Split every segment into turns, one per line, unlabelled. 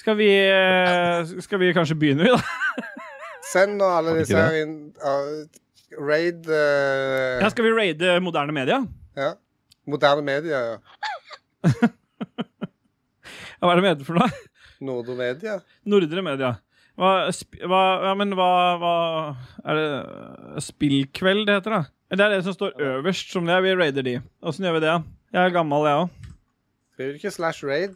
Skal vi, eh, skal vi kanskje begynne, vi, da?
Send nå alle
det
disse
ikke
her inn. ja, raid eh,
Ja, skal vi raide moderne media?
ja. Moderne media, ja.
Ja, hva er det med for noe?
Nordre media.
Nordre media. Hva, sp hva, ja, men hva, hva Er det eh, spillkveld det heter, da? Det er det som står øverst, som det er. Vi raider de. Åssen gjør vi det? Jeg er gammel, jeg òg.
Skriver du ikke slash raid?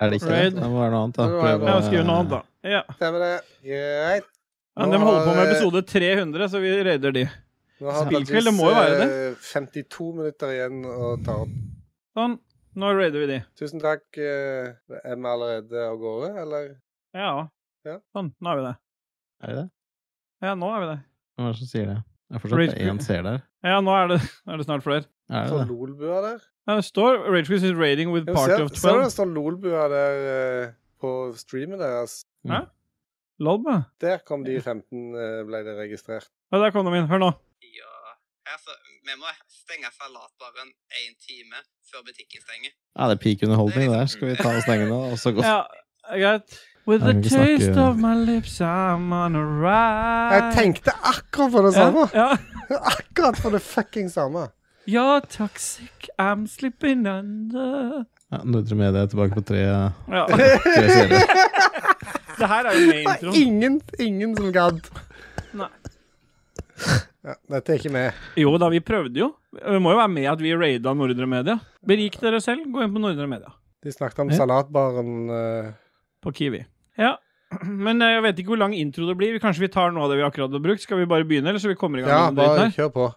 Er det ikke
Raid.
det? Det må være noe annet,
Det må
da.
være
Prøv
noe
å-
Jeg skriver noe annet, da. Ja.
Stemmer det. Greit.
Men de holder på med episode 300, så vi raider de.
Nå har
Spillkveld,
Dajis,
det må jo være
eh, 52 minutter igjen å ta opp.
Sånn. Nå raider vi de.
Tusen takk. eh, Er vi allerede av gårde, eller?
Ja.
Ja.
Sånn. Nå er vi det.
Er det det?
Ja, nå er vi det.
Hvem er det som sier det? Det er fortsatt
Raid-
én ser der.
Ja, nå er det, er det snart flere.
Er det
Står
det?
Lolbua der?
Ja, det står Ragequiz is raiding with
Ja,
party
ser,
of
ser du det
12.
står Lolbua der eh, på streamen deres?
Lolba.
Der kom de 15, eh, ble det registrert.
Ja, der kom de inn. Hør nå.
Ja, altså, vi må stenge salatbaren én time før butikken stenger.
Ja, det er peak underholdning, det der. Skal vi ta og stenge nå, og så gå?
Ja, greit. With
Nei,
the
vi kan snakke-
taste of my lips, I'm on a ride.
Jeg tenkte akkurat på det samme!
Ja,
Akkurat på det fucking samme.
ja. You're toxic, I'm slipping under.
Ja, Nordre Media er tilbake på tre,
Ja.
tre seere.
Det her er jo med i
Det var
introen.
ingen, ingen som gadd.
Nei.
Ja, dette er ikke med.
Jo da, vi prøvde jo. Det må jo være med at vi raida Nordre Media. Berik dere selv. Gå inn på Nordre Media.
De snakket om
Ja.
salatbaren. eh,
På Kiwi. Ja. Men eh, jeg vet ikke hvor lang intro det blir. Kanskje vi tar noe av det vi akkurat har brukt? Skal vi bare begynne, eller så vi kommer i gang
ja,
med den
bare
dritten her?
kjør på.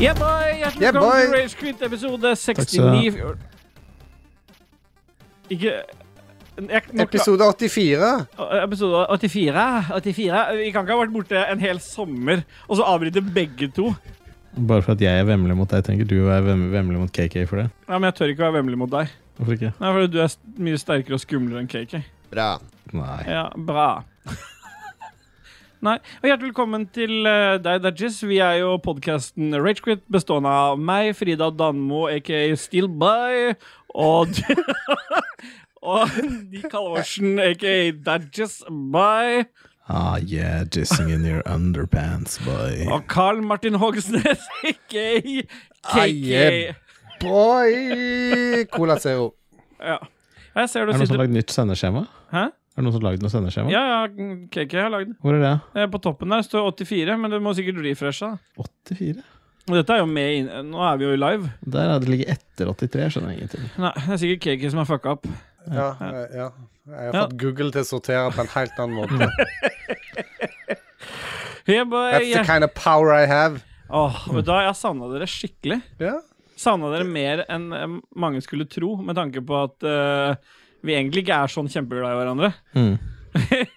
Yeah, boy! Hjertelig
Yeah,
velkommen til
boy!
Rage Quit episode
skal du
69 Ikke jeg, nå,
Episode 84.
episode 84. 84. Vi kan ikke ha vært borte en hel sommer, og så avbryte begge to.
Bare for at jeg er vemmelig mot deg, trenger ikke du å være vem- vemmelig mot KK for det.
Ja, men jeg tør ikke være vemmelig mot deg.
Hvorfor ikke?
Nei, fordi du er s- mye sterkere og skumlere enn KK.
Bra.
Nei.
Ja, bra. Nei, og Hjertelig velkommen til eh, deg, Dajis. Vi er jo podkasten Ragequit, bestående av meg, Frida Danmo, aka Steelby, og Og Nick Halvorsen, aka Dajis By,
Ah, yeah, jizzing in your underpants, boy.
og Carl Martin Hogsnes, aka KK.
Ah, yeah. Boy! Cola Zero.
Ja. Jeg ser
Er
du
det noen som har
sitter
lagd nytt sendeskjema?
Hæ?
Er det noen som har lagd noe sendeskjema?
Ja, ja, KK har lagd den.
Hvor er det?
Eh, På toppen der står 84, men du må sikkert refreshe. da.
84?
Og dette er jo med inn... Nå er vi jo live.
Der er det ligget etter 83, jeg skjønner ingenting.
Nei, det er sikkert Kiki som har fucka opp.
Ja, eh, ja. Jeg har
Ja.
fått Google til å sortere på en helt annen måte.
Hey boy,
That's the
yeah.
kind of power I have.
Åh, vet du hva, jeg savna dere skikkelig.
Ja.
Savna dere mer enn eh, mange skulle tro, med tanke på at eh, vi egentlig ikke er sånn kjempeglad i hverandre.
Mm.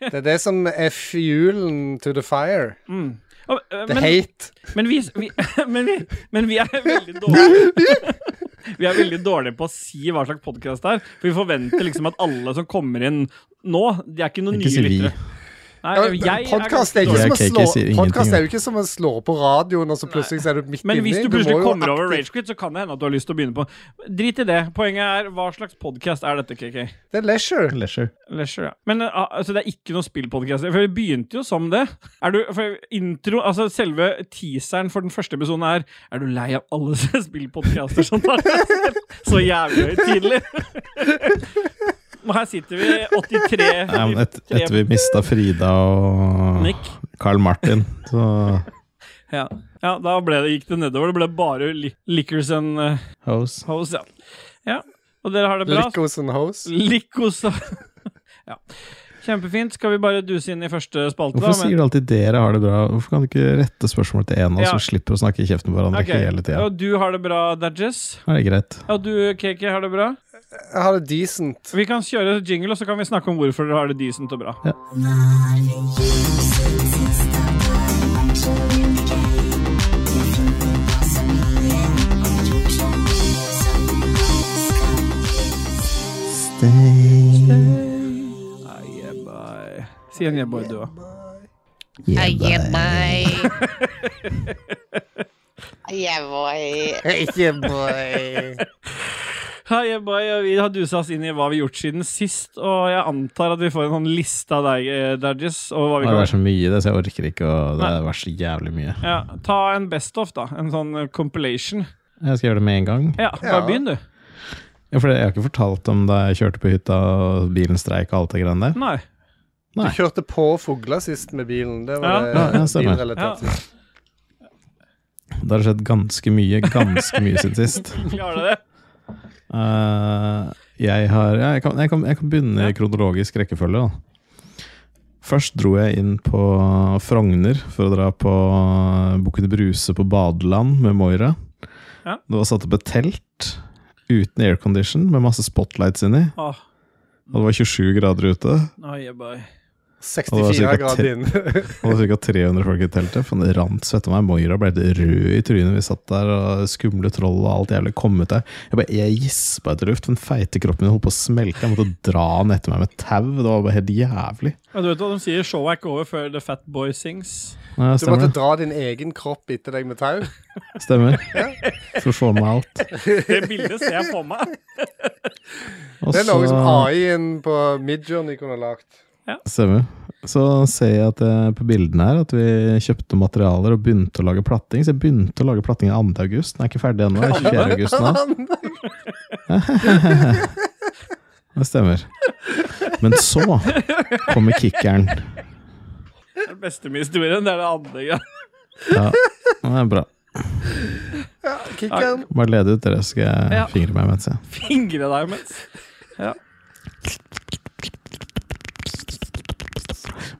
Det er det som er fuelen to the fire.
Mm. Og, eh,
The
men,
hate.
men, vi, vi, men, vi, men vi er veldig dårlige Vi er veldig dårlige på å si hva slags podkast det er. For vi forventer liksom at alle som kommer inn nå, de er ikke noen
Ikke si
nye
vi.
lyttere. Nei,
Ja,
jeg
men
er
Podkast
ganske
er, ikke
dårlig.
som å
Jeg
slå-
kan ikke si ingenting,
podcast er
ja.
jo ikke som å slå på radioen, og så plutselig så er du midt
Men
inni.
hvis du
må
plutselig
jo
kommer over
aktivt-
Ragequit, så kan det hende at du har lyst til å begynne på Drit i det. Poenget er hva slags podkast er dette, KK?
Det er leisure.
Leisure.
Leisure, ja. Men eh, altså, det er ikke noe spillpodkast? For vi begynte jo som det. Er du, for intro, altså Selve teaseren for den første episoden er Er du lei av alle spillpodkaster som tar seg selv så jævlig høytidelig? Og her sitter vi, 83
Nei, men et, etter vi mista Frida og
Nick.
Carl Martin, så
Ja, ja da ble det, gikk det nedover. Det ble bare li Lickers and eh,
Hose.
Hoes, ja. ja. Og dere har det bra?
Lykkos and hoes.
Likos Ja. Kjempefint. Skal vi bare duse inn i første spalte,
Hvorfor sier du alltid dere har det bra? Hvorfor kan du ikke rette spørsmålet til en av oss,
Ja.
så vi slipper å snakke i kjeften på hverandre
Ok.
hele tida?
Og du har det bra, Dajis.
Er det greit?
Og du, KK, har det bra.
Jeg har det decent.
Vi kan kjøre jingle, og så kan vi snakke om hvorfor dere har det decent og bra.
Ja.
Not a useless, it's the time I'm showing the game. If you
Sier en hjemmebordua.
Yeah,
yeah,
bye.
boy. yeah, boy.
Ikke boy.
Hei, boy, og vi har dusa oss inn i hva vi har gjort siden sist, og jeg antar at vi får en sånn liste av deg, eh, Dajis, over hva vi
Å,
kan
det er så mye i det, så jeg orker ikke å Det har vært så jævlig mye.
ja, Ta en best of, da. En sånn eh, compilation.
Jeg skal gjøre det med en gang.
Ja, bare
Ja.
begynn, du.
Ja, for det- Jeg har ikke fortalt om da jeg kjørte på hytta og bilen streik og alt det greiene der.
Nei.
Du
Nei.
kjørte på fugler sist med bilen. Det var
Ja.
det
Ja, ja, stemmer.
bilrelatert.
Ja.
Det har skjedd ganske mye, ganske mye siden sist.
Klarer du det?
Eh, jeg har ja, jeg, kan, jeg, kan, jeg kan begynne i kronologisk rekkefølge, da. Først dro jeg inn på Frogner for å dra på eh, Bukken Bruse på badeland med Moira.
Ja.
Det var satt opp et telt uten aircondition med masse spotlights inni.
Åh,
Og det var 27 grader ute,
nei, jeg bare-
64
sikkert
grader inne.
og det var ca. 300 folk i teltet. Faen, det rant svette av meg. Moira ble helt rød i trynet. Vi satt der, og skumle troll og alt jævlig kom ut der. Jeg bare, jeg gispa etter luft. Den feite kroppen min holdt på å smelte. Jeg måtte dra den etter meg med tau. Det var bare helt jævlig.
Ja, du vet hva de sier? Showet er ikke over før The Fat Boy sings.
Ja,
Du måtte
stemmer.
dra din egen kropp etter deg med tau.
det. stemmer. For å få med alt.
Det bildet ser jeg på meg.
Og
Det er noe som
så-
AI-en på Midjourney kunne ha lagd.
Stemmer. Så ser jeg at eh, på bildene her at vi kjøpte materialer og begynte å lage platting. Så jeg begynte å lage platting 2. august. Den er ikke ferdig ennå. det er 24. august nå. Det stemmer. Men så kommer kickeren.
Det er det beste med historien. Det er det andre greia.
Ja, det er bra.
Kickeren.
Bare lede ut, dere skal
Ja.
jeg fingre meg mens jeg
Fingre deg mens.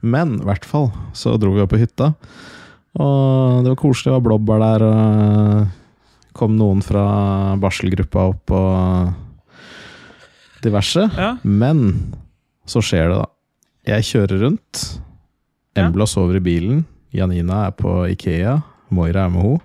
Men i hvert fall så dro vi opp på hytta, og det var koselig. Det var blåbær der, og kom noen fra barselgruppa opp og diverse.
Ja.
Men så skjer det, da. Jeg kjører rundt.
Ja.
Embla sover i bilen. Janina er på Ikea. Moira er med henne.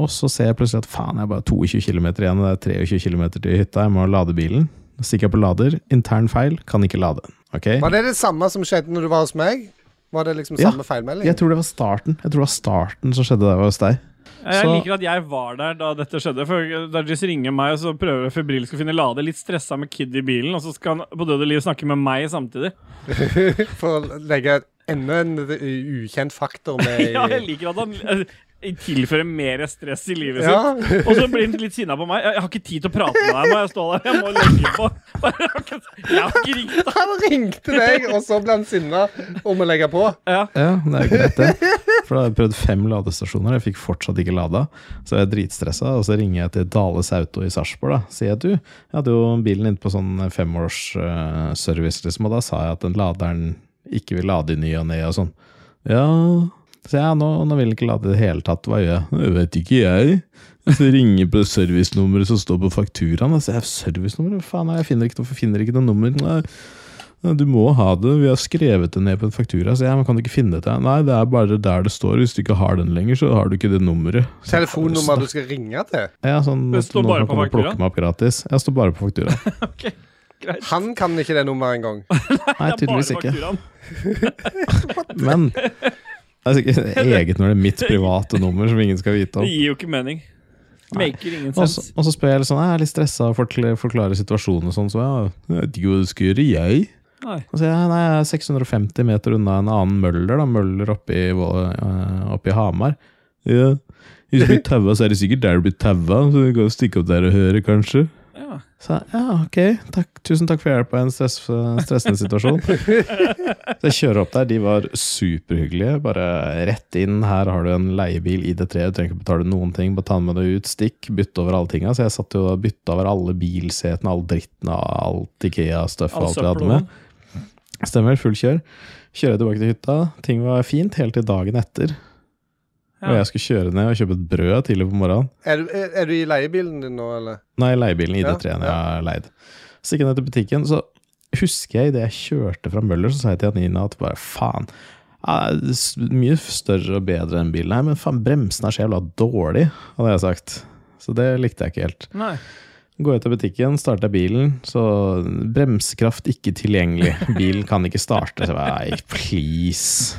Og så ser jeg plutselig at faen, jeg er bare 22 km igjen, og det er 23 km til hytta. Jeg må lade bilen. Så Stikker jeg på lader. Intern feil. Kan ikke lade. Ok?
Var det det samme som skjedde når du var hos meg? Var det liksom
Ja.
samme feilmelding?
Jeg tror det var starten. Jeg tror det var starten som skjedde der hos deg.
Jeg
Så-
liker at jeg var der da dette skjedde. For Dajis ringer meg og så prøver jeg febrilsk å finne Lade. Litt stressa med Kid i bilen, og så skal han på døde liv snakke med meg samtidig.
For å legge enda en u- ukjent faktor med i
Ja, jeg liker at han eh, tilfører mer stress i livet sitt.
Ja.
Og så blir han litt sinna på meg. Jeg jeg har ikke tid til å prate med deg nå. Jeg står der, jeg må legge på. Jeg har ikke, jeg har ikke ringt deg.
Han ringte deg, og så ble han sinna og må legge på.
Ja.
Ja, det er greit, det. For da har jeg prøvd fem ladestasjoner, jeg fikk fortsatt ikke lada. Så jeg er dritstressa, og så ringer jeg til Dales Auto i Sarpsborg. da. Sier jeg du, jeg hadde jo bilen inne på sånn femårsservice, liksom, og da sa jeg at den laderen ikke vil lade i ny og ne og sånn. Ja, så jeg, nå, nå vil den ikke lade i det hele tatt, hva gjør jeg? Det vet ikke jeg. Så ringer jeg på servicenummeret som står på fakturaen. Og sier jeg, servicenummeret? Faen, nei, jeg finner ikke, noe- finner ikke noe nummer. Nei. Nei, Du må ha det, vi har skrevet det ned på en faktura. Så jeg, men kan du ikke finne dette? Nei, det er bare der det står. Hvis du ikke har den lenger, så har du ikke det nummeret. Så jeg,
Telefonnummer du skal ringe til.
Ja, sånn,
Det
det
står
står
bare på
Plukke meg opp gratis. Jeg står bare på faktura.
Han kan ikke det nummeret engang.
Nei,
Det er bare
tydeligvis ikke.
fakturaen.
Men det er sikkert eget når det er mitt private nummer som ingen skal vite
Det
om.
gir jo ikke mening. Maker ingen
Og så,
sens.
og så spør jeg litt sånn, jeg er litt stressa og forkl- forklarer situasjonen og sånn, så ja, jeg vet ikke hva du skal gjøre, jeg.
Nei.
Og så sier jeg, nei, jeg er 650 meter unna en annen møller, da, møller oppe i, Vå- eh, oppe i Hamar. Ja, hvis du blir taua, så er det sikkert der du blir taua, så du kan jo stikke opp der og høre, kanskje.
Ja.
Så jeg, ja, ok, takk, tusen takk for hjelpa i en stress, eh, stressende situasjon. Så jeg kjører opp der, de var superhyggelige. Bare rett inn, her har du en leiebil i det treet, du trenger ikke betale noen ting. Bare ta den med deg ut, stikk, bytte over alle tinga. Så jeg satt jo og bytta over alle bilsetene, all dritten av alt Ikea-stuff og
All
alt vi hadde
søppel
med. Stemmer, full kjør. Kjører jeg tilbake til hytta, ting var fint helt til dagen etter. Og
Ja.
jeg skulle kjøre ned og kjøpe et brød tidlig på morgenen.
Er du, er, er du i leiebilen din nå, eller?
Nei, leiebilen
Ja,
ID3 en
ja.
jeg har leid. Så gikk jeg ned til butikken, så husker jeg idet jeg kjørte fra Møller, så sa jeg til Janina at bare faen ja, det er s- Mye større og bedre enn bilen her, men faen, bremsene er så jævla dårlig, hadde jeg sagt. Så det likte jeg ikke helt.
Nei.
Går jeg til butikken, starter jeg bilen, så bremsekraft ikke tilgjengelig. Bilen kan ikke starte. Så jeg bare, Nei, please.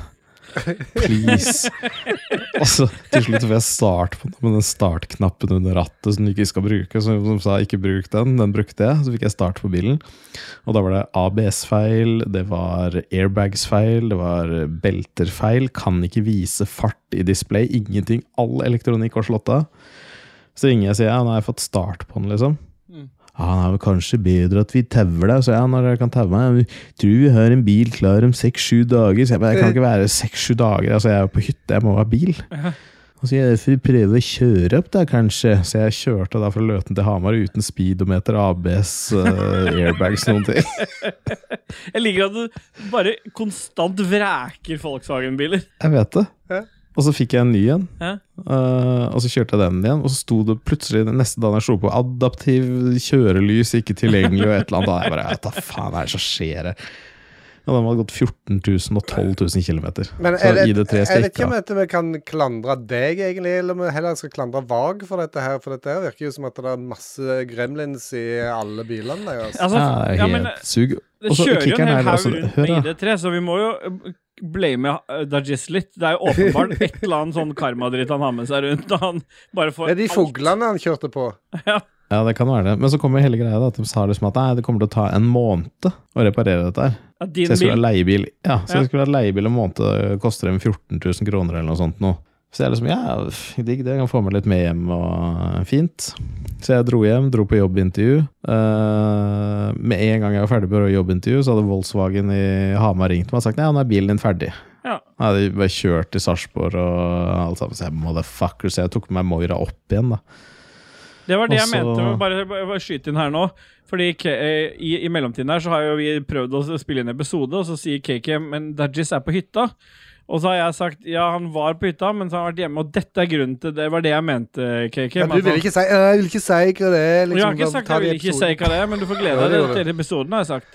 Please. Og så til slutt får jeg start på den med den startknappen under rattet som du ikke skal bruke. Som, som sa ikke bruk den, den brukte jeg. Så fikk jeg start på bilen. Og da var det ABS-feil, det var airbags-feil, det var belter-feil. Kan ikke vise fart i display. Ingenting. All elektronikk var slått av. Så ringer jeg og sier ja, nå har jeg fått start på den, liksom.
Mm.
Ja, det er vel kanskje bedre at vi tauer deg, så ja, når dere kan taue meg. Vi tror vi har en bil klar om seks-sju dager. Så jeg bare, jeg kan ikke være seks-sju dager, altså jeg er jo på hytte, jeg må ha bil. Og så jeg får prøve å kjøre opp da, kanskje. Så jeg kjørte da fra Løten til Hamar uten speedometer, ABS, eh, airbags, noen ting.
Jeg liker at du bare konstant vræker Volkswagen-biler.
Jeg vet det.
Ja.
Og så fikk jeg en ny en.
Ja.
Eh, og så kjørte jeg den igjen, og så sto det plutselig neste dag jeg slo på adaptiv kjørelys ikke tilgjengelig og et eller annet. Da jeg bare ja, hva faen er det som skjer her? Og den hadde gått 14 000 og 12 000 km.
Men
Så
er det,
ID3
er det
skal
ikke
ikke
om
ha.
dette vi kan klandre deg, egentlig, eller om vi heller skal klandre Vag for dette her? For dette her virker jo som at det er masse gremlins i alle bilene deres.
Altså,
Ja, det er
ja,
helt
men
sug.
det
Og så
kjører jo
kickeren
en
er
hel haug
også-
rundt
hør
med
da.
ID3, så vi må jo eh, blame eh, Dajis litt. Det er jo åpenbart et eller annet sånn karmadritt han har med seg rundt. Og han bare får
Det er de fuglene han kjørte på.
Ja, det kan være det. Men så kommer hele greia da, at de sa liksom at nei, det kommer til å ta en måned å reparere dette her.
Ja,
Så
din
jeg skulle
bil.
ha leiebil Ja, så
Ja.
jeg skulle ha leiebil en måned, det koster dem 14 000 kroner eller noe sånt nå. Så jeg liksom, ja, pff, digg det, jeg kan få med litt med hjem og eh, fint. Så jeg dro hjem, dro på jobbintervju. Eh, med en gang jeg var ferdig på jobbintervju, så hadde Volkswagen i Hamar ringt meg og sagt nei, nå er bilen din ferdig.
Ja.
Nei, de bare kjørt til Sarpsborg og alt sammen. Så jeg, motherfucker, så jeg tok med meg Moira opp igjen, da.
Det var det jeg
Også-
mente med bare, bare skyte inn her nå. Fordi K eh, i, i mellomtiden her så har jo vi prøvd å s- spille inn episode, og så sier KK men Dajis er på hytta. Og så har jeg sagt ja, han var på hytta, men så har han vært hjemme. Og dette er grunnen til det. Det var det jeg mente, KK. med
Ja, du
at han-
vil ikke si «Øh, Jeg vil ikke si hva det er.
jeg har
Liksom,
ikke
bare
sagt
ta
jeg
de
vil ikke si
episodene.
hva det er, men du får glede
Ja, det
deg
gjorde
til episoden, har jeg sagt.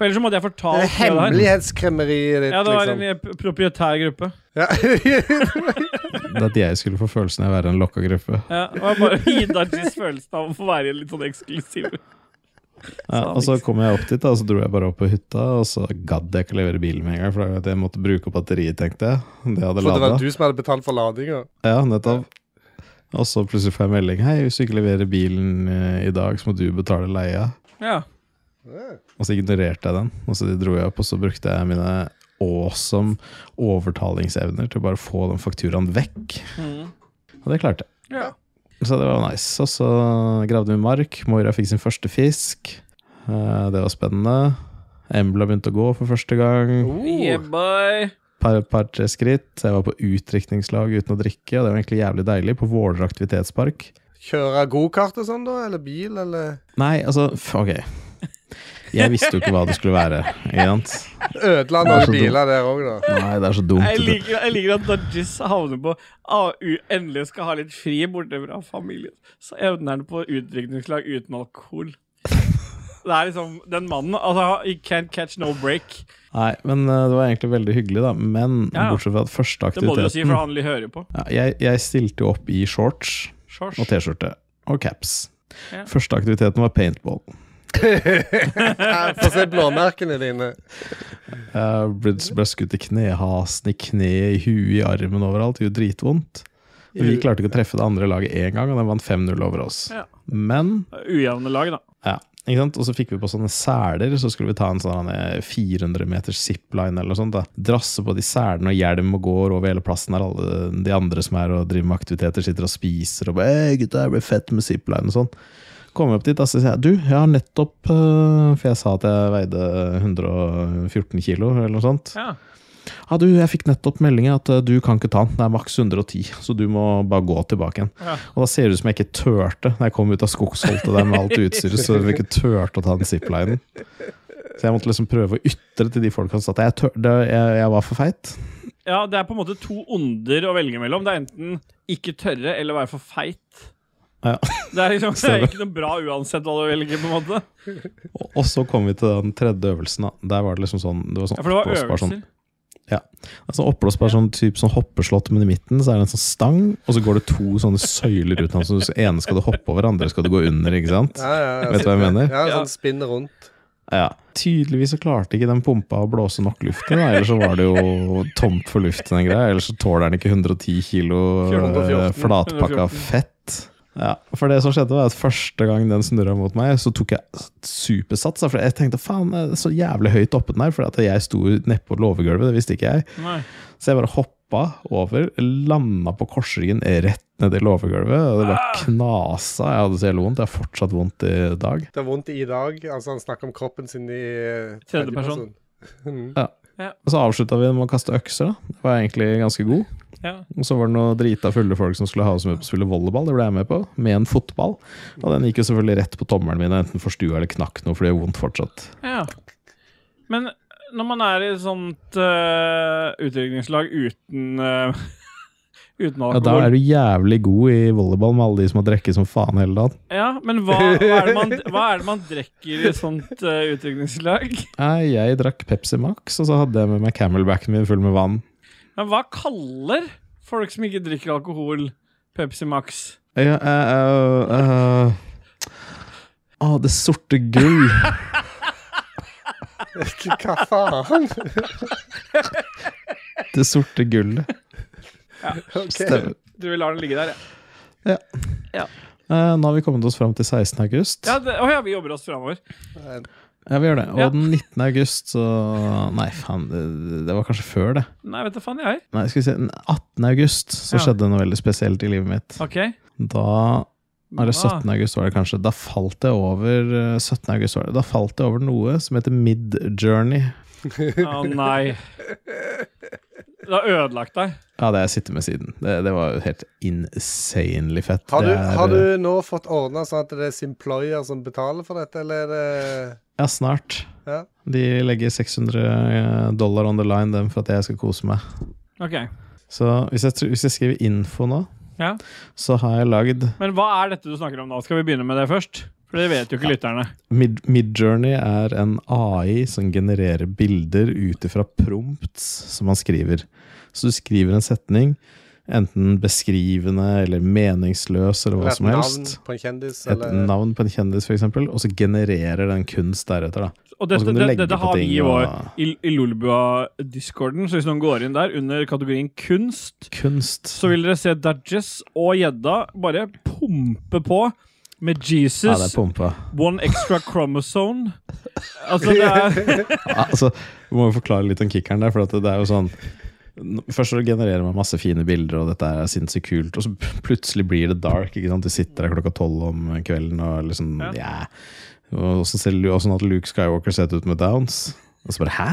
For ellers så måtte jeg
Det
fortalt
er
mye av det her.
hemmelighetskremmeriet ditt,
Ja, det var
liksom.
en eh, p- proprietær gruppe.
Ja.
Det at jeg skulle få følelsen av å være en lokka gruppe.
Ja, og jeg bare gir Dajis følelsen av å få være litt sånn eksklusiv.
Ja,
Sa
og så
liksom.
kom jeg opp dit, da, og så dro jeg bare opp på hytta, og så gadd jeg ikke levere bilen med en gang, for jeg måtte bruke opp batteriet, tenkte jeg. Det hadde
For det
lada.
var du som hadde betalt for ladinga.
Ja, nettopp. Og så plutselig får jeg melding Hei, hvis du ikke leverer bilen eh, i dag, så må du betale leia.
Ja.
Og så ignorerte jeg den, og så dro jeg opp, og så brukte jeg mine awesome overtalingsevner til å bare få den fakturaen vekk.
Mm.
Og det klarte jeg.
ja.
Så det var nice. Og så gravde vi mark. Moira fikk sin første fisk. Eh, Det var spennende. Embla begynte å gå for første gang.
Yeah, boy.
par, par tre skritt. Jeg var på utdrikningslag uten å drikke, og det var egentlig jævlig deilig. På Våler aktivitetspark.
Kjøre gokart og sånn, da? Eller bil, eller
Nei, altså, f- ok. Jeg visste jo ikke hva det skulle være. Ikke sant?
Ødela
Det er så
noen biler der òg, da.
Nei, det er så dumt.
Jeg
vet du.
liker, jeg liker at Dodges havner på AU endelig skal ha litt fri borte fra familien. Så evner han på utdrikningslag uten alkohol. Det er liksom Den mannen Altså, he can't catch no break.
Nei, men eh, det var egentlig veldig hyggelig, da. Men
Ja.
bortsett fra at første
Det må du jo si, for
aktiviteten
han hører på.
ja, jeg, jeg stilte jo opp i shorts
Sjors.
og T-skjorte og caps.
Ja.
Første aktiviteten var paintball.
Få se blåmerkene dine.
Jeg ble, ble skutt i knehasen, i kneet, i huet, i armen, overalt. Det gjorde dritvondt. Men Vi klarte ikke å treffe det andre laget én gang, og den vant 5-0 over oss.
Ja.
Men
Ujevne lag, da.
ja, ikke sant? Og så fikk vi på sånne seler, så skulle vi ta en sånn eh, 400 meters zipline eller noe sånt. da Drasse på de selene og hjelm og går over hele plassen der alle de andre som er og driver med aktiviteter, sitter og spiser og bare Hei, gutta, det blir fett med zipline og sånn. Kommer jeg opp dit, da, så sier jeg du, jeg har nettopp eh, For jeg sa at jeg veide 114 kilo eller noe sånt.
Ja.
Ja, du, jeg fikk nettopp meldingen at eh, du kan ikke ta den. Det er maks 110, så du må bare gå tilbake igjen.
Ja.
Og da ser det ut som jeg ikke turte, når jeg kom ut av skogsholtet der med alt utstyret, så jeg ikke turte å ta den ziplinen. Så jeg måtte liksom prøve å ytre til de folkene som sa at jeg, tør, det, jeg, jeg var for feit.
ja, det er på en måte to onder å velge mellom. Det er enten ikke tørre eller være for feit.
Ja.
Det er liksom det er ikke noe bra uansett hva du velger, på en måte.
Og, og så kom vi til den tredje øvelsen, da. Der var det liksom sånn Det var sånn
Ja, For det var
oppblåsbar
øvelser.
sånn Altså oppblåsbar sånn, typ, sånn hoppeslott, men i midten så er det en sånn stang, og så går det to sånne søyler ut. Altså, så ene skal du hoppe over, andre skal du gå under. ikke sant?
Ja, ja, ja.
Vet du hva jeg mener?
Ja,
Ja.
sånn spinn rundt.
Ja. Tydeligvis så klarte ikke den pumpa å blåse nok luft i det, eller så var det jo tomt for luft, den greia. Eller så tåler den ikke 110 kilo eh,
114,
flatpakka
114.
fett. Ja, for det som skjedde var at Første gang den snurra mot meg, så tok jeg supersats. da, For jeg tenkte faen, det er så jævlig høyt oppe den her, for at jeg sto nedpå låvegulvet. Det visste ikke jeg.
Nei.
Så jeg bare hoppa over, landa på korsryggen rett ned i låvegulvet. Og det bare knasa. Jeg hadde så jævlig vondt. Jeg har fortsatt vondt i dag.
Det er vondt i dag. Altså, han snakker om kroppen sin i eh,
Tredje person.
Mm.
Og så avslutta vi med å kaste økser. da Det var egentlig ganske god.
Ja.
Og så var det noen drita fulle folk som skulle ha oss med på å spille volleyball. Det ble jeg med på, med en fotball. Og den gikk jo selvfølgelig rett på tommelen min, og enten forstua eller knakk noe, for det gjør vondt fortsatt.
ja. Men når man er i et sånt uh, utdrikningslag uten eh, Uten
Ja, da er
alkohol.
du jævlig god i volleyball med alle de som har drukket som faen hele dagen.
Ja, men hva, hva, er det man, hva er det man drikker i et sånt uh, utdrikningslag?
Nei, jeg drakk Pepsi Max, og så hadde jeg med meg camelbacken min full med vann.
Men hva kaller folk som ikke drikker alkohol, Pepsi Max?
Ja, eh, eh, eh, Å, det sorte gull.
Hva faen?
Det sorte gullet.
Ok.
Stemmer.
Du vil la den ligge der, ja.
Eh, nå har vi kommet oss fram til 16. august.
Ja, det, å ja, vi jobber oss framover.
Ja, vi gjør det. Og
Ja.
den 19. august, så Nei, faen, det, det var kanskje før det.
Nei, vet du faen jeg.
Nei, skal vi se, den 18. august så
Ja.
skjedde noe veldig spesielt i livet mitt.
OK.
Da eller
Hva?
17. august var det kanskje. Da falt jeg over eh, 17. august var det, da falt jeg over noe som heter Midjourney.
Å nei. Det har ødelagt deg.
Ja, det har jeg sittet med siden. Det, det var jo helt insanely fett.
Har du,
Det er,
har
eh,
du nå fått ordna sånn at det er Simployer som betaler for dette, eller er det
Ja, snart.
Ja.
De legger 600 dollar on the line dem for at jeg skal kose meg.
OK.
Så hvis jeg, tr- hvis jeg skriver info nå,
Ja.
så har jeg lagd
Men hva er dette du snakker om nå? Skal vi begynne med det først? For det vet jo ikke lytterne.
Mid- Midjourney er en AI som genererer bilder ut ifra prompts som man skriver. Så du skriver en setning, enten beskrivende eller meningsløs eller
eller
hva
et
som
navn
helst.
på en kjendis?
Et
Eller?
navn på en kjendis, f.eks., og så genererer den kunst deretter. da
Og
Og så
dette,
kan du
det,
legge
dette
på
har vi
ting
i vår
og-
i, i Lolbua-discorden, så hvis noen går inn der under kategorien kunst,
Kunst.
så vil dere se Dajess og gjedda bare pumpe på med
Ja,
Jesus,
det er pumpa.
one extra chromosome. Altså, det er
Ja, altså, vi må jo forklare litt om kickeren der, for at det er jo sånn n- Først så genererer man masse fine bilder, og dette er sinnssykt kult, og så p- plutselig blir det dark. ikke sant? Du sitter der klokka tolv om kvelden og liksom
Ja.
ja. Og så ser det jo sånn at Luke Skywalker ser ut med downs. Og så bare Hæ?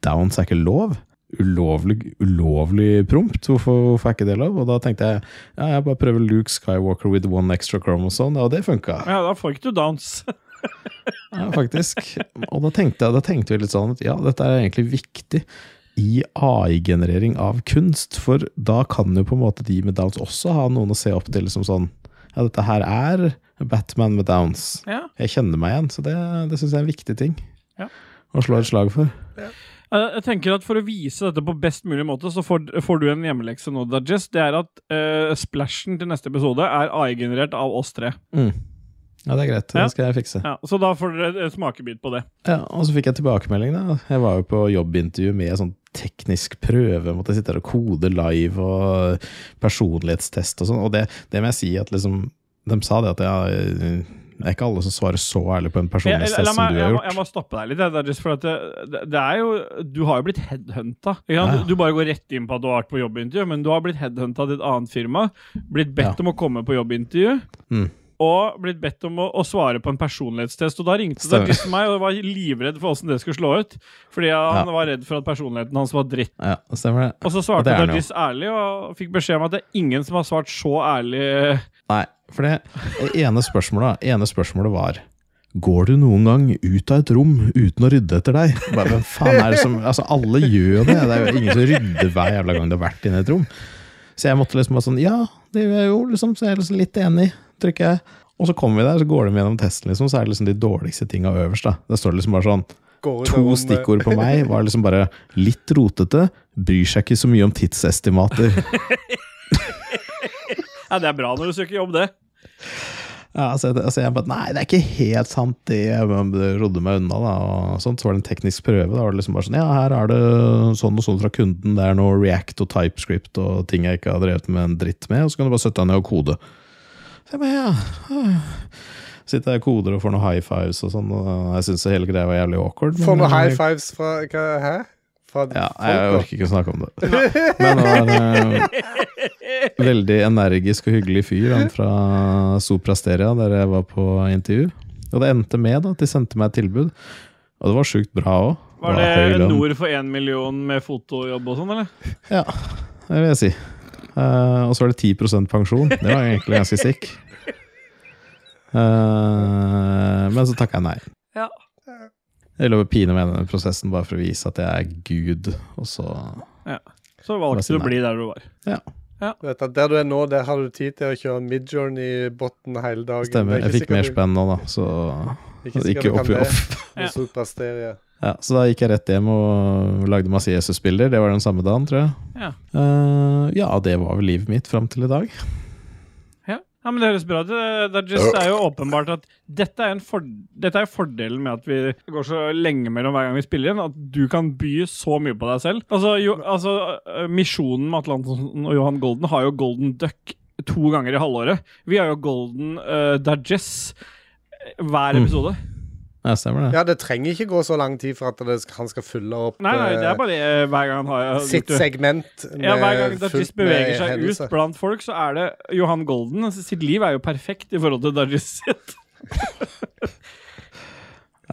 Downs er ikke lov? Ulovlig, ulovlig prompt? Hvorfor, hvorfor er ikke det lov? Og da tenkte jeg ja, jeg bare prøver Luke Skywalker with one extra chromosome, og det funka.
Ja, da får ikke du downs.
Ja, faktisk. Og da tenkte, jeg, da tenkte vi litt sånn at ja, dette er egentlig viktig i AI-generering av kunst, for da kan jo på en måte de med downs også ha noen å se opp til som sånn Ja, dette her er Batman med downs.
Ja.
Jeg kjenner meg igjen, så det, det syns jeg er en viktig ting
Ja.
å slå et slag for.
Eh, Jeg tenker at For å vise dette på best mulig måte, så får, får du en hjemmelekse nå, Dajess. Det er at eh, splashen til neste episode er AI-generert av oss tre.
Mm. Ja, det er greit.
Ja.
Det skal jeg fikse.
Ja, så da får dere en smakebit på det.
Ja, og så fikk jeg tilbakemelding. da Jeg var jo på jobbintervju med sånn teknisk prøve. Måtte sitte der og kode live og personlighetstest og sånn. Og det, det må jeg si at liksom De sa det at ja, det er ikke alle som svarer så ærlig på en
Jeg, jeg,
personlighetstest
la meg,
som du
jeg,
har
må, jeg
gjort.
må stoppe deg litt. Det er, for at det, det er jo, du har jo blitt headhunta. Ikke sant?
Ja, ja.
Du bare går rett inn på at du har vært på jobbintervju, men du har blitt headhunta til et annet firma. Blitt bedt
Ja.
om å komme på jobbintervju.
Mm.
Og blitt bedt om å, å svare på en personlighetstest. Og da ringte
Stemmer.
Dajess meg og var livredd for åssen det skulle slå ut. Fordi han var redd for at personligheten hans var dritt.
Ja, stemmer det.
Og så
Og
svarte
det er han jo.
Dajis ærlig, og fikk beskjed om at det er ingen som har svart så ærlig.
Nei, for det det ene spørsmålet, det ene spørsmålet var Går du noen gang ut av et rom uten å rydde etter deg? Bare, hvem faen er det som, altså Alle gjør jo det. Det er jo ingen som rydder hver jævla gang du har vært inne i et rom. Så jeg måtte liksom bare sånn Ja, det gjør jeg jo, liksom. Så jeg er liksom litt enig, trykker jeg. Og så kommer vi der, så går de gjennom testen, liksom, så er det liksom de dårligste tinga øverst. da Der står det liksom bare sånn
går ut av
To
rommet.
stikkord på meg var liksom bare litt rotete, bryr seg ikke så mye om tidsestimater.
Ja, det er bra når du søker jobb, det.
Ja, altså, jeg- altså jeg bare, Nei, det er ikke helt sant, det. Jeg bare rodde meg unna, da. Og sånt. Så var det en teknisk prøve. Da var det liksom bare sånn Ja, her er det sånn og sånn fra kunden. Det er noe React og TypeScript og ting jeg ikke har drevet med en dritt med. Og så kan du bare sette deg ned og kode. Så jeg bare, ja øh. Sitter jeg og koder og får noen high fives og sånn. Og jeg syns hele greia var jævlig awkward.
Får
men-
noen high fives fra hva, Hæ? Fra
Ja, jeg
folk, da?
orker ikke å snakke om det. Men det var en eh, veldig energisk og hyggelig fyr han fra Sopra Steria, der jeg var på intervju. Og det endte med da, at de sendte meg et tilbud. Og det var sjukt bra òg.
Var det nord for én million med fotojobb og sånn, eller?
Ja, det vil jeg si. Eh, og så var det 10 pensjon. Det var egentlig ganske sick. Eh, men så takka jeg nei.
Ja.
Jeg lover å pine meg gjennom den prosessen bare for å vise at jeg er gud, og så
Så
Bare
valgte
si
du å
nei.
bli der du var.
ja.
Du vet at Der du er nå, der har du tid til å kjøre midjourney-botten hele dagen.
Stemmer.
Det er
Jeg
ikke
fikk
sikkert
mer
du-
spenn nå, da, så
Ikke sikkert du
ikke
kan
opp i
det.
opp.
Ja.
med Supersteria.
Ja, så da gikk jeg rett hjem og lagde masse Jesus-bilder. Det var den samme dagen, tror jeg.
Ja.
Eh, ja, det var vel livet mitt fram til i dag.
Ja. ja, men Det høres bra ut. Det- Det er just- det er
Øh.
jo åpenbart at dette er, en for, dette er fordelen med at vi går så lenge mellom hver gang vi spiller inn, at du kan by så mye på deg selv. Altså, jo, altså øh, Misjonen med Atlanten og Johan Golden har jo Golden Duck to ganger i halvåret. Vi har jo Golden uh, Digest hver
Mm.
episode.
Ja, stemmer det.
Ja, det trenger ikke gå så lang tid for at det, han skal fylle opp
Nei, nei, det er
eh,
bare øh, hver gang han har
sitt segment
Ja, hver gang
fullt
Dajis
med
beveger seg
hendelser.
ut blant folk, så er det Johan Golden. Altså, sitt liv er jo perfekt i forhold til Dajis sitt.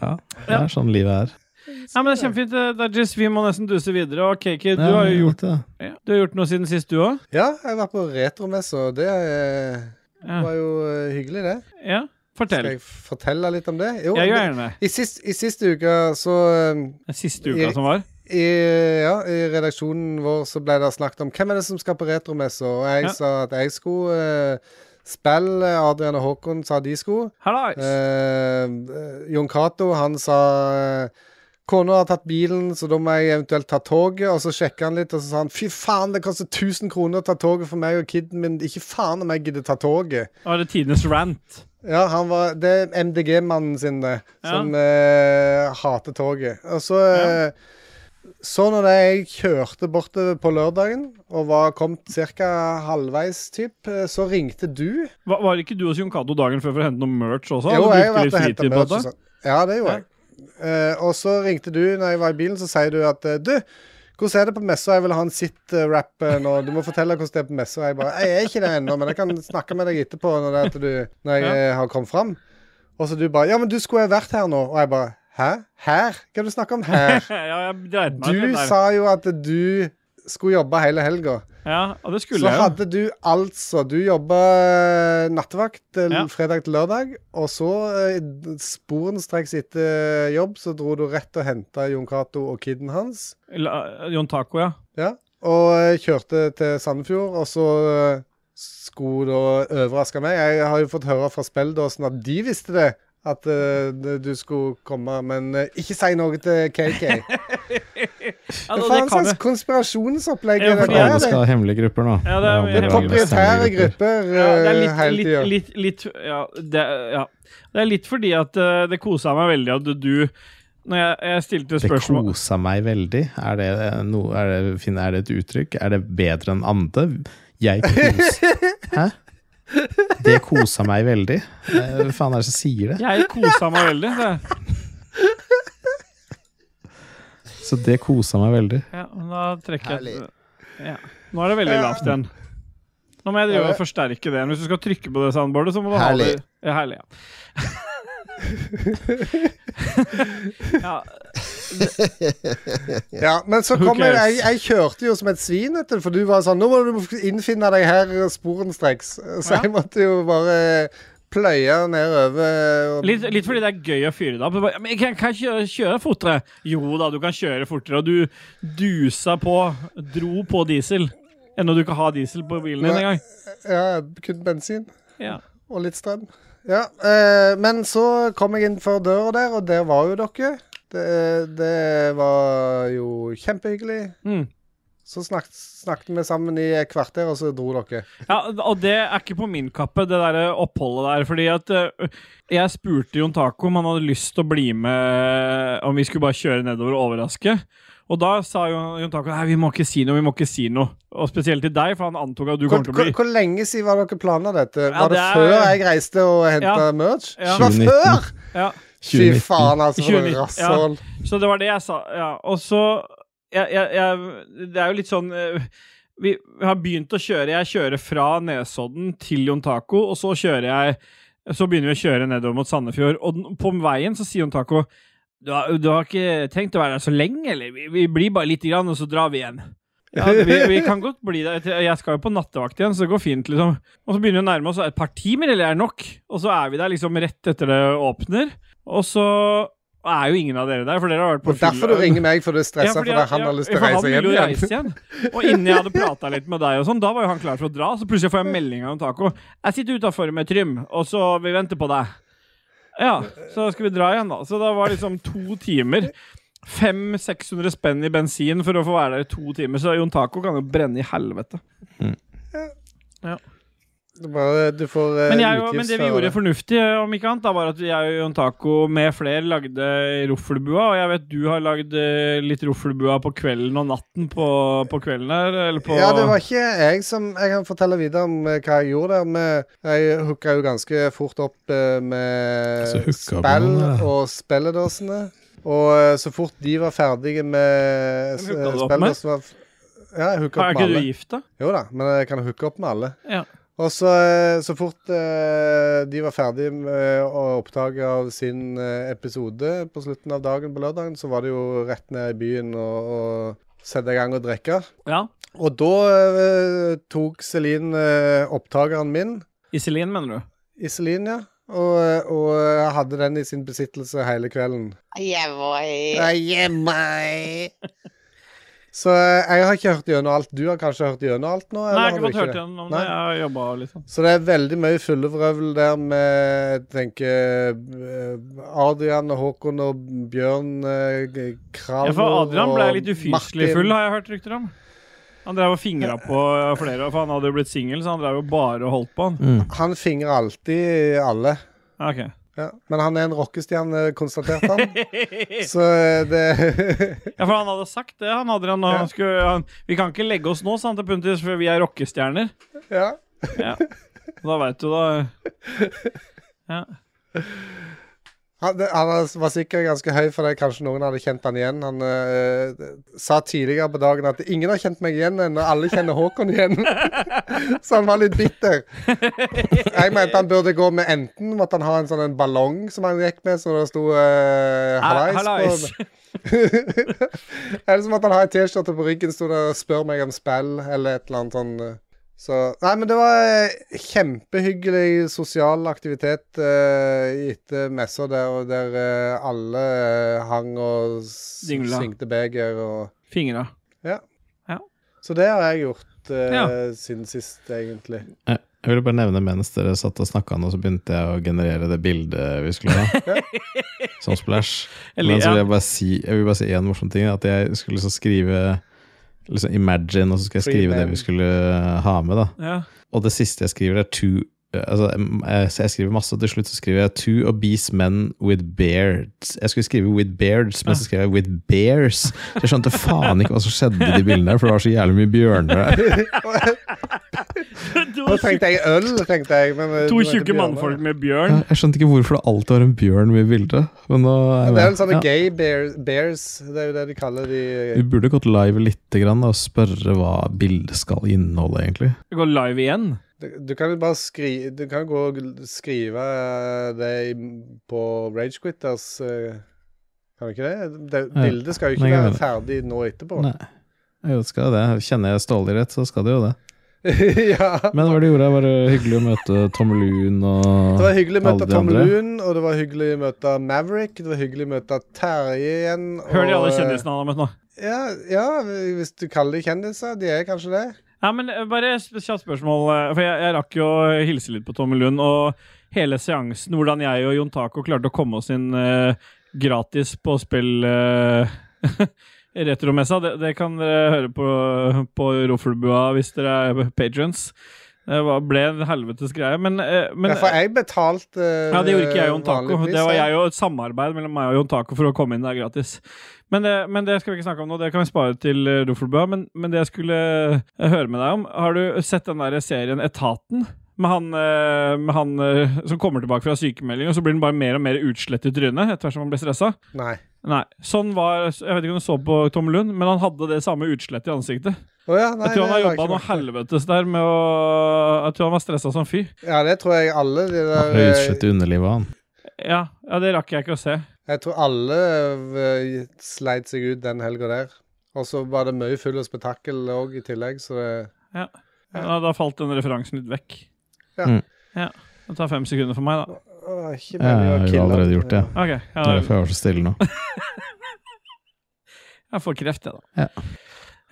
Ja, det er sånn livet er.
Ja, men det er Kjempefint, eh, Dajis. Vi må nesten duse videre. Og Kiki, du
Ja,
har jo gjort,
det.
ja, du har gjort noe siden sist, du òg.
Ja, jeg har vært på retromesse, og det eh,
Ja.
var jo eh, hyggelig, det.
ja,
Skal
fortell.
jeg fortelle litt om det? Jo,
Jeg gjør
det-
gjerne det.
i, sist, I siste uke så eh,
Den siste uka som var.
i, ja, I redaksjonen vår så ble det snakket om hvem er det som skal på retromesse, og jeg
Ja.
sa at jeg skulle eh, spille. Adrian og Håkon sa de skulle.
Hallais!
Eh, Jon Cato, han sa eh, Kona har tatt bilen, så da må jeg eventuelt ta toget. Og så sjekka han litt, og så sa han fy faen, det koster 1000 kroner å ta toget for meg og kiden min. Ikke faen om jeg gidder ta toget.
Nå er det tidenes rant.
Ja, han var, det er MDG-mannen sin, det.
Ja.
Som eh, hater toget. Og så eh, Så når jeg kjørte bortover på lørdagen og var kommet ca. halvveis, typ, eh, så ringte du.
Var, var ikke du hos Jon Cato dagen før for å hente noe merch også?
Jo,
Du brukte
jeg har vært og
litt
henta
fritid på
merch og
dette?
sånn. Ja, det gjorde
Ja.
jeg. Eh, og så ringte du når jeg var i bilen, så sier du at eh, Du, hvordan er det på messa? Jeg vil ha en sit-rap nå. Du må fortelle hvordan det er på messa. Jeg bare Jeg er ikke det ennå, men jeg kan snakke med deg etterpå når, det er at du, når jeg
Ja.
eh, har kommet fram. Og så du bare Ja, men du skulle jo vært her nå. Og jeg bare Hæ? Her? Hva er det du snakker om her?
Ja, jeg dreit meg
sånn. Du
litt der.
sa jo at du skulle jobbe hele helga.
Ja, og det
Så
skulle jeg jo.
hadde du altså Du jobba nattevakt eh,
Ja.
fredag til lørdag, og så eh, d- sporenstreks etter eh, jobb så dro du rett og henta Jon Cato og kiden hans.
La- eh, Jon Taco, ja.
Ja. Og eh, kjørte til Sandefjord, og så eh, skulle da overraske meg. Jeg har jo fått høre fra Speldåsen at de visste det. At eh, du skulle komme, men eh, ikke si noe til KK.
Ja, da,
Hva
det kan
faen slags
jeg.
konspirasjonsopplegg
Ja,
er
for
det
For
det er
der?
alle skal
det?
ha hemmelige grupper nå.
Ja, det er-
Det er proprietære grupper
Ja, det er
eh,
litt,
hele
litt,
tida.
litt, litt ja, det, ja. det er litt fordi at eh, det kosa meg veldig at du Når jeg, jeg stilte
Det
spørsmål
kosa meg veldig. Er det, noe, er, det, Finn, er det et uttrykk? Er det bedre enn ande? Jeg kos... Hæ? Det kosa meg veldig. Eh, Hva faen er det som sier det?
Jeg kosa meg veldig. Det.
Så det kosa meg veldig.
Ja, men da trekker jeg
Herlig.
ja. Nå er det veldig lavt igjen. Nå må jeg drive og forsterke det igjen. Hvis du skal trykke på det soundboardet, så må du ha det
Herlig.
ja, Herlig. Ja. ja,
Ja, men så
Who
kom jeg,
cares?
jeg Jeg kjørte jo som et svin, vet du, for du var sånn Nå må du innfinne deg her sporenstreks. Så
Ja.
jeg måtte jo bare pløye nedover. og-
Litt, litt fordi det er gøy å fyre det opp. Du bare, Men jeg kan, kan jeg kjøre, kjøre fortere. Jo da, du kan kjøre fortere. Og du dusa på, dro på diesel. Ennå du ikke har diesel på bilen din
Nei.
engang.
Ja, kun bensin
Ja.
og litt strøm. Ja, eh, men så kom jeg inn for døra der, og der var jo dere. Det, det var jo kjempehyggelig.
Mm.
Så snak, snakket vi sammen i et kvarter, og så dro dere.
Ja, og det er ikke på min kappe, det der eh, oppholdet der. Fordi at eh, jeg spurte Jon Taco om han hadde lyst til å bli med, om vi skulle bare kjøre nedover og overraske. Og da sa Jon, Jon Taco nei, vi må ikke si noe, vi må ikke si noe. Og spesielt til deg, for han antok at du
Hvor,
kommer til å
hvor,
bli
hvor lenge siden var dere planla dette?
Ja,
Var det,
det er-
før jeg reiste og henta
Ja.
merch?
Ja.
Det var
2019.
før!
ja.
Fy
2019.
faen, altså, for et
2019, ja.
rasshold.
Så det var det jeg sa. Ja. Og så jeg, jeg, jeg, Det er jo litt sånn eh, vi, vi har begynt å kjøre. Jeg kjører fra Nesodden til Jon Taco, og så kjører jeg Så begynner vi å kjøre nedover mot Sandefjord, og den- på veien så sier Jon Taco du har, du har ikke tenkt å være der så lenge, eller? Vi, vi blir bare lite grann, og så drar vi igjen. Ja, vi, vi kan godt bli der. etter- Jeg skal jo på nattevakt igjen, så det går fint, liksom. Og så begynner vi å nærme oss et par timer, eller er det nok? Og så er vi der liksom rett etter det åpner. Og så er jo ingen av dere der, for dere har vært på
Og derfor du ringer meg, for du er stressa
fordi
fordi
at-
han
ja,
har lyst til å
for han
reise hjem
ville jo
igjen.
reise igjen. Og innen jeg hadde prata litt med deg, og sånn, da var jo han klar for å dra. Så plutselig får jeg melding av en taco. 'Jeg sitter utafor med Trym, og så vi venter på deg.' Ja, så skal vi dra igjen, da. Så da var det liksom to timer. 500-600 spenn i bensin for å få være der i to timer, så Jon Taco kan jo brenne i helvete.
Du Bare, du får eh,
Men, jeg, og- men det vi
utgiftsfører.
gjorde fornuftig, om ikke annet, da, var at jeg og Jon Taco med flere lagde roffelbua. Og jeg vet du har lagd eh, litt roffelbua på kvelden og natten på, på kvelden her. Eller på
Ja, det var ikke jeg som Jeg kan fortelle videre om eh, hva jeg gjorde der. Med, jeg hooka jo ganske fort opp eh,
Altså,
Så
med spill
hooka på den, ja.
og spilledåsene. Og eh, så fort de var ferdige med
Hvem hooka
eh,
du opp med?
spilledåsene var f- Ja, jeg
er
hooka opp med
ikke du
alle.
gift, da?
Jo da, men jeg kan hooke opp med alle.
Ja.
Og så, så fort eh, de var ferdige med å oppdage av sin eh, episode på slutten av dagen på lørdagen, så var det jo rett ned i byen og, og sette i gang og drikke.
ja.
Og da eh, tok Celine eh, opptakeren min,
Iselin, mener du?
Iselin, ja, og, og hadde den i sin besittelse hele kvelden.
Yeah, boy.
Ja, yeah, my. Så eh, jeg har ikke hørt gjennom alt. Du har kanskje hørt gjennom alt nå? eller
Nei, jeg har
har
ikke
du
fått hørt igjen om det.
Nei.
Jeg har jobba litt. sånn.
Så det er veldig mye fyllevrøvl der med jeg tenker eh, Adrian og Håkon og Bjørn eh, G- Kralo
Ja, for Adrian ble litt
og
ufyselig
Martin.
full, har jeg hørt rykter om. Han drev og fingra på flere, for han hadde jo blitt singel, så han drev jo bare og holdt på han.
Mm.
Han fingrer alltid alle.
Ja, ok.
Ja. Men han er en rockestjerne, konstaterte han. Så eh, det
Ja, for han hadde sagt det. Han hadde han, når han skulle, han, vi kan ikke legge oss nå, sa han til Puntis, for vi er rockestjerner.
Ja.
Ja. Da veit du, da. Ja.
Han, det- han var sikkert ganske høy, for det er kanskje noen hadde kjent han igjen. Han eh, sa tidligere på dagen at ingen har kjent meg igjen ennå, alle kjenner Håkon igjen. så han var litt bitter. Jeg mente han burde gå med enten måtte han ha en sånn en ballong som han gikk med, så det sto eh,
Ha-
hallais på. eller så måtte han ha en T-skjorte på ryggen, sto det 'spør meg om spill', eller et eller annet sånn. eh. Så, nei, men det var eh, kjempehyggelig sosial aktivitet eh, etter messa der, og der eh, alle eh, hang og s-
Dingla.
svingte beger og
Fingra.
Så det har jeg gjort eh,
Ja.
siden sist, egentlig.
Jeg jeg ville bare nevne mens dere satt og snakka nå, så begynte jeg å generere det bildet vi skulle ha. Som splash.
Eller,
Men så vil
ja.
jeg bare si Jeg vil bare si én morsom ting. At jeg skulle liksom skrive Liksom Imagine, og så skal jeg skrive det vi skulle ha med. da
Ja.
Og det siste jeg skriver, er two altså, jeg, Så jeg skriver masse, og til slutt så skriver jeg Two obese men with beards. Jeg skulle skrive with beards, men så skrev jeg with bears. Så jeg skjønte faen ikke hva som skjedde i de bildene, der, for det var så jævlig mye bjørner der.
Nå tenkte jeg øl, tenkte jeg. Men, eh,
To
det var ikke
tjukke
bjørner.
mannfolk med
Ja,
bjørn.
Jeg skjønte ikke hvorfor det alltid var en bjørn med i bildet. Men nå er jeg
Det er jo
med.
sånne
Ja.
gay bears, bears, det er jo det de kaller de eh,
Vi burde gått live lite grann da, og spørre hva bildet skal inneholde, egentlig.
Vi går live igjen.
Du- Du kan jo bare skri, du kan jo gå og gl- skrive eh, det i- på Ragequitters eh, Kan du ikke det? det
Ja.
bildet skal jo ikke
Nei, jeg
være
mener-
ferdig nå etterpå.
Nei. Jo, det skal jo det. Kjenner jeg Ståle rett, så skal det jo det.
ja.
Men hva var det du gjorde? Var det hyggelig å møte Tom Loon og
Det var hyggelig å
alle
møte
de
Tom
andre?
Loon, og det var hyggelig å møte Maverick. Det var hyggelig å møte Terje igjen.
Hør de
og,
alle
eh,
kjendisene han har møtt nå.
Ja, ja, hvis du kaller de kjendiser. De er kanskje det.
Ja, men eh, Bare et kjapt spørsmål. eh, For jeg, jeg rakk jo å hilse litt på Tommy Lund. Og hele seansen, hvordan jeg og Jon Taco klarte å komme oss inn eh, gratis på spill eh, retromessa. Det, det kan dere høre på, på Roflebua hvis dere er patrons. Det var, ble en helvetes greie, men, eh, men
Derfor jeg betalte eh,
ja, det gjorde ikke jeg og Jon Taco.
vanlig pris,
Det var
jeg.
jeg og et samarbeid mellom meg og Jon Taco for å komme inn der gratis. Men det, men det skal vi ikke snakke om nå, det kan vi spare til eh, Roffelbø. Men, men det jeg skulle eh, høre med deg om Har du sett den der serien Etaten? Med han, eh, med han eh, som kommer tilbake fra sykemelding, og så blir han bare mer og mer utslett i trynet etter hvert som han blir stressa.
Nei.
Nei, sånn var Jeg vet ikke om du så på Tom Lund, men han hadde det samme utslettet i ansiktet.
Å ja, nei,
jeg tror han
det
har
la
jobba noe
ikke merke til.
helvetes der med å Jeg tror han var stressa som fy.
Ja, det tror jeg alle de
Han
der
har
eh,
utslett i underlivet, han.
Ja, ja, det rakk jeg ikke å se.
Jeg tror alle eh, sleit seg ut den helga der. Og så var det mye full av spetakkel òg i tillegg, så det
Ja, da falt den referansen litt vekk.
Ja.
Mm.
ja. Det tar fem sekunder for meg, da.
Åh, Ikke
Ja,
meningen å
jeg har jo
kille.
allerede gjort det.
Ok,
Det er
ja,
derfor jeg var så stille nå.
Jeg får kreft, jeg, da.
Ja.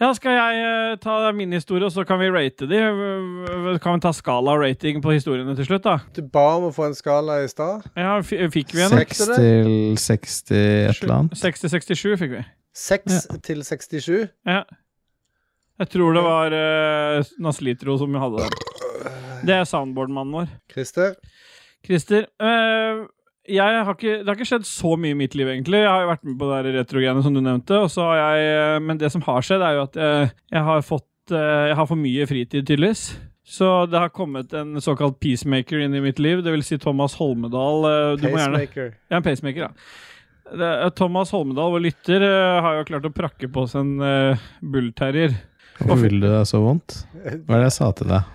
Ja, Skal jeg eh, ta min historie, og så kan vi rate de? V- v- Kan vi ta skala og rating på historiene til slutt, da?
Du ba om å få en skala i stad.
Ja, f Fikk vi en?
Sek-
6 til 60 et eller annet.
60-67 fikk vi.
6 til 67.
Ja. Jeg tror det var uh, Naslitro som hadde den. Det er soundboardmannen vår.
Christer,
Christer, eh, jeg har ikke, det har ikke skjedd så mye i mitt liv, egentlig. Jeg har jo vært med på det der retrogreiene som du nevnte, og så har jeg, eh, men det som har skjedd, er jo at jeg, jeg har fått eh, Jeg har for mye fritid, tydeligvis. Så det har kommet en såkalt peacemaker inn i mitt liv. Det vil si Thomas Holmedal. eh, Du må gjerne
pacemaker.
jeg er en pacemaker, ja. Det, eh, Thomas Holmedal, vår lytter, eh, har jo klart å prakke på oss en eh, bullterrier.
Hvorfor vil du deg så vondt? Hva er det jeg sa til deg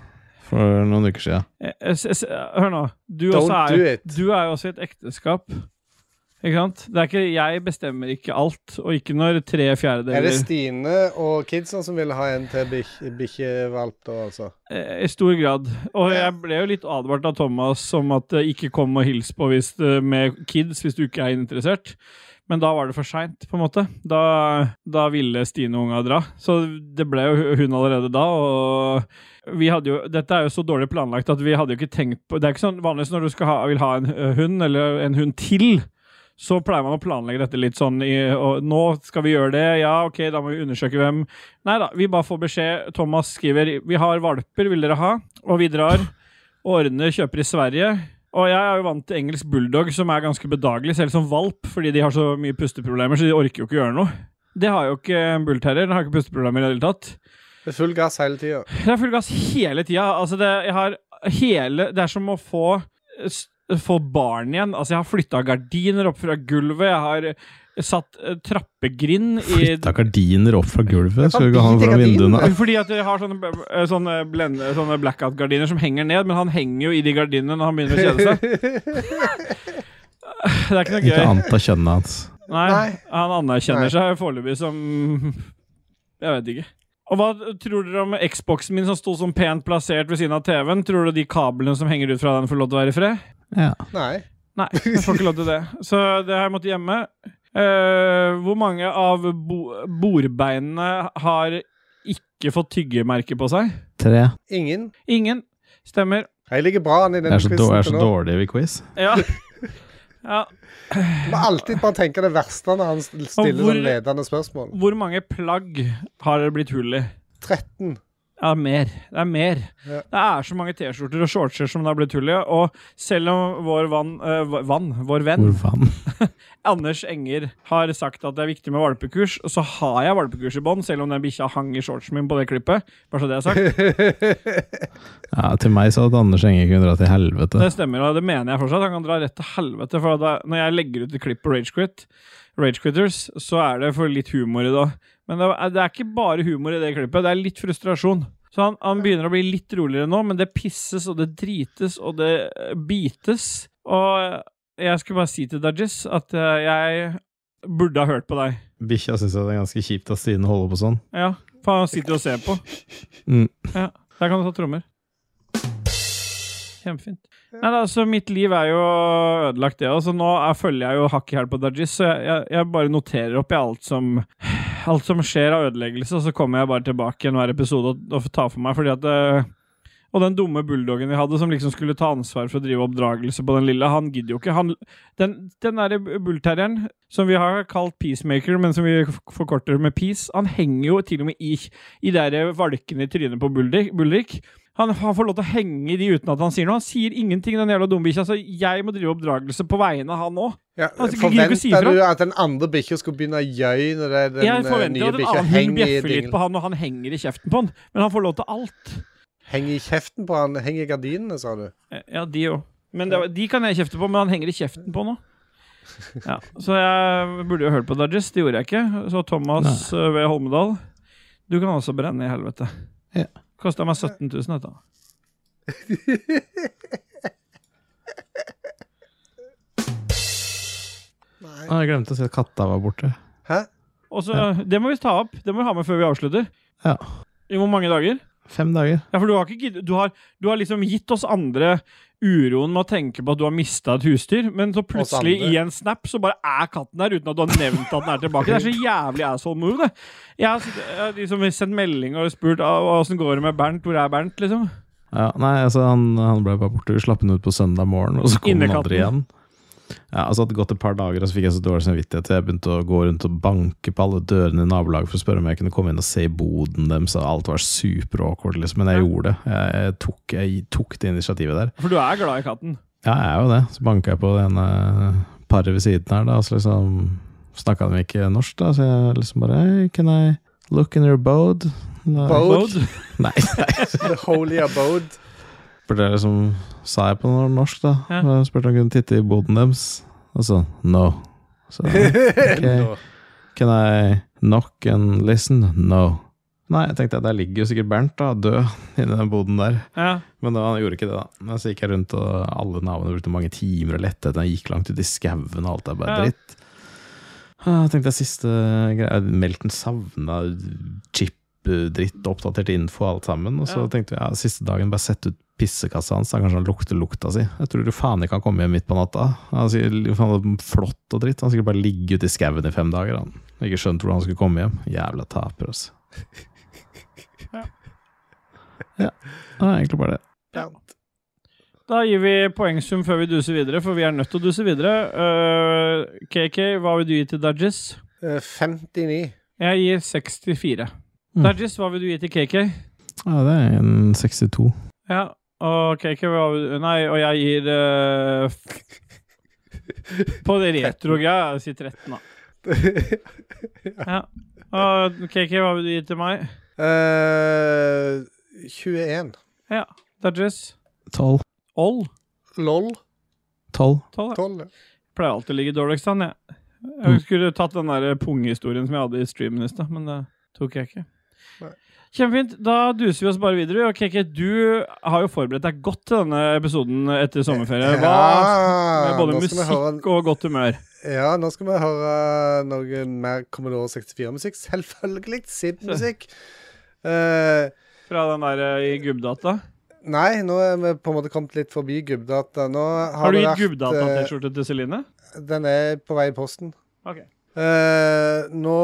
for noen uker siden?
Eh, eh, s- s- Hør nå. Du,
Don't
også
do
er,
it.
du er jo også i et ekteskap. Ikke sant? Det er ikke, jeg bestemmer ikke alt, og ikke når tre
Er det
fjerdedeler
Stine og kidsa som vil ha en til bikk- bikkjevalp, da, altså?
eh, I stor grad. Og
Ja.
jeg ble jo litt advart av Thomas om at eh, ikke kom og hils på hvis, eh, med kids hvis du ikke er interessert. Men da var det for seint, på en måte. Da, da ville Stine og unga dra. Så det ble jo hun allerede da, og vi hadde jo Dette er jo så dårlig planlagt at vi hadde jo ikke tenkt på Det er ikke sånn vanligvis når du skal ha, vil ha en ø, hund, eller en hund til, så pleier man å planlegge dette litt sånn i og Nå skal vi gjøre det, ja, ok, da må vi undersøke hvem Nei da, vi bare får beskjed. Thomas skriver Vi har valper, vil dere ha? Og vi drar og ordner, kjøper i Sverige. Og jeg er jo vant til engelsk bulldog, som er ganske bedagelig, selv som valp, fordi de har så mye pusteproblemer, så de orker jo ikke gjøre noe. Det har jo ikke en bullterrier. Den har ikke pusteproblemer i det hele tatt.
Det er full gass hele tida.
Det er full gass hele tida. Altså, det, jeg har hele Det er som å få s- Få barn igjen. Altså, jeg har flytta gardiner opp fra gulvet. Jeg har eh, satt eh, trappegrind i
Flytta gardiner opp fra gulvet? Skal du ikke
Fordi
ha noe fra
gardinene-
vinduene?
Fordi at jeg har sånne, eh, sånne, blende- sånne blackout-gardiner som henger ned, men han henger jo i de gardinene når han begynner å kjede seg. Det er ikke noe
Ikke
gøy.
anta kjønnet hans.
Nei,
Nei.
Han anerkjenner
Nei.
seg foreløpig som Jeg vet ikke. Og hva tror dere om Xboxen min som sto sånn pent plassert ved siden av TV-en? Tror dere de kablene som henger ut fra den, får lov til å være i fred?
Ja.
Nei.
Nei, jeg får ikke lov til det. Så det har jeg måttet gjemme. Eh, hvor mange av bo bordbeinene har ikke fått tyggemerke på seg?
Tre.
Ingen.
Ingen. Stemmer.
Jeg ligger bra an i
Jeg
den
er så, dår, jeg er
quizen til
så
nå.
dårlig ved quiz.
Ja. ja.
Du Må alltid bare tenke det verste når han stiller
hvor-
sånn ledende spørsmål.
Hvor mange plagg har det blitt hull i?
13.
Ja, mer. Det er mer.
Ja.
Det er så mange T-skjorter og shortser som det har blitt hull i. Og selv om vår, vann, eh, v- vann, vår venn
Hvor faen?
Anders Enger har sagt at det er viktig med valpekurs, og så har jeg valpekurs i bånn, selv om den bikkja hang i shortsen min på det klippet. Bare så det er sagt.
Ja, til meg sa at Anders Enge kunne dra til helvete.
Det stemmer, og det mener jeg fortsatt. Han kan dra rett til helvete. For da, når jeg legger ut et klipp på Ragequit, Ragequitters, så er det for litt humor i det. Men det er, det er ikke bare humor i det klippet, det er litt frustrasjon. Så han, han begynner å bli litt roligere nå, men det pisses, og det drites, og det eh, bites. Og jeg skulle bare si til Dajis at eh, jeg burde ha hørt på deg.
Bikkja syns det er ganske kjipt at Stine holder på sånn.
Ja, for han sitter og ser på.
Mm.
Ja, der kan du ta trommer. Kjempefint. Nei, da, så Mitt liv er jo ødelagt, det òg, så nå er, følger jeg jo hakk i hæl på Dajis. Så jeg, jeg, jeg bare noterer opp i alt som Alt som skjer av ødeleggelse, og så kommer jeg bare tilbake igjen hver episode og, og tar for meg. Fordi at eh, Og den dumme bulldoggen vi hadde, som liksom skulle ta ansvar for å drive oppdragelse på den lille, han gidder jo ikke. Han, den den derre bullterrieren, som vi har kalt Peacemaker, men som vi f- forkorter med Peace, han henger jo til og med i, i de der valkene i trynet på Bulldik. Bulldik. Han, han får lov til å henge i de uten at han sier noe. Han sier ingenting, den jævla dumme bikkja, så jeg må drive oppdragelse på vegne av han òg.
Ja,
Altså, jeg gidder ikke å si
forventer
ifra.
du at den andre bikkja skulle begynne å gjøy når det, den
Jeg
eh,
forventer jo at
nye
en
bikkja
annen hund
henger i
bjeffer litt
dinglen?
på han, og han henger i kjeften på han. Men han får lov til alt.
Henger i kjeften på han? Henger i gardinene, sa du?
Eh, Ja, de òg. Men det, de kan jeg kjefte på, men han henger i kjeften på nå. Ja, så jeg burde jo hørt på Dodges. Det gjorde jeg ikke. Så Thomas eh, ved Holmedal, du kan også brenne i helvete.
Ja.
Kosta meg 17 000, dette.
Nei.
Ah, Jeg glemte å si at katta var borte.
Hæ?
Og så, Det må vi ta opp. Det må vi ha med før vi avslutter.
Ja.
I hvor mange dager?
Fem dager.
Ja, for du har ikke gidd- du har, du har liksom gitt oss andre uroen med å tenke på at du har mista et husdyr, men så plutselig
andre.
i en snap så bare er katten der uten at du har nevnt at den er tilbake. Det er så jævlig asshole move, det. Jeg har, s- jeg har liksom sendt melding og spurt «Ah, åssen går det med Bernt, hvor er Bernt, liksom.
Ja, nei, altså han, han ble bare borte. Vi slapp han ut på søndag morgen, og så kom han aldri igjen.
Innekatten.
Ja, altså hadde det gått et par dager, og så fikk jeg så dårlig samvittighet. så Jeg begynte å gå rundt og banke på alle dørene i nabolaget for å spørre om jeg kunne komme inn og se i boden deres. og Alt var super awkward, liksom. Men jeg gjorde det. Jeg, jeg, tok, jeg tok det initiativet der.
For du er glad i katten.
Ja, jeg er jo det. Så banka jeg på det ene paret ved siden her, da, og så liksom snakka de ikke norsk, da, så jeg liksom bare hey, Can I look in your boat? Nei.
Boat?
Bode.
Nei.
The holy abode.
For det liksom sa jeg på noe norsk, da.
Ja.
Og jeg spurte om jeg kunne titte i boden deres, og så no. Så
Nå.
can I knock and listen? No. Nei, jeg tenkte at der ligger jo sikkert Bernt, da, død inni den boden der.
Ja.
Men da, han gjorde ikke det, da. Men så gikk jeg rundt, og alle naboene brukte mange timer å lette etter. Han gikk langt ut i skauen, og alt er bare
Ja.
dritt. Ah, Jeg tenkte det siste greia Melton savna chip-dritt, oppdatert info, alt sammen. Og så
Ja.
tenkte vi ja, siste dagen bare sett ut pissekassa hans, da kanskje han lukter lukta si. Jeg tror du faen ikke han kommer hjem midt på natta. Han sier faen det er flott og dritt. Han sikkert bare ligget ute i skauen i fem dager, han. Ikke skjønt hvordan han skulle komme hjem. Jævla taper, altså.
Ja.
ja. Det er egentlig bare det.
Bernt.
Da gir vi poengsum før vi duser videre, for vi er nødt til å duse videre. Øh, KK, hva vil du gi til Dudges?
Eh, 59.
Jeg gir 64.
Mm.
Dudges, hva vil du gi til KK?
Ja, det er en 62.
Ja, og KK var- Nei, og jeg gir eh, f- På det retro-greia, jeg sier 13, da. Ja. Og KK, hva vil du gi til meg?
Eh, 21.
Ja. Dudges?
12.
Oll?
Lol.
12.
12? ja.
12.
Pleier alltid å ligge dårligst an, jeg.
Mm.
Jeg skulle tatt den der pungehistorien som jeg hadde i streamen i stad, men det tok jeg ikke.
Nei.
Kjempefint. Da duser vi oss bare videre. Og KK, du har jo forberedt deg godt til denne episoden etter sommerferie. Hva
Ja,
med både
nå skal vi høre-
musikk og godt humør.
Ja, nå skal vi høre noe mer Commodore 64-musikk. Selvfølgelig SIB-musikk. Eh,
Fra den der eh, i gubbdata.
nei, nå er vi på en måte kommet litt forbi gubbdata. Nå har,
Har du
det
gitt
vært, eh,
gubbdata-T-skjorte til Celine?
Den er på vei i posten.
Ok.
Eh, nå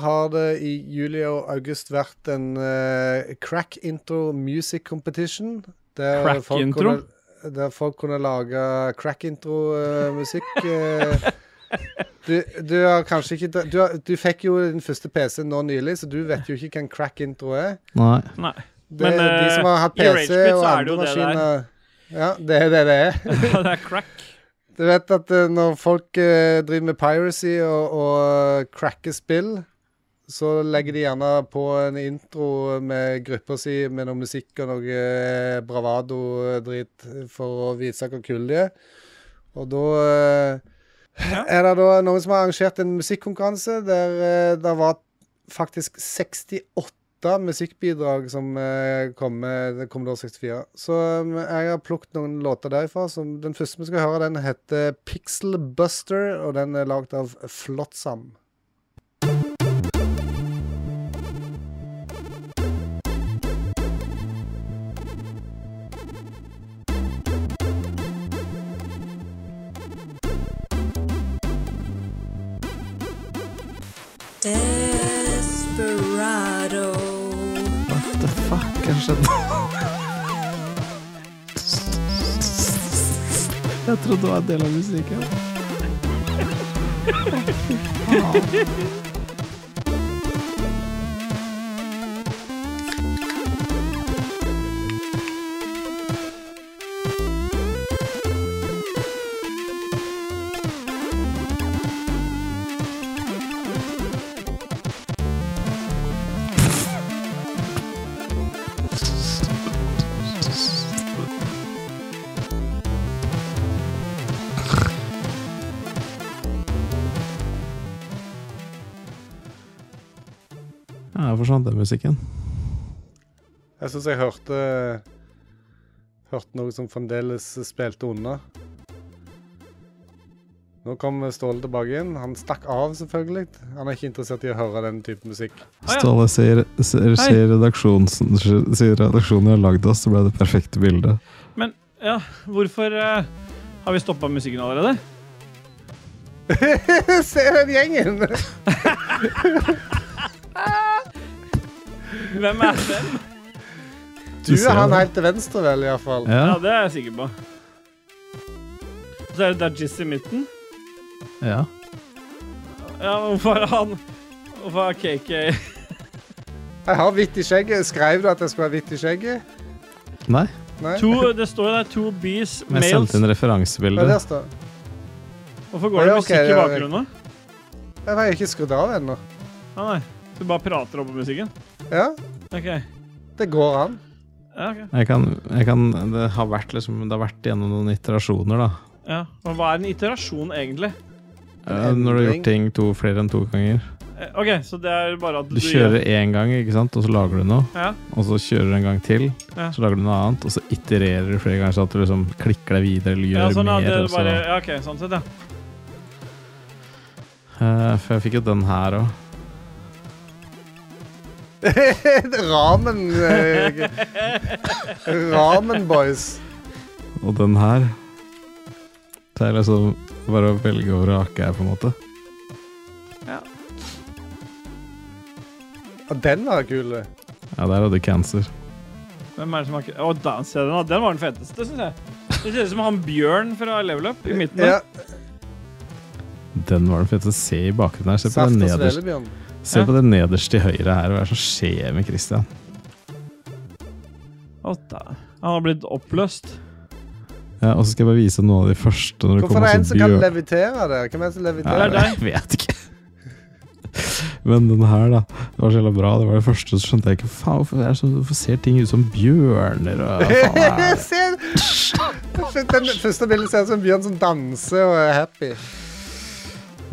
har det i juli og august vært en eh, crack intro music competition. Der
Crack
folk
intro?
Kunne, der folk kunne lage crack intro-musikk. eh. du, du har kanskje ikke du, har, du fikk jo din første PC nå nylig, så du vet jo ikke hva en crack intro er.
Nei.
Nei.
Det,
Men,
de som har hatt
eh, i Rage
PC
Quit så
og
er det jo
andre
det der.
maskiner Ja, det er det det er.
det er crack.
Du vet at eh, når folk eh, driver med piracy og, og cracker spill, så legger de gjerne på en intro med gruppa si med noe musikk og noe eh, bravado-drit for å vise hvor kule de er. Og da eh, er det da noen som har arrangert en musikkonkurranse der eh, det var faktisk 68 musikkbidrag som eh, kom med det Commodore 64. Så um, jeg har plukket noen låter derifra. Som den første vi skal høre, den heter Pixel Buster, og den er lagd av Flotsam.
Desperado.
What the fuck har skjedd? Jeg trodde det var en del av musikken. Ja, jeg forsvant den musikken.
Jeg syns jeg hørte Hørte noe som fremdeles spilte unna. Nå kom Ståle tilbake inn. Han stakk av, selvfølgelig. Han er ikke interessert i å høre den type musikk.
ja.
Ståle sier, sier, sier, redaksjonen, sier redaksjonen har lagd oss, så ble det perfekte bildet.
Men ja, hvorfor eh, har vi stoppa musikken allerede?
Se den gjengen!
Hvem er hvem?
Du
ser
er han
det.
helt til venstre, vel, iallfall.
Ja,
Ja,
det er jeg sikker på. Så er det Dajis i midten.
ja.
Ja, men hvorfor er han Hvorfor har KK
Jeg har hvitt i skjegget. Skrev du at jeg skulle ha hvitt i skjegget?
Nei,
Nei?
to, Det står der to bees,
men jeg
males.
sendte inn
Nei,
referansebildet.
der står det.
Hvorfor går det
Ja, ok,
musikk i
ja, ja.
bakgrunnen nå?
Jeg har ikke skrudd av ennå.
Ja, nei. Du bare prater oppå musikken?
Ja,
OK.
det går an.
Ja, ok.
Jeg kan, jeg kan, det, har vært liksom, det har vært gjennom noen iterasjoner, da.
Ja. Men hva er en iterasjon, egentlig?
Ja, Eh, Når du har
endring.
gjort ting to, flere enn to ganger.
Eh, OK, så det er bare at
Du kjører én gang, ikke sant, og så lager du noe.
Ja.
Og så kjører du en gang til,
Ja.
så lager du noe annet, og så itererer du flere ganger, sånn at du liksom klikker deg videre eller gjør
Ja, sånn, ja,
mer.
det
altså.
er
og så-
bare, ja, OK, sånn sett, ja.
Eh, for jeg fikk jo den her òg.
Ramen eh, Ramen boys.
Og den her Det er liksom bare å velge og vrake her, på en måte.
Og den var kul.
Ja, der hadde du cancer.
Hvem er det som har ikke Å, den ser du nå. Den var den feteste, syns jeg. Det ser ut som han Bjørn fra Level Up i midten der.
Ja,
Den var den feteste. Se i bakgrunnen her. Se på,
Saft
den
og
nederst,
svelebjørn.
se på det nederst til høyre her. Hva er det som skjer med Christian?
Å, da. Han har blitt oppløst.
Ja, og så skal jeg bare vise noe av de første. Når det
Hvorfor er det en
kommer sånn
som kan
bjørn-
levitere der? Hvem er det som
Ja,
leviterer?
det er deg.
Jeg vet ikke. Men den her, da. Det var så jævla bra. Det var det første, så skjønte jeg ikke Faen, hvorfor, er det så, hvorfor ser ting ut som bjørner? Og, faen, hva er det?
Se! Den første bildet ser ut som en bjørn som danser og er happy.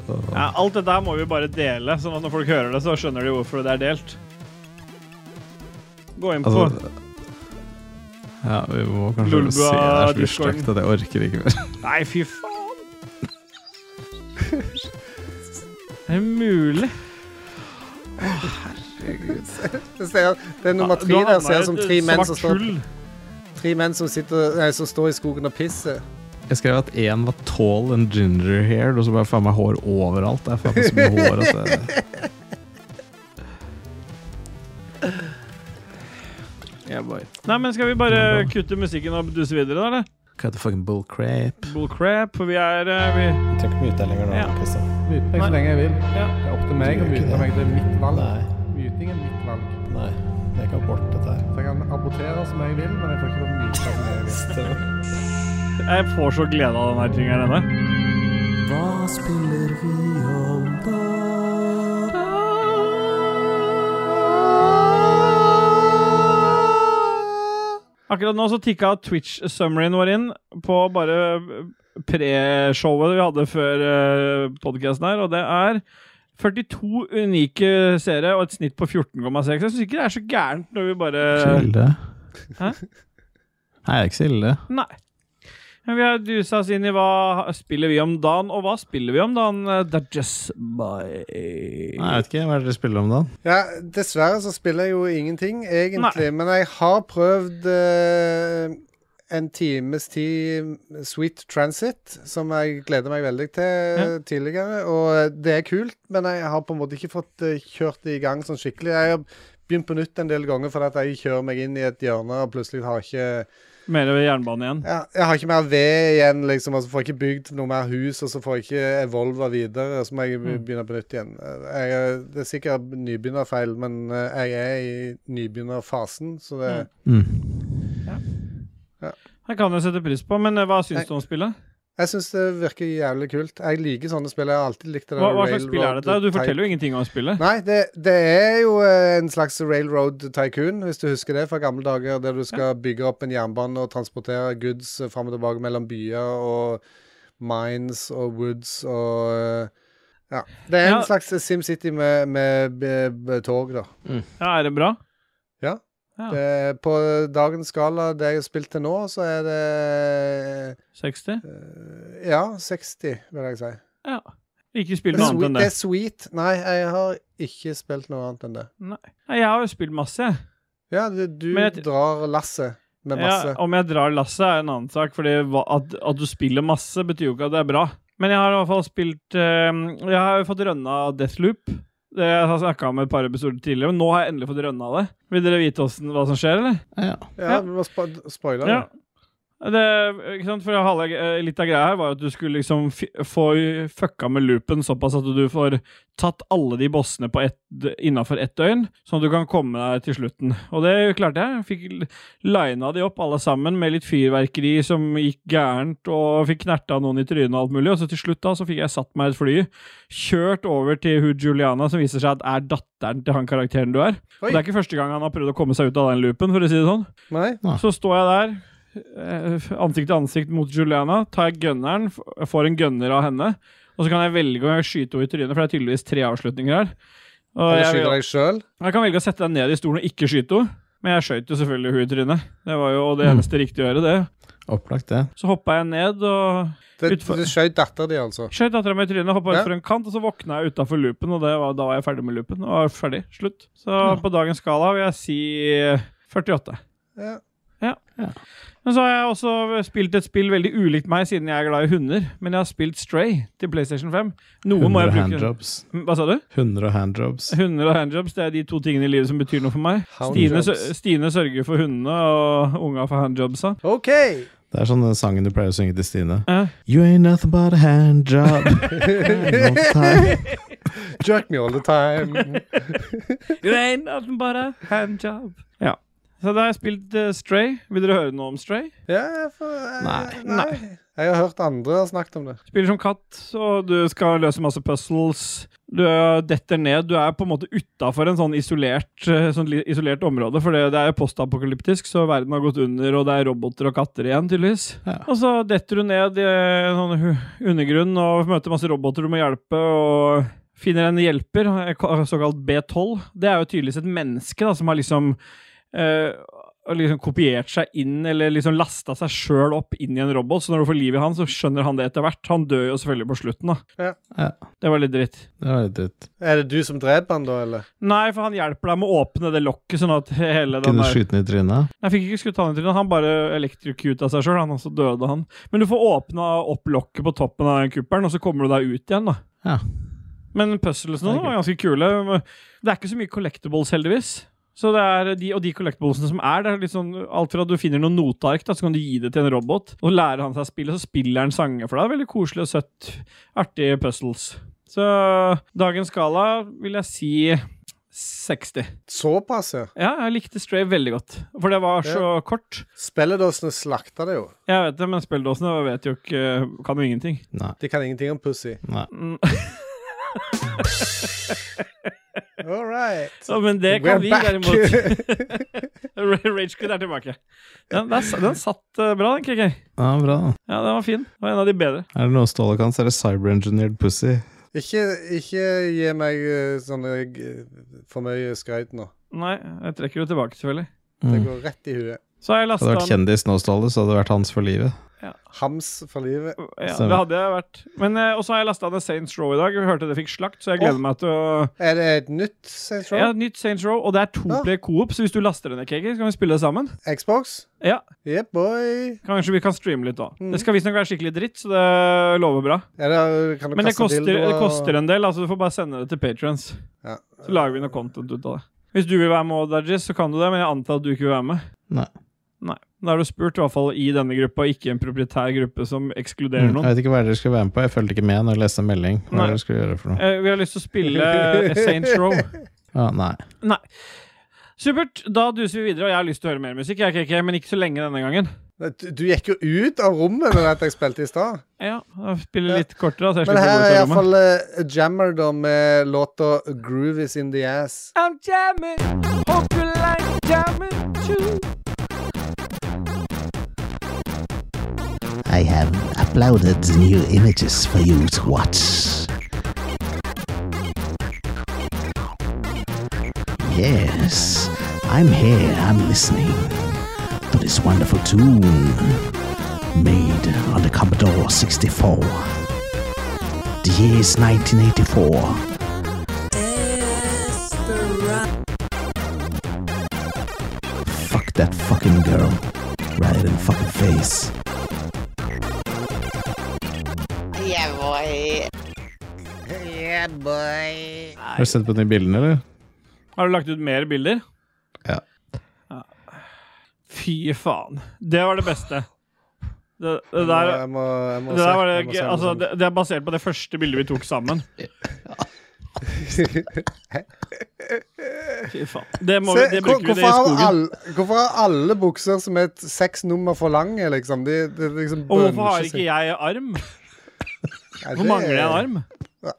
Ja, alt dette her må vi bare dele, sånn at når folk hører det, så skjønner de hvorfor det er delt. Gå inn på
altså, ja, vi må kanskje
Lulboa
se det er så mye
Discorden.
stygt at jeg orker ikke mer.
Nei, fy faen! Er det mulig?
Det, ser, det er nummer
Du
tre
har
der
havnet
ser ut
i
som
et
tre menn
svart
som står,
hull.
tre menn som, sitter, nei, som står i skogen og pisser.
Jeg skrev at én var tall and ginger haired, og så bare faen meg hår overalt. Det er faen meg så mye hår at det Yeah, boy.
Nei, men skal vi bare kutte musikken og duse videre, da? eller?
Cut the fucking bull crap.
Bullcrap, for vi er eh, vi,
Jeg trenger ikke mye ut lenger
nå, Ja.
Kristian.
Myte meg
så
lenge jeg vil.
ja.
Det er opp til
meg å mute meg.
Det er mitt
Nei.
Myting er mitt valg.
Nei, det er ikke abort, dette her.
Så jeg kan abortere som jeg vil, men jeg får ikke lov til å myte som jeg vil.
Jeg får så glede av den her tingen her ennå. Akkurat nå så tikka Twitch-summaryen vår inn på bare pre-showet vi hadde før podkasten her, og det er 42 unike seere og et snitt på 14,6. Jeg syns ikke det er så gærent når vi bare
Så ille.
Hæ?
Nei, det er ikke så ille.
Nei. Men Vi har dusa oss inn i hva spiller vi om dagen, og hva spiller vi om dagen? Det er just by
Nei, jeg vet ikke. Hva er det dere spiller om dagen?
Ja, dessverre så spiller jeg jo ingenting, egentlig. Men jeg har prøvd eh, en times tid Sweet Transit, som jeg gleder meg veldig til eh, tidligere. Og det er kult, men jeg har på en måte ikke fått eh, kjørt det i gang sånn skikkelig. Jeg har begynt på nytt en del ganger fordi at jeg kjører meg inn i et hjørne og plutselig har ikke
Mer ved jernbane igjen.
Ja, jeg har ikke mer ved igjen, liksom. Altså, får jeg ikke bygd noe mer hus, og så får jeg ikke evolva videre. Så må jeg
Mm.
be- begynne på nytt igjen. Jeg, er- det er sikkert nybegynnerfeil, men eh, jeg er i nybegynnerfasen, så det
Mm.
Det kan jeg sette pris på, men eh, hva syns du om spillet?
Jeg syns det virker jævlig kult. Jeg liker sånne spill. Jeg har alltid likt det.
Hva, hva slags spill er dette? Du forteller jo ingenting om spillet.
Nei, det, det er jo eh, en slags railroad tycoon, hvis du husker det fra gamle dager, der du skal bygge opp en jernbane og transportere goods eh, fram og tilbake mellom byer og mines og woods og eh, Ja. Det er en
Ja.
slags SimCity med, med, b- b- tog, da.
Ja, Er det bra? Ja.
Det, er på dagens skala, det jeg har spilt til nå, så er det
60?
eh, Ja, 60, vil jeg si.
Ja. Ikke spill
Det er
noe annet enn
sweet. Det
det.
er sweet. Nei, jeg har ikke spilt noe annet enn det.
Nei, jeg har jo spilt masse, jeg.
Ja, du, du
Men jeg-
drar lasset med masse.
Ja, om jeg drar lasset, er en annen sak. Fordi hva- at, at du spiller masse, betyr jo ikke at det er bra. Men jeg har i hvert fall spilt eh, Jeg har jo fått rønna Deathloop. Det jeg har snakka om et par episoder tidligere, men nå har jeg endelig fått rønna det. Vil dere vite hvordan, hva som skjer, eller?
Ja, ja.
Ja,
Ja.
vi må spo spoile det.
Ja. Det, ikke sant? For halve, eh, litt av greia her var at du skulle liksom fi- få fucka med loopen såpass at du får tatt alle de bossene på ett, innafor ett døgn, sånn at du kan komme deg til slutten. Og det klarte jeg. Fikk l- lina de opp alle sammen med litt fyrverkeri som gikk gærent, og fikk knerta noen i trynet og alt mulig. Og så til slutt da, så fikk jeg satt meg i et fly, kjørt over til hun Juliana, som viser seg at er datteren til han karakteren du er. Og
Oi.
det er ikke første gang han har prøvd å komme seg ut av den loopen, for å si det sånn.
Nei?
Ja.
Så står jeg der, eh, ansikt til ansikt mot Juliana, tar jeg gunneren, f- får en gunner av henne, og så kan jeg velge om jeg vil skyte henne i trynet, for det er tydeligvis tre avslutninger her. Og
Eller
jeg,
skyter
vil-
deg sjøl?
jeg kan velge å sette deg ned i stolen og ikke skyte henne, men jeg skjøt jo selvfølgelig hun i trynet. Det var jo det
Mm.
eneste riktige å gjøre, det.
Opplagt, det.
Så hoppa jeg ned og
Du
Utfor-
skjøt dattera di, altså?
skjøt dattera mi i trynet, hoppa
Ja.
utfor en kant, og så våkna jeg utafor loopen, og det var, da var jeg ferdig med loopen. Og var ferdig. Slutt. Så på dagens skala vil jeg si 48.
Ja.
Men så har jeg også spilt et spill veldig ulikt meg, siden jeg er glad i hunder. Men jeg har spilt Stray til PlayStation 5. Noe må
100
jeg bruke.
handjobs.
Hva sa du?
100 handjobs.
Hunder og handjobs det er de to tingene i livet som betyr noe for meg. Stine,
Handjobs.
sø- Stine sørger for hundene, og unga for handjobsa.
OK!
Det er sånn den sangen du pleier å synge til Stine.
Eh.
You ain't nothing but a handjob. One time.
Jerk me all the time.
You ain't nothing but a handjob. Ja. Så da har jeg spilt eh, Stray. Vil dere høre noe om Stray?
Ja, jeg får jeg-
Nei.
nei. Jeg har hørt andre har snakket om det.
Spiller som katt, og du skal løse masse puzzles. Du eh, detter ned. Du er på en måte utafor en sånn isolert, eh, sånn li- isolert område, for det, det er jo postapokalyptisk, så verden har gått under, og det er roboter og katter igjen, tydeligvis.
Ja.
Og så detter du ned i eh, en sånn hu- undergrunn og møter masse roboter du må hjelpe, og finner en hjelper, eh, ka- såkalt B12. Det er jo tydeligvis et menneske da, som har liksom eh, og liksom kopiert seg inn, eller liksom lasta seg sjøl opp inn i en robot. Så når du får liv i han, så skjønner han det etter hvert. Han dør jo selvfølgelig på slutten, da.
Ja.
Ja.
Det var litt dritt.
Det var litt dritt.
Er det du som dreper han, da, eller?
Nei, for han hjelper deg med å åpne det lokket, sånn at hele den
Kunne
der
skyte den i trynet.
Jeg fikk ikke skutt han i trynet, han bare elektrocuta seg sjøl, han, og så døde han. Men du får åpna opp lokket på toppen av den kuppelen, og så kommer du deg ut igjen, da.
Ja.
Men puzzlesene
Det er
var ganske kule. Det er ikke så mye collectibles, heldigvis. Så det er de, og de collectiblesene som er, det er litt sånn alt fra at du finner noen noteark, da, så kan du gi det til en robot, og lærer han seg spillet, så spiller han sanger for deg. Veldig koselig og søtt. Artige puzzles. Så dagens skala vil jeg si 60.
Såpass, ja.
Ja, jeg likte Stray veldig godt, for det var så kort.
Spilledåsene slakta det jo.
Jeg vet det, men spilledåsene vet jo ikke Kan jo ingenting.
Nei.
De kan ingenting om pussy.
Nei.
Mm.
All right.
Så, men det kan
We're
vi
back.
derimot. Ragequid er tilbake. Den, den, den satt eh, bra, den, KK.
Ja, bra. da.
Ja, den var fin. Det var en av de bedre.
Er det noe Ståle kan, så er det cyberengineered pussy.
Ikke, ikke gi meg eh, sånne eh, for mye skryt nå.
Nei, jeg trekker det tilbake, selvfølgelig.
Det
Mm.
går rett i huet.
Så har jeg
Hadde
lasta
vært
den.
kjendis nå, Ståle, så hadde det vært hans for livet.
Hams for livet.
Ja,
Stemmer.
det hadde jeg vært. Men eh, Og så har jeg lasta ned Saints Row i dag. Vi hørte det fikk slakt, så jeg gleder
Åh.
meg til å
Er det et nytt Saints
Ja,
Row?
nytt Saints Row, og det er to
Ja.
play co-op, så hvis du laster det ned, KK, så kan vi spille det sammen.
Xbox?
Ja.
Yeah, boy.
Kanskje vi kan streame litt da.
Mhm.
Det skal visstnok være skikkelig dritt, så det lover bra.
Er det, kan du
Men det
kaste
koster,
dildoer
det
og-
koster en del, altså du får bare sende det til patrons.
Ja.
Så lager vi noe content ut av det. Hvis du vil være med, Dajis, så kan du det, men jeg antar at du ikke vil være med.
Nei.
Nei. Da er du spurt, i hvert fall i denne gruppa, ikke en proprietær gruppe som ekskluderer
Mm, jeg
noen.
vet ikke hva er det dere skulle være med på. Jeg fulgte ikke med når jeg leste en melding. Hva
Nei.
er det dere skulle gjøre for noe?
Eh, vi har lyst til å spille Saints Row.
Ja, nei.
Supert. Da duser vi videre, og jeg har lyst til å høre mer musikk, jeg, KK, men ikke så lenge denne gangen.
Nei, Du, du gikk jo ut av rommet med at jeg spilte i stad.
Ja, da spiller
Ja.
jeg litt kortere, da, så jeg
Men
slipper å
her
gå ut
er
av rommet.
iallfall uh, Jammer da med låta 'Groove Is In The Ass'.
I'm jamming, hope you like jamming too.
I have uploaded new images for you to watch. Yes, I'm here, I'm listening to this wonderful tune made on the Commodore 64. The year is 1984. Fuck that fucking girl right in the fucking face.
Yeah, boy.
Yeah, boy.
Har du sett på de bildene, eller?
Har du lagt ut mer bilder?
Ja.
Ja. Fy faen. Det var det beste. Det, det der
jeg må, jeg må
det, der
se,
var det,
jeg må se, jeg må
altså,
se.
det, det er basert på det første bildet vi tok sammen. Fy faen. Det, må vi,
Se,
det
hvor-
bruker vi
hvorfor,
det i
har
skogen.
alle, hvorfor har alle bukser som er et seks nummer for lange, liksom? De, de liksom
Og hvorfor
bønner
har
seg.
ikke jeg arm?
Nei, det
Hvorfor mangler jeg en
er-
arm?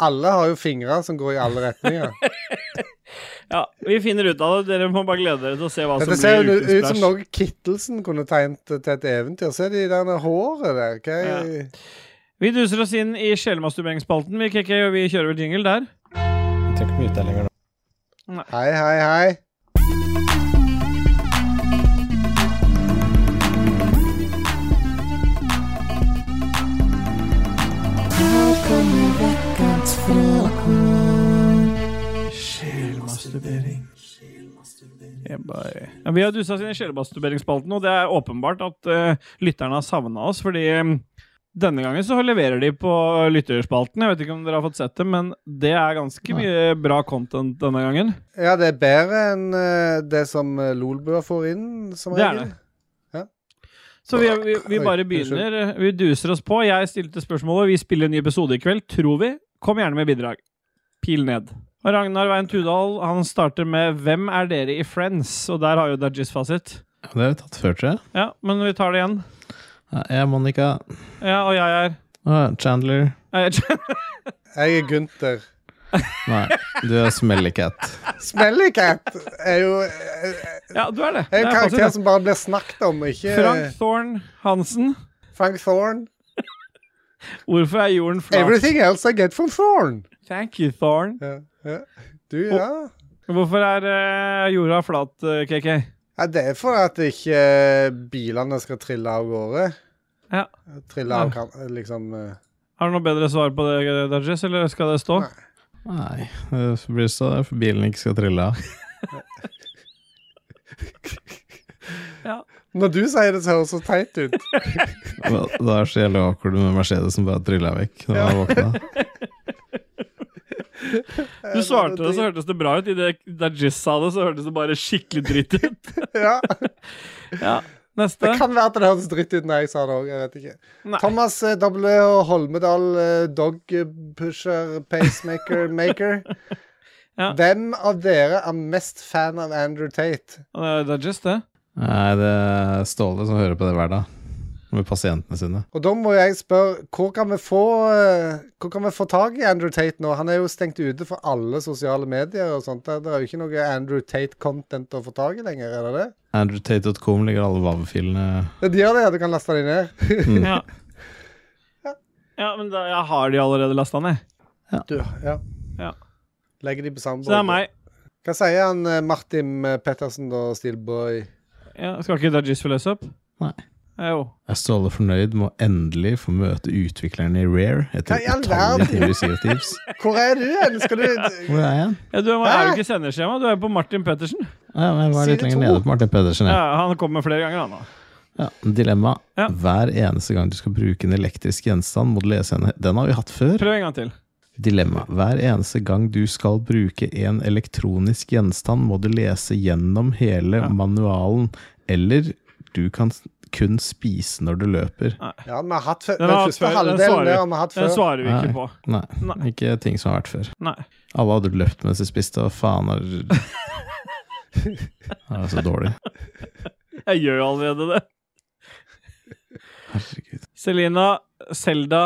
Alle har jo fingre som går i alle retninger.
Ja, Vi finner ut av det. Dere må bare glede dere til å se hva Altså, som
Dette ser
blir
jo ut som
ukesplash.
noe Kittelsen kunne tegnet til et eventyr. Se de der med håret der. Hva er
Vi duser oss inn i sjelmasturberingsspalten. Vi, KK, og vi kjører vel jingle der.
Jeg trenger ikke mye utdeling lenger nå.
Hei, hei, hei.
Sjelmasturbering. Ja, vi har dusa oss inn i sjelmasturberingsspalten, og det er åpenbart at eh, lytterne har savna oss. Fordi mm, denne gangen så leverer de på lytterspalten. Jeg vet ikke om dere har fått sett det, men det er ganske
Nei.
mye bra content denne gangen.
Ja, det er bedre enn eh, det som eh, Lolbua får inn, som
Det er
regel.
det. Så vi, vi, vi
Oi,
bare
unnskyld.
begynner. eh, Vi duser oss på. Jeg stilte spørsmålet. Vi spiller en ny episode i kveld, tror vi. Kom gjerne med bidrag. Pil ned. Og Ragnar Wein Tudal han starter med 'Hvem er dere i Friends?' Og der har jo Dajis fasit.
Det har vi tatt før, tror jeg.
Ja, men vi tar det igjen.
Ja, Jeg er Monica.
Ja, og jeg er
Ah, Chandler.
Eh,
Jeg er Gunther.
Nei, du er Smellycat.
Smellycat er jo eh,
Ja, du er det.
er en
Det er
karakter
fasit,
som bare blir snakket om,
det.
ikke eh,
Frank Thorne Hansen.
Frank Thorne.
Hvorfor er jorden flat?
Everything else I get from Thorne.
Thank you, Thorne.
Ja, ja. Du, ja.
Hvorfor er eh, jorda flat, eh, KK?
ja. Det er for at ikke eh, bilene skal trille av gårde.
Ja.
Trille av kan, liksom eh,
Har du noe bedre svar på det, eh, Dajis, eller skal det stå?
Nei.
Nei, det blir så der for bilen ikke skal trille av.
Når du sier det, så høres det så teit ut.
Da- Da er det så jævlig awkward med Mercedes som bare trilla vekk når man våkna.
Du svarte det, så hørtes det bra ut. Idet Dajis sa det, så hørtes det bare skikkelig dritt ut.
Ja.
Ja,
Det
Neste.
kan være at det høres dritt ut når jeg sa det òg. Jeg vet ikke.
Nei.
Thomas eh, W. Holmedal, eh, dog eh, pusher, pacemaker, maker.
Ja.
Hvem av dere er mest fan av Andrew Tate?
Eh, Dajis, det.
Nei, det er Ståle som hører på det hver dag. Med pasientene sine.
Og da må jeg spørre, hvor kan vi få eh, Hvor kan vi få tak i Andrew Tate nå? Han er jo stengt ute fra alle sosiale medier og sånt. Det det er jo ikke noe Andrew Tate-content å få tak i lenger, er det det?
AndrewTate.com ligger alle WAV-filene
Det de gjør det, ja. Du kan laste dem ned.
Ja. ja, men da, jeg har de allerede lasta ned.
Du, ja.
Ja.
Legger de på samme
Så det
båt.
er meg.
Hva sier han eh, Martin eh, Pettersen da, Steelboy?
Ja, skal ikke Dajis få løse opp?
Nei.
Eh, Jo.
Er Ståle fornøyd med å endelig få møte utvikleren i Rare etter
Hva i all
utallige
verden?
teorier og tips?
Hvor er du hen? Skal du
Hvor er jeg?
Ja, du er
Hæ?
jo ikke i sendeskjema. Du er jo på Martin Pettersen.
Ja, men jeg var litt
Side
lenger
to.
nede på Martin Pedersen. jeg.
Ja, han kommer flere ganger, han da.
Ja, dilemma.
Ja.
Hver eneste gang du skal bruke en elektrisk gjenstand, må du lese en Den har vi hatt før.
Prøv en gang til.
Dilemma. Hver eneste gang du skal bruke en elektronisk gjenstand, må du lese gjennom hele manualen eller du kan s- kun spise når du løper.
Ja, vi har hatt før.
Den
Den
har hatt før,
første
den svarer
halvdelen
vi.
der har vi hatt
Den
før.
svarer vi ikke på.
Nei,
Nei.
ikke ting som har vært før.
Nei.
Alle hadde løpt mens de spiste, og faen er Det er så dårlig.
Jeg gjør jo allerede det.
Herregud.
Selina, Selda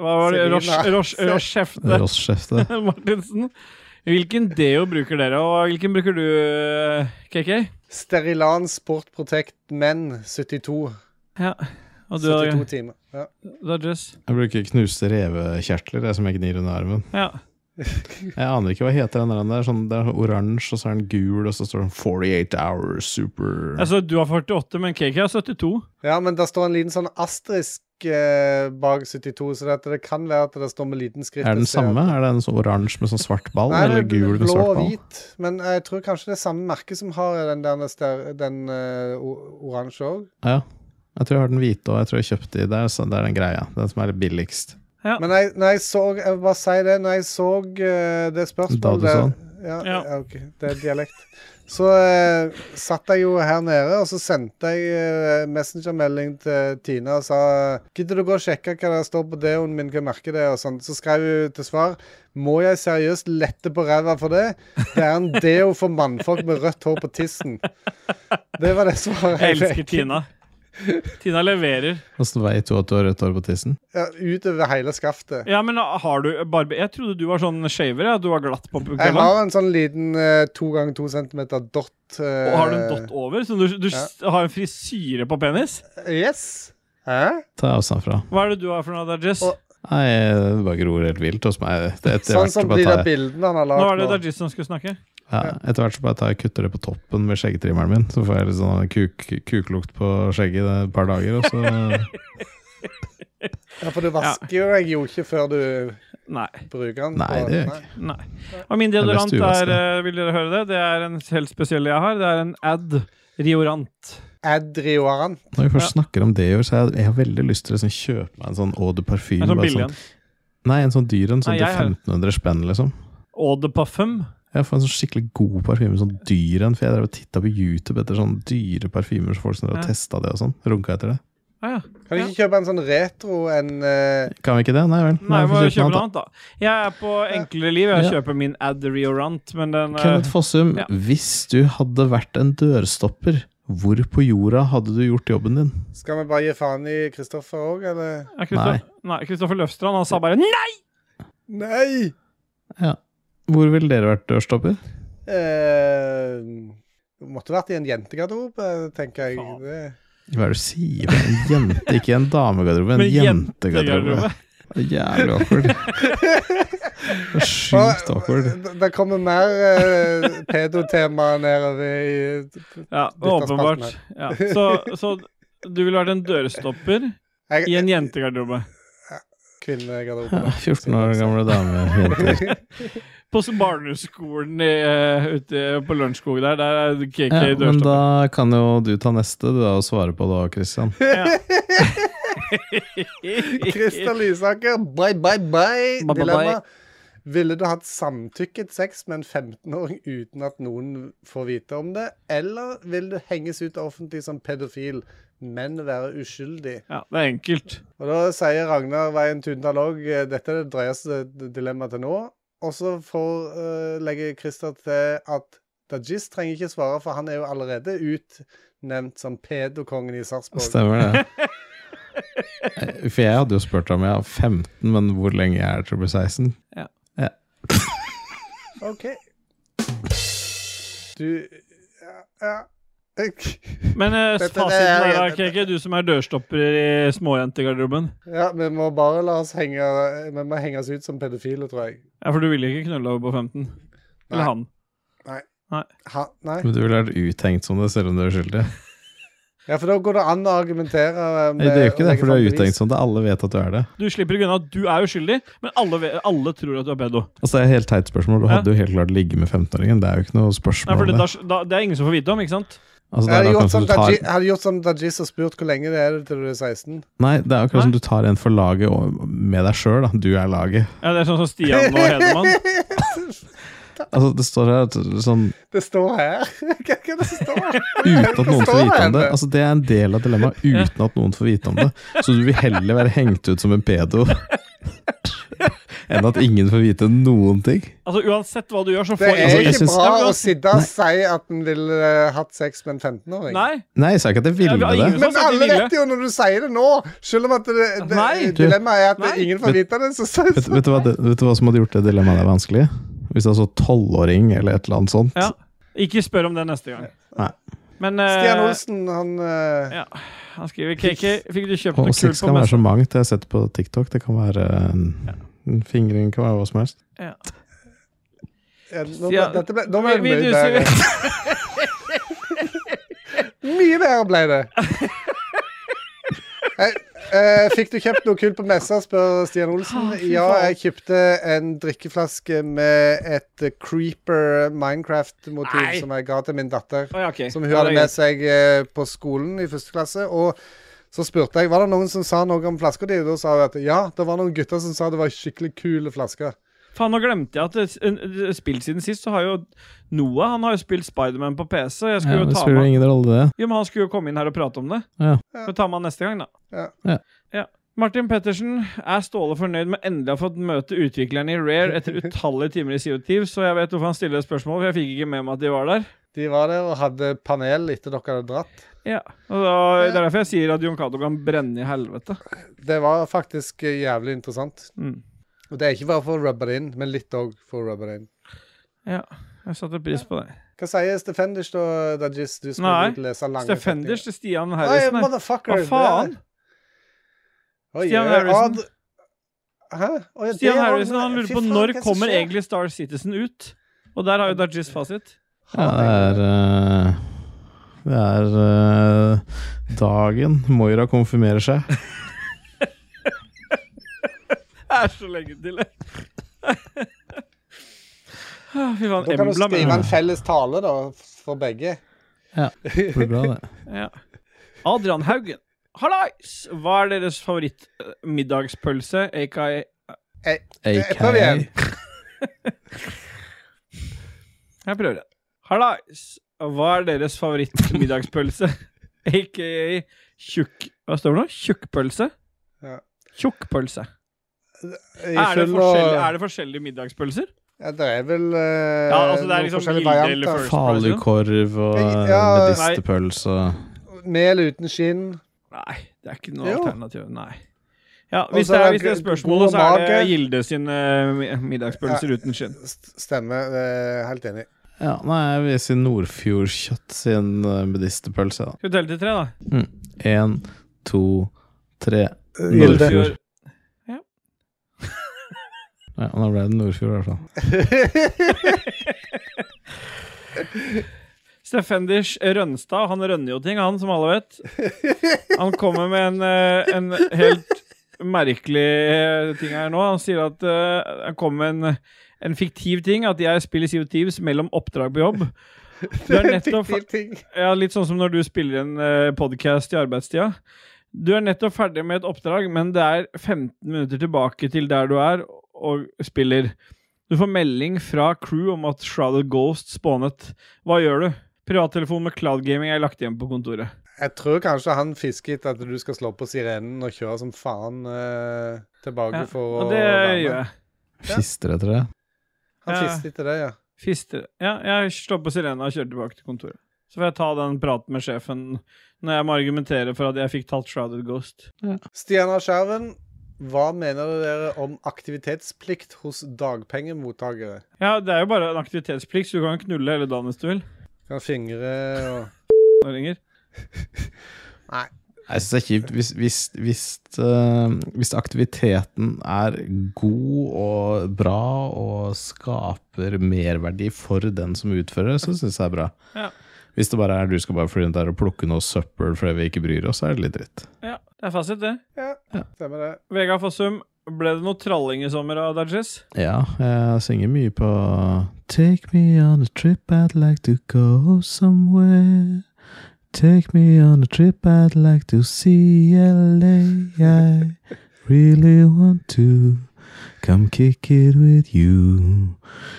Hva var det?
Selina.
Rosh- Rosh-
Se-
Roshefte
Ross-sjefte.
Martinsen. Hvilken deo bruker dere, og hvilken bruker du, KK?
Sterilan Sport Protect Men 72.
Ja. Og du,
72 timer. Ja.
Dodges?
Jeg bruker knuste revekjertler, jeg som jeg gnir under armen.
Ja.
Jeg aner ikke hva heter den der. den er Sånn, det er oransje, og så er den gul, og så står det 48 hours super
Altså, du har 48, men KK har 72.
ja, men det står en liten sånn asterisk eh, bak 72, så det, at det kan være at det står med liten skrift.
Er den
og ser-
samme? Er det en sånn oransje med sånn svart ball,
Nei, det
eller
er
gul med
blå
svart
og
ball?
hvit. Men jeg tror kanskje det er samme merke som har den, der ster- den eh, o- oransje òg.
Ja. Jeg tror jeg har den hvite, og jeg tror jeg kjøpte de der, så det er den greia. Den som er billigst.
Men jeg, når jeg så Jeg vil bare si det. Når jeg så eh, det
Da du
spørsmålet
så den?
ja, ja.
Ja.
OK. Det er dialekt. Så eh, satt jeg jo her nede, og så sendte jeg eh, messengermelding til Tina og sa Gidder du gå og sjekke hva det står på deoen min, hva merket det er, og sånn. Så skrev hun til svar Må jeg seriøst lette på ræva for det? Det er en deo for mannfolk med rødt hår på tissen. Det var det svaret
Jeg
jeg
elsker
fikk.
Tina. Tina leverer.
Åssen veit du at du har rødt hår på tissen?
Ja, utover hele skaftet.
Ja, men har du barbe... Jeg trodde du var sånn shaver, ja. Du var glatt på
Jeg
kvelden.
har en sånn liten eh, to ganger to centimeter dott. eh,
Og har du en dott over? Så du, du s- har en frisyre på penis?
Yes. Hæ?
Ta avstand fra.
Hva er det du har for noe, Dajis?
Og-
Nei, det bare gror helt vilt hos meg. Det, etter,
Sånn
hvert så
som
bare
de der
tar, jeg-
bildene han har
Nå var det
lagd nå.
Dajis som skulle snakke.
ja, etter hvert så bare tar jeg og kutter det på toppen med skjeggetrimmeren min. Så får jeg litt sånn kuk, kuklukt på skjegget i et par dager, og så
Ja, for du vasker jo deg jo ikke før du
Nei.
bruker den.
Nei,
på-
det gjør jeg ikke.
Nei. Og min
er best
deodorant
uvaska.
er, eh, vil dere høre det? Det er en helt spesiell jeg har. Det er en Ad Riorant.
Adrioran.
Når vi først snakker om det i år, så har jeg, jeg har veldig lyst til å liksom kjøpe meg en sånn Eau de Parfyme.
En sånn
bare
billig en.
nei, en sånn dyr en, sånn
Nei,
til
jeg har-
1500 spenn, liksom.
Eau de Parfum.
Jeg får en sånn skikkelig god parfyme, sånn dyr en, for jeg drev og titta på YouTube etter sånn dyre parfymer, så folk som drev og
Ja.
testa det og sånn. Runka etter det.
Ah, ja.
Kan du ikke kjøpe en sånn retro en eh,
Kan vi ikke det? Nei vel.
Nei, jeg må
vi får
kjøpe
kjøpe noe
noe annet,
annet,
da. Jeg er på enklere liv. Jeg
Ja.
kjøper min Ad Riorant, men den
da.
eh,
Kenneth Fossum,
Ja.
hvis du hadde vært en dørstopper, hvor på jorda hadde du gjort jobben din?
Skal vi bare gi faen i Kristoffer òg, eller?
er Kristoffer- Nei, Kristoffer Løfstrand han sa bare nei!
Nei!
Ja. Hvor ville dere vært dørstopper?
Eh, det måtte vært i en jentegarderobe, tenker jeg.
Faen.
Det-
Hva er det du sier? En jente, ikke en damegarderobe, en
Men
jentegarderobe. Det er Jævlig awkward. Det er Sjukt awkward.
Det- Det kommer mer eh, pedotema nedover i
Ja,
Bytta spalten
åpenbart. Ja. Så, så du ville vært en dørstopper
Jeg-
i en jentegarderobe.
kvinnegarderobe.
Ja, 14 år gamle dame. jenter.
På s- barneskolen i, eh, ute på Lørenskog der, der er KK
Ja, men
dørstopper.
da kan jo du ta neste du da, og svare på da, Christian.
Christer Lysaker, bye, bye, bye.
Bye, bye,
Dilemma. Ville du hatt samtykket sex med en 15-åring uten at noen får vite om det? Eller vil du henges ut offentlig som pedofil, men være uskyldig?
Ja, det er enkelt.
Og da sier Ragnar Veien Tundal òg dette er det drøyeste dilemmaet til nå. Og så får eh, legger Christer til at Dajis trenger ikke svare, for han er jo allerede utnevnt som pedokongen i Sarpsborg.
Stemmer det. Eh, For jeg hadde jo spurt om jeg er 15, men hvor lenge jeg er til å bli 16.
OK. Du Ja. ja.
Men eh,
Dette-
fasiten
det er-
der, da, KK, du som er dørstopper i småjentegarderoben.
ja vi må bare la oss henge Vi må henge oss ut som pedofile, tror jeg.
Ja, for du ville ikke knulle over på 15? Eller
Nei.
han?
Ha, nei.
Men du ville vært uthengt som det, selv om du er skyldig.
Ja, for da går det an å argumentere eh,
Nei, det gjør
å
ikke
legge
det, for du er
fram bevis.
uthengt som det. Alle vet at du er det.
Du slipper ikke unna at du er uskyldig, men alle, ve- alle tror at du er pedo.
Altså, det er et helt teit spørsmål. Du
Ja.
hadde jo helt klart ligget med 15-åringen. Det er jo ikke noe
Nei,
spørsmål
for det,
om det.
da, da, det er ingen som får vite om, ikke sant?
Altså, det
Jeg
er
hadde
akkurat
gjort
som
som
du tar...
Daji- jeg hadde gjort sånn som Dajis og spurt hvor lenge det er til du er 16.
Nei, det er akkurat som du tar en for laget og- med deg sjøl. Du er laget.
Ja, Det er sånn som Stian og Hedemann.
Altså, det står her at sånn
Det står her. Hva er det som står?
uten at noen får
Står
vite om det.
henne.
Altså, det er en del av dilemmaet, uten at noen får vite om det. Så du vil heller være hengt ut som en pedo enn at ingen får vite noen ting?
Altså Uansett hva du gjør, så
Det
får
er
altså,
jeg
ikke
synes-
bra
Ja, men-
å sitte og si at en ville eh, hatt sex med en 15-åring.
Nei.
Nei, jeg sa ikke at jeg ville
Ja, vi har
det.
ingen-
Men
Sånn sett
alle
ville.
vet jo når du sier det nå, selv om at det, det,
Nei,
du-
dilemmaet er at
Nei.
ingen får vite det, så, så,
Vet, vet, du hva, det- vet du hva som hadde gjort det dilemmaet der vanskelig? Hvis det var så tolvåring eller et eller annet sånt.
Ja. Ikke spør om det neste gang.
Nei.
Men eh,
Stian Olsen, han eh,
ja. han skriver KK, fikk du kjøpt
Og
noe kult
sex
på
kan være
messen?
så mangt. Jeg har sett på TikTok. Det kan være en, en fingring, kan være hva som helst.
Ja.
ja, nå, ble,
Stian-
dette ble, nå ble det
Vi- vi-
mye
du-
bedre. Mye bedre ble det. Eh, eh, fikk du kjøpt noe kult på messa, spør Stian
Ah,
Olsen. Ja, jeg kjøpte en drikkeflaske med et eh, Creeper
Nei.
Minecraft-motiv som jeg ga til min datter.
Å, ja, ok.
Som hun
Ja,
hadde
det er
med
greit.
seg eh, på skolen i første klasse. Og så spurte jeg var det noen som sa noe om flaska di. Og da sa hun at ja, det var noen gutter som sa det var skikkelig kule flasker.
Faen, nå glemte jeg at det, en- en- spilt siden sist, så har jo Noah han har jo spilt Spiderman på PC. Jeg skulle
Ja,
jo
det
ta
spiller jo
med
ingen rolle, det.
Jo, men han skulle jo komme inn her og prate om det.
Ja.
Vi tar med han neste gang, da.
Ja.
Ja.
Ja. Martin Pettersen er Ståle fornøyd med endelig å ha fått møte utvikleren i Rare etter utallige timer i CO2, så jeg vet hvorfor han stiller spørsmål, for jeg fikk ikke med meg at de var der.
De var der og hadde panel etter dere hadde dratt.
Ja, og da, Det er derfor jeg sier at Jon Cato kan brenne i helvete.
Det var faktisk eh, jævlig interessant.
Mm.
Og det er ikke bare for å rubbe det inn, men litt òg for å rubbe det inn.
Ja, jeg satte pris på det.
Hva sier Stefenders, da, Dajis? Du skal
Nei,
ut og lese lange
Stefenders
setninger.
til Stian
Oi,
Harrison. her.
motherfucker.
Hva faen?
Oi,
Stian
oi,
Harrison.
ad- Hæ? Oi, det
Stian
var-
Harrison han lurer
Fy
på
faen,
når
hva er det som
kommer
skjer?
egentlig Star Citizen ut? Og der har jo Dajis fasit.
Ja, det er eh, Det er eh, dagen Moira konfirmerer seg.
Det er så lenge til, det. Ah, Fy faen,
Da kan du
Embla
skrive
men-
en felles tale, da, for begge.
Det blir bra, det.
ja. Adrian Haugen. Hallais! Hva er deres eh, favorittmiddagspølse, aka
Jeg prøver igjen.
Jeg prøver igjen. Hallais! Hva er deres favorittmiddagspølse, aka tjukk... Hva står det nå? Tjukkpølse?
Ja.
Tjukkpølse.
I
Er det,
full og-
forskjellige, er det forskjellige middagspølser?
Ja, det er vel eh,
Ja, altså, det er
noen
liksom
forskjellige
Hilde eller
varianter.
First.
Falukorv og
Ja.
medisterpølse.
Med eller uten skinn.
Nei, det er ikke noe
Jo.
alternativ. Nei. Ja,
Og
hvis
så
det,
er
er,
det
hvis det er
g-
spørsmålet,
god
så er det
mage.
Gilde sine eh, middagspølser uten skinn.
S- Stemmer. eh, helt enig.
Ja, nei, jeg vil si Nordfjordkjøtt sin eh, medisterpølse. da.
Skal vi telle til tre, da?
Én, to, tre.
Gilde.
Nordfjord.
Ja.
Ja, nå ble det Nordfjord, i hvert fall.
Steffenders Rønstad, han rønner jo ting, han, som alle vet. Han kommer med en, eh, en helt merkelig eh, ting her nå. Han sier at eh, han kommer med en, en fiktiv ting, at jeg spiller CO Thieves mellom oppdrag på jobb. Du er nettopp,
Fiktiv ting.
Ja, litt sånn som når du spiller en uh, podkast i arbeidstida. Du er nettopp ferdig med et oppdrag, men det er 15 minutter tilbake til der du er og spiller. Du får melding fra crew om at Shrouded Ghost spånet. Hva gjør du? Privattelefon med Cloud Gaming er lagt igjen på kontoret.
Jeg tror kanskje han fisker etter at du skal slå på sirenen og kjøre som faen eh, tilbake
Ja,
for å
og det
være med.
gjør jeg.
Fister etter det.
Han
Ja.
fisker etter det, ja.
Fister. Ja, jeg slår på sirena og kjører tilbake til kontoret. Så får jeg ta den praten med sjefen når jeg må argumentere for at jeg fikk tatt Shrouded Ghost.
Stian av Skjerven, hva mener dere om aktivitetsplikt hos dagpengemottakere?
Ja, det er jo bare en aktivitetsplikt, så du kan knulle hele dagen hvis du vil.
Kan fingre og
Nå ringer.
Nei, Jeg synes det er kjipt hvis, hvis, hvis, eh, hvis aktiviteten er god og bra og skaper merverdi for den som utfører, så synes jeg det er bra.
Ja.
Hvis det bare er du skal bare fly rundt der og plukke noe søppel fordi vi ikke bryr oss, så er det litt dritt.
Ja, det er fasit, det.
Ja, stemmer det.
Vegard Fossum, ble det noe tralling i sommer av Dajis?
Ja, jeg synger mye på Take me on a trip I'd like to go somewhere Take me on a trip I'd like to see LA I really want to Come kick it with you.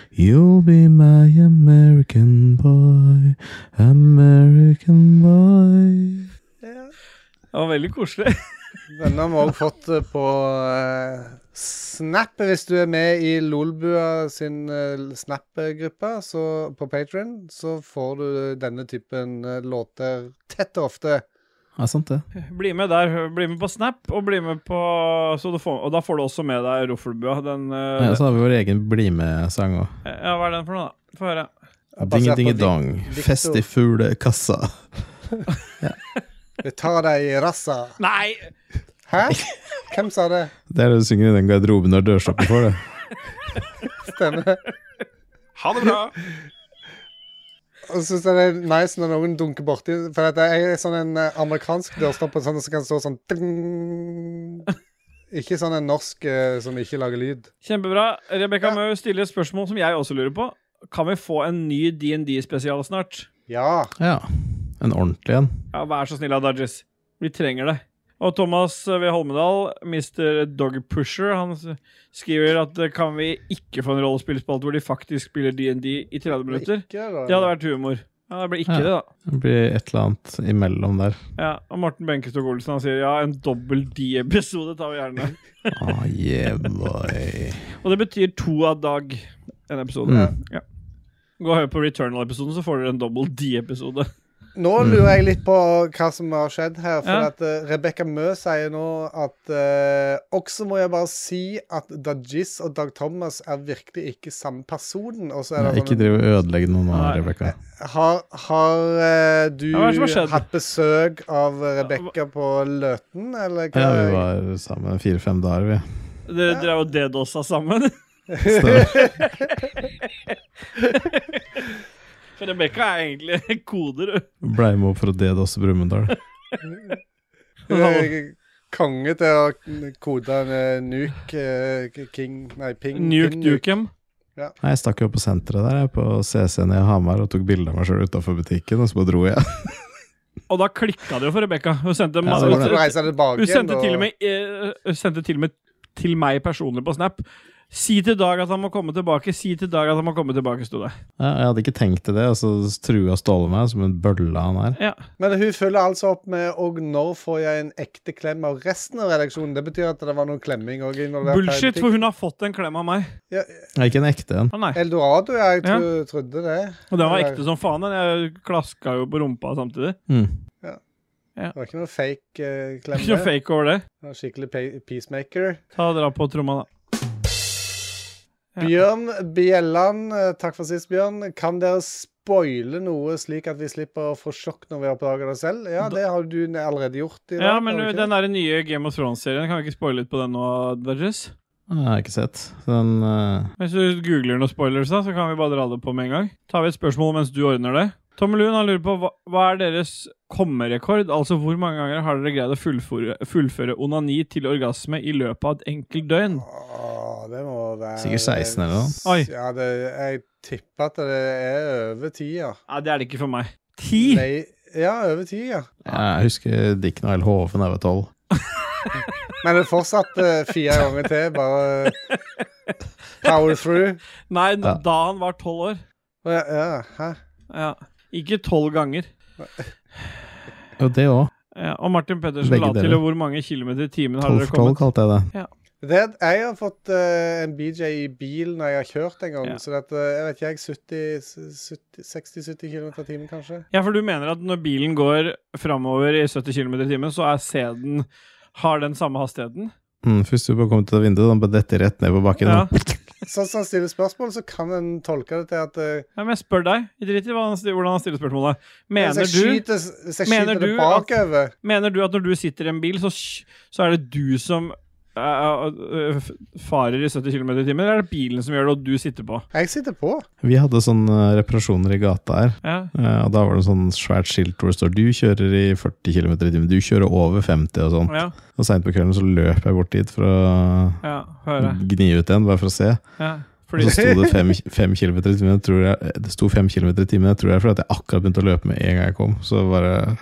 You'll be my American boy. American boy.
Det var veldig koselig.
Denne har vi òg fått eh, på eh, Snap. Hvis du er med i Lolbua sin eh, Snap-gruppe så- på Patron, så får du denne typen eh, låter tett og ofte.
Ja, sant det.
Bli med der. hør- Bli med på Snap, og bli med på så du får, Og da får du også med deg Roffelbua. Den eh,
Ja, så har vi vår egen BlimE-sang òg.
Ja, hva er den for noe, da? Få høre.
Basert på
Ding-ding-dong.
Vic- Victor.
Fest i fuglekassa.
Vi tar deg i rassa.
Nei!
Hæ? Hvem sa det?
Det er det du synger i den garderoben når dørstoppen får det.
Stemmer.
Ha det bra!
Og så syns jeg det er nice når noen dunker borti For at jeg er sånn en eh, amerikansk dørstopper sånn, som kan stå sånn ding. Ikke sånn en norsk eh, som ikke lager lyd.
Kjempebra. Rebekka
Ja.
Mø stiller et spørsmål som jeg også lurer på. Kan vi få en ny DND-spesial snart?
Ja.
Ja. En ordentlig en.
Ja, Vær så snill, da, Dodges. Vi trenger det. Og Thomas V. Holmedal, Mr. Dogpusher, han s- skriver at eh, kan vi ikke få en rollespillspalte hvor de faktisk spiller DND i 30 minutter?
Ikke,
Det hadde vært humor. Ja, Det blir ikke
Ja.
det, da.
Det blir et eller annet imellom der.
Ja, og Morten Benkestok Olsen han sier ja, en dobbel D-episode tar vi gjerne.
Ah, yeah, boy.
Og det betyr to av dag en episode.
Mm.
Ja. Gå og hør på Returnal-episoden, så får dere en dobbel D-episode.
Nå
Mm.
lurer jeg litt på hva som har skjedd her. For
Ja.
at uh, Rebekka Mø sier nå at eh, Også må jeg bare si at Dajis og Dag Thomas er virkelig ikke samme personen. Og så er det
Ikke
sånn,
driv og ødelegge noe nå,
Nei.
Rebekka.
Har, har eh, du
Ja, hva er det som har skjedd?
hatt besøk av Rebekka på Løten, eller hva?
Ja, vi var sammen fire-fem dager, vi.
Dere drev og dedosa sammen.
Så-
For Rebekka er egentlig koder.
Blei med opp for å dedåse Brumunddal.
Hun er konge til å kode en eh, nuke eh, k- King Nei, ping.
Nuke
ping
Dukem.
Nei, Jeg stakk jo på senteret der, jeg, på CC-en i Hamar, og tok bilde av meg sjøl utafor butikken, og så bare dro jeg.
Og da klikka det jo for Rebekka. Hun sendte,
Ja,
Så
det
måtte du
hun,
reise tilbake
sendte til
igjen,
og med, eh, hun sendte til og med til meg personlig på Snap. Si til Dag at han må komme tilbake, si til Dag at han må komme tilbake, sto det.
Ja, jeg hadde ikke tenkt til det, og så trua Ståle meg som en bølle han er.
Ja.
Men hun følger altså opp med Og når får jeg en ekte klem av resten av redaksjonen? Det betyr at det var noe klemming òg involvert. her i
Bullshit, for
butikk.
hun har fått en klem av meg.
ja,
Jeg er ikke en ekte en.
Å nei.
Eldorado, ja. Jeg tro, trodde det.
Og den var ekte som faen. Den. Jeg klaska jo på rumpa samtidig.
Mm.
Det var ikke noe fake eh, klem.
Ikke noe
der.
fake over det.
Det var Skikkelig pe- peacemaker.
Ta og Dra på tromma, da. Ja.
Bjørn Bjelland, eh, takk for sist, Bjørn. Kan dere spoile noe, slik at vi slipper å få sjokk når vi oppdager det selv? Ja, det har du ne- allerede gjort i dag.
Ja, men eh,
har du ikke
den der nye Game of Thrones-serien, kan vi ikke spoile litt på den nå, Dodges?
Jeg har ikke sett. Så Den eh,
Hvis du googler noen spoilers, da, så kan vi bare dra det på med en gang. Tar vi et spørsmål mens du ordner det. Tommelun han lurer på hva, hva er deres kommerekord? Altså hvor mange ganger har dere greid å fullføre, fullføre onani til orgasme i løpet av et enkelt døgn?
det? Åh, det må være
Sikkert 16 eller noe.
s-
Oi.
Ja, det, jeg tipper at det er over 10, ja.
Nei, det er det ikke for meg. Ti?
Nei, ja, over 10, ja.
Jeg husker Dick Nile Hoven da jeg var tolv.
Men det er fortsatt eh, fire ganger til, bare eh, power through.
Nei, n-
Ja.
da han var tolv år.
Å, Ja, ja, hæ?
Ja. Ikke tolv ganger.
Jo, det òg.
Ja, og Martin Pettersen
Begge
la til
deler.
hvor mange kilometer i timen har
Tolv
dere
for tolv
kommet?
kalte jeg det.
Det, at jeg har fått eh, en BJ i bil når jeg har kjørt en gang.
Ja.
Så det, at, eh, jeg vet ikke, jeg 70, 70, 60-70 km i timen, kanskje.
Ja, for du mener at når bilen går framover i 70 km i timen, så er sæden Har den samme hastigheten?
Mm, først du bare kom til det vinduet, da bare dette rett ned på bakken.
Ja.
Sånn som han stiller spørsmål, så kan en tolke det til at eh,
ja, men jeg spør deg. Jeg driter i hva han sti- hvordan han stiller spørsmålet. Mener
Hvis jeg
du,
skyter, hvis jeg
mener
skyter
du
det
at-
bakover
mener du at når du sitter i en bil, så, sk- så er det du som eh, eh, f- farer i 70 km i timen, eller er det bilen som gjør det, og du sitter på?
Jeg sitter på.
Vi hadde sånne eh, reparasjoner i gata her,
Ja.
eh, og da var det sånn svært skilt hvor det står 'du kjører i 40 km i timen', 'du kjører over 50' og sånn.
Ja.
Og seint på kvelden så løp jeg bort dit for å
ja Hører. jeg.
gni ut en, bare for å se.
Ja.
Og så
Fordi
sto det fem, fem kilometer i timen. jeg Tror jeg, eh, det sto fem kilometer i timen, jeg tror jeg, fordi at jeg akkurat begynte å løpe med en gang jeg kom. Så bare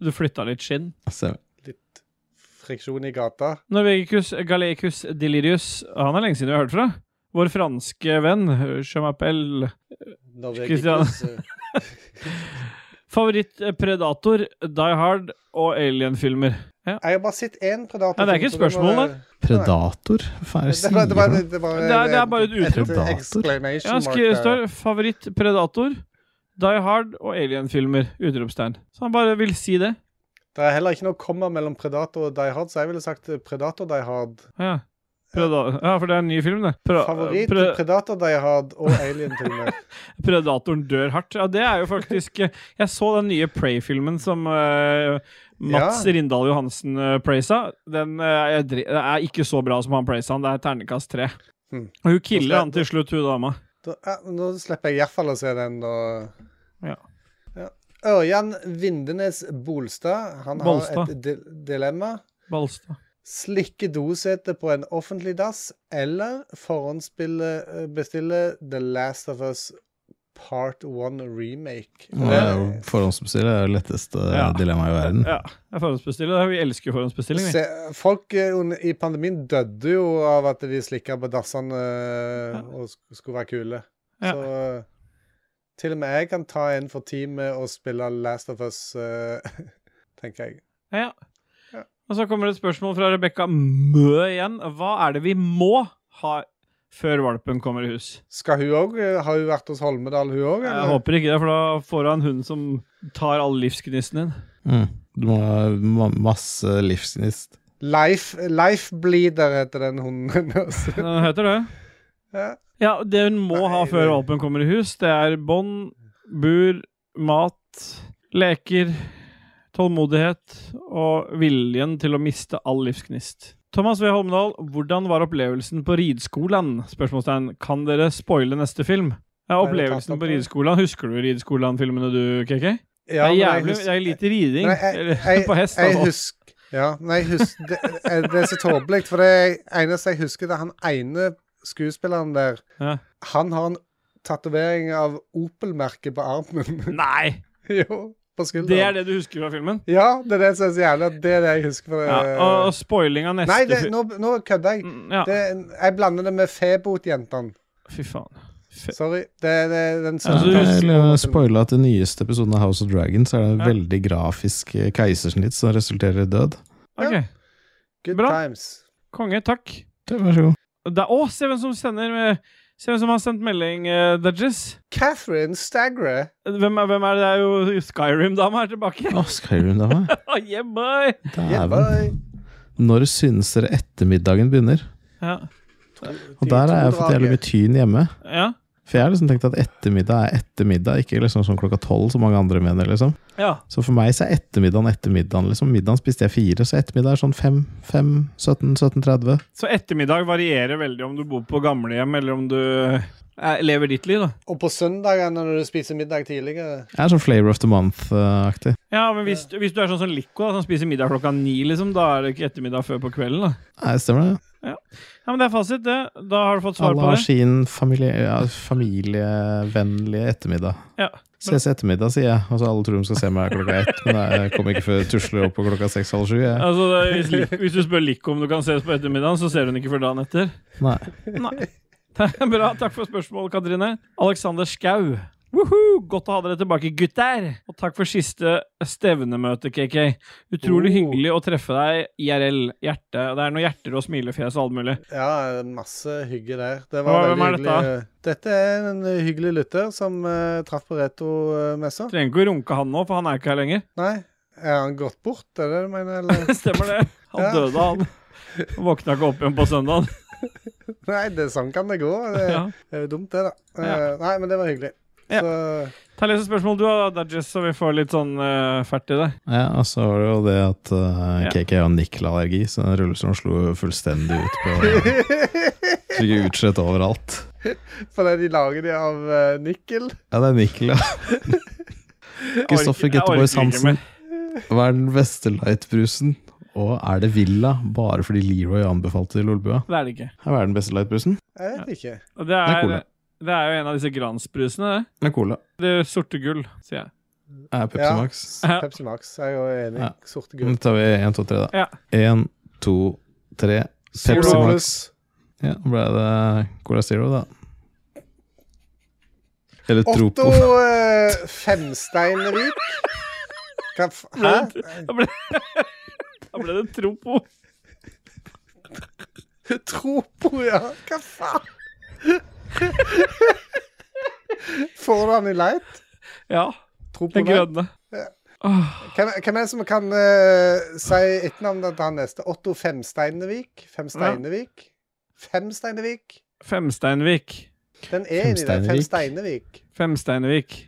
du flytta litt skinn.
altså,
Litt friksjon i gata.
Norvegicus galecus delirius, han er lenge siden vi har hørt fra. Vår franske venn, Jean-Appel
Norvegicus, eh,
Favorittpredator, Die Hard og Alien-filmer.
Jeg har bare sett én predator.
Nei, det er ikke et spørsmål, da.
Predator? Hva er det
Det,
sier
var- det, var-
du?
det, var-
Det er- det er bare et uttrykk.
et exclamation
Ja,
mark eh,
skri-
der.
står favorittpredator, Die Hard og Alien-filmer. Utropstegn. Så han bare vil si det.
Det er heller ikke noe komma mellom Predator og Die Hard, så jeg ville sagt eh, Predator Die Hard.
Ja, Preda ja for det er en ny film, det. Pre
Favoritt
pre
Predator Die Hard og Alien til og med.
predatoren dør hardt. Ja, det er jo faktisk eh, Jeg så den nye Prey-filmen som eh, Mats
Ja.
Rindal Johansen uh, praisa. Den eh, er, dri- er ikke så bra som han praisa den. Det er ternekast tre.
Hmm.
Og hun
Da skal-
killer han til slutt, hun dama.
Da, ja, nå slipper jeg i hvert fall å se den. Og...
Ja.
Ja. Ørjan Vindenes Bolstad, han har
Bolstad.
et di dilemma.
Balstad.
Slikke dosete på en offentlig dass, eller forhåndsbestille The Last of Us Part 1 Remake.
Det er jo Forhåndsbestille er det letteste
Ja.
dilemmaet i verden.
Ja, det er forhåndsbestilling. Det er- Vi elsker forhåndsbestilling. vi.
Se, folk eh, under- i pandemien døde jo av at de slikka på dassene eh,
Ja.
og sk- skulle være kule.
Ja.
Så eh, til og med jeg kan ta en for teamet og spille Last of Us, eh, tenker jeg.
Ja.
Ja.
Og så kommer det et spørsmål fra Rebekka Mø igjen. Hva er det vi må ha før valpen kommer i hus?
Skal hun òg? Har hun vært hos Holmedal, hun òg?
Jeg håper ikke det, for da får hun en hund som tar all livsgnisten din.
Mm. Du må ha ma- masse livsgnist.
Life, Lifebleeder heter den hunden hennes.
Hva heter det?
Ja.
Ja, det hun må ha
Nei, det-
før valpen kommer i hus, det er bånd, bur, mat, leker, tålmodighet og viljen til å miste all livsgnist. Thomas V. Holmedal, hvordan var opplevelsen på rideskolen? Spørsmålstegn. Kan dere spoile neste film? Ja,
Nei, det er
opplevelsen
tatt opp,
på
ja.
rideskolen. Husker du rideskolen-filmene du, KK? det er
Ja, men jeg
jævlig,
hus-
det er lite riding
Nei, jeg-
eller,
jeg-
på hest.
Jeg
altså.
husker Ja, nei, hus, det, eh, det er så tåpelig, for det eneste jeg husker, det er han ene skuespilleren der.
Ja.
Han har en tatovering av Opel-merket på armen.
Nei!
jo, på skulderen.
Det er det du husker fra filmen?
Ja, det er det som er så jævlig. at Det er det jeg husker. Fra,
Ja, og, og spoiling av neste
Øh. nei, det,
film
nå, nå kødder jeg.
Mm, ja.
Det, jeg blander det med Febot-jentene.
Fy faen. Fe- Altså,
Sorry. Det er det- den
Altså,
Ja, du-
søndags-
Jeg spoila at i nyeste episoden av House of Dragons er det en
Ja.
veldig grafisk eh, keisersnitt som resulterer i død.
Ok,
Good
Bra.
times.
konge, takk.
Det, vær så god.
Da, å, se hvem som sender eh, Se hvem som har sendt melding, uh, Dudges.
Catherine Stagre.
Hvem, er- hvem er det? Det er jo Skyrim-dama er tilbake.
Å, Skyrim, da. hva?
Oh, yeah, boy.
Yeah,
Dæven.
boy.
Når syns dere ettermiddagen begynner?
Ja.
Og der har jeg fått jævlig mye tyn hjemme.
ja.
For jeg har liksom tenkt at ettermiddag er ettermiddag, ikke liksom sånn klokka tolv som mange andre mener. liksom
ja.
Så for meg så er ettermiddagen ettermiddagen. liksom Middagen spiste jeg fire, så ettermiddag er sånn fem, fem, 17, 17.30.
Så ettermiddag varierer veldig om du bor på gamlehjem, eller om du eh, lever ditt liv, da.
Og på søndagene når du spiser middag tidligere.
Jeg er sånn Flavor of the eh, Month-aktig.
Ja, men hvis, hvis du er sånn som Lico, da, som spiser middag klokka ni, liksom, da er det ikke ettermiddag før på kvelden, da.
Nei, stemmer det.
Ja, men det er fasit, det. Da har du fått svar
Alle
på
har
det.
sin familie, ja, familievennlige ettermiddag.
Ja.
Ses ettermiddag, sier jeg. Og så alle tror de skal se meg klokka ett, men jeg kommer ikke før tusler opp på klokka seks halv sju. Jeg.
Altså, det- hvis, Lico- hvis du spør Lico om du kan ses på ettermiddagen, så ser hun ikke før dagen etter.
Nei.
Nei. Det er Bra. Takk for spørsmålet, Katrine. Alexander Skau. Woohoo! Godt å ha dere tilbake, gutter! Og takk for siste stevnemøte, KK. Utrolig
Oh.
hyggelig å treffe deg IRL. Hjerte. Det er noen hjerter og smilefjes og alt mulig.
Ja, masse hygge der. Det
Hva-
var
hvem er
veldig
dette?
hyggelig. eh, Dette er en eh, hyggelig lytter som eh, traff på retromessa.
Trenger ikke å runke han nå, for han er ikke her lenger.
Nei, er han gått bort, er det det du mener? Eller?
Stemmer det? Han
Ja.
døde, han. Våkna ikke opp igjen på søndag.
Nei, det, sånn kan det gå. Det,
Ja.
det er jo dumt, det, da.
Ja.
Eh, Nei, men det var hyggelig.
Ja.
Så
Ta lese spørsmål du, da, Dajess, så vi får litt sånn eh, fert i det.
Ja, og så var det jo det at eh,
Ja.
KK har nikkelallergi, så den rullestolen slo jo fullstendig ut på Fikk utslett overalt.
fordi de lager de av eh, nikkel.
Ja, det er nikkel, ja. Kristoffer
Jeg orker- jeg orker
Getteboys
ikke
Hansen.
mer.
Hva er den beste lightbrusen? Og er det Villa bare fordi Leroy anbefalte det i Lolbua?
Det er det ikke.
Hva er den beste lightbrusen?
Jeg vet ikke.
Og
Det er
det,
cola.
er, det er jo en av disse gransbrusene, det.
Det er Cola.
Det er sorte gull, sier jeg.
Det er Pepsi
Ja.
Max.
Ja.
Pepsi Max, jeg er jo enig.
Ja.
Sorte gull.
Nå tar vi én, to, tre, da.
Ja.
Én, to, tre. Pepsi
Zero
Max.
pluss.
Ja, nå ble det Cola Zero, da. Eller
Otto
Tropo.
eh, Femsteinvik. Hva f... Hæ?
Nei, Da ble, da ble det Tropo.
Tropo, ja. Hva faen? Får du han i leit?
Ja,
Tropo
den
Light?
grønne.
Hvem, hvem er det som kan eh, si etternavnet til han neste? Otto Femsteinevik? Femsteinevik? Femsteinevik?
Femsteinvik.
Den er inni der. Femsteinevik.
Femsteinevik.
Femsteinvik.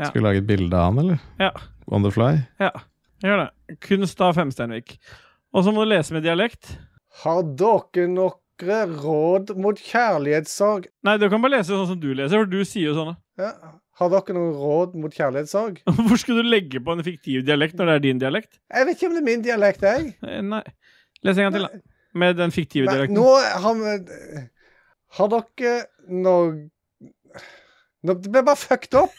Ja.
Skal vi lage et bilde av han, eller?
Ja.
On the fly?
Ja, gjør det. Kunst av Femsteinvik. Og så må du lese med dialekt.
Har dere noen råd mot kjærlighetssorg?
Nei, du kan bare lese sånn som du leser, for du sier jo sånn. sånne.
Ja. Har dere noen råd mot kjærlighetssorg?
Hvorfor skulle du legge på en fiktiv dialekt når det er din dialekt?
Jeg vet ikke om det er min dialekt, jeg.
Eh, Nei. Les en gang til, da. Med den fiktive
Nei,
dialekten.
nå har vi Har dere noe Nå- Det ble bare fucked up.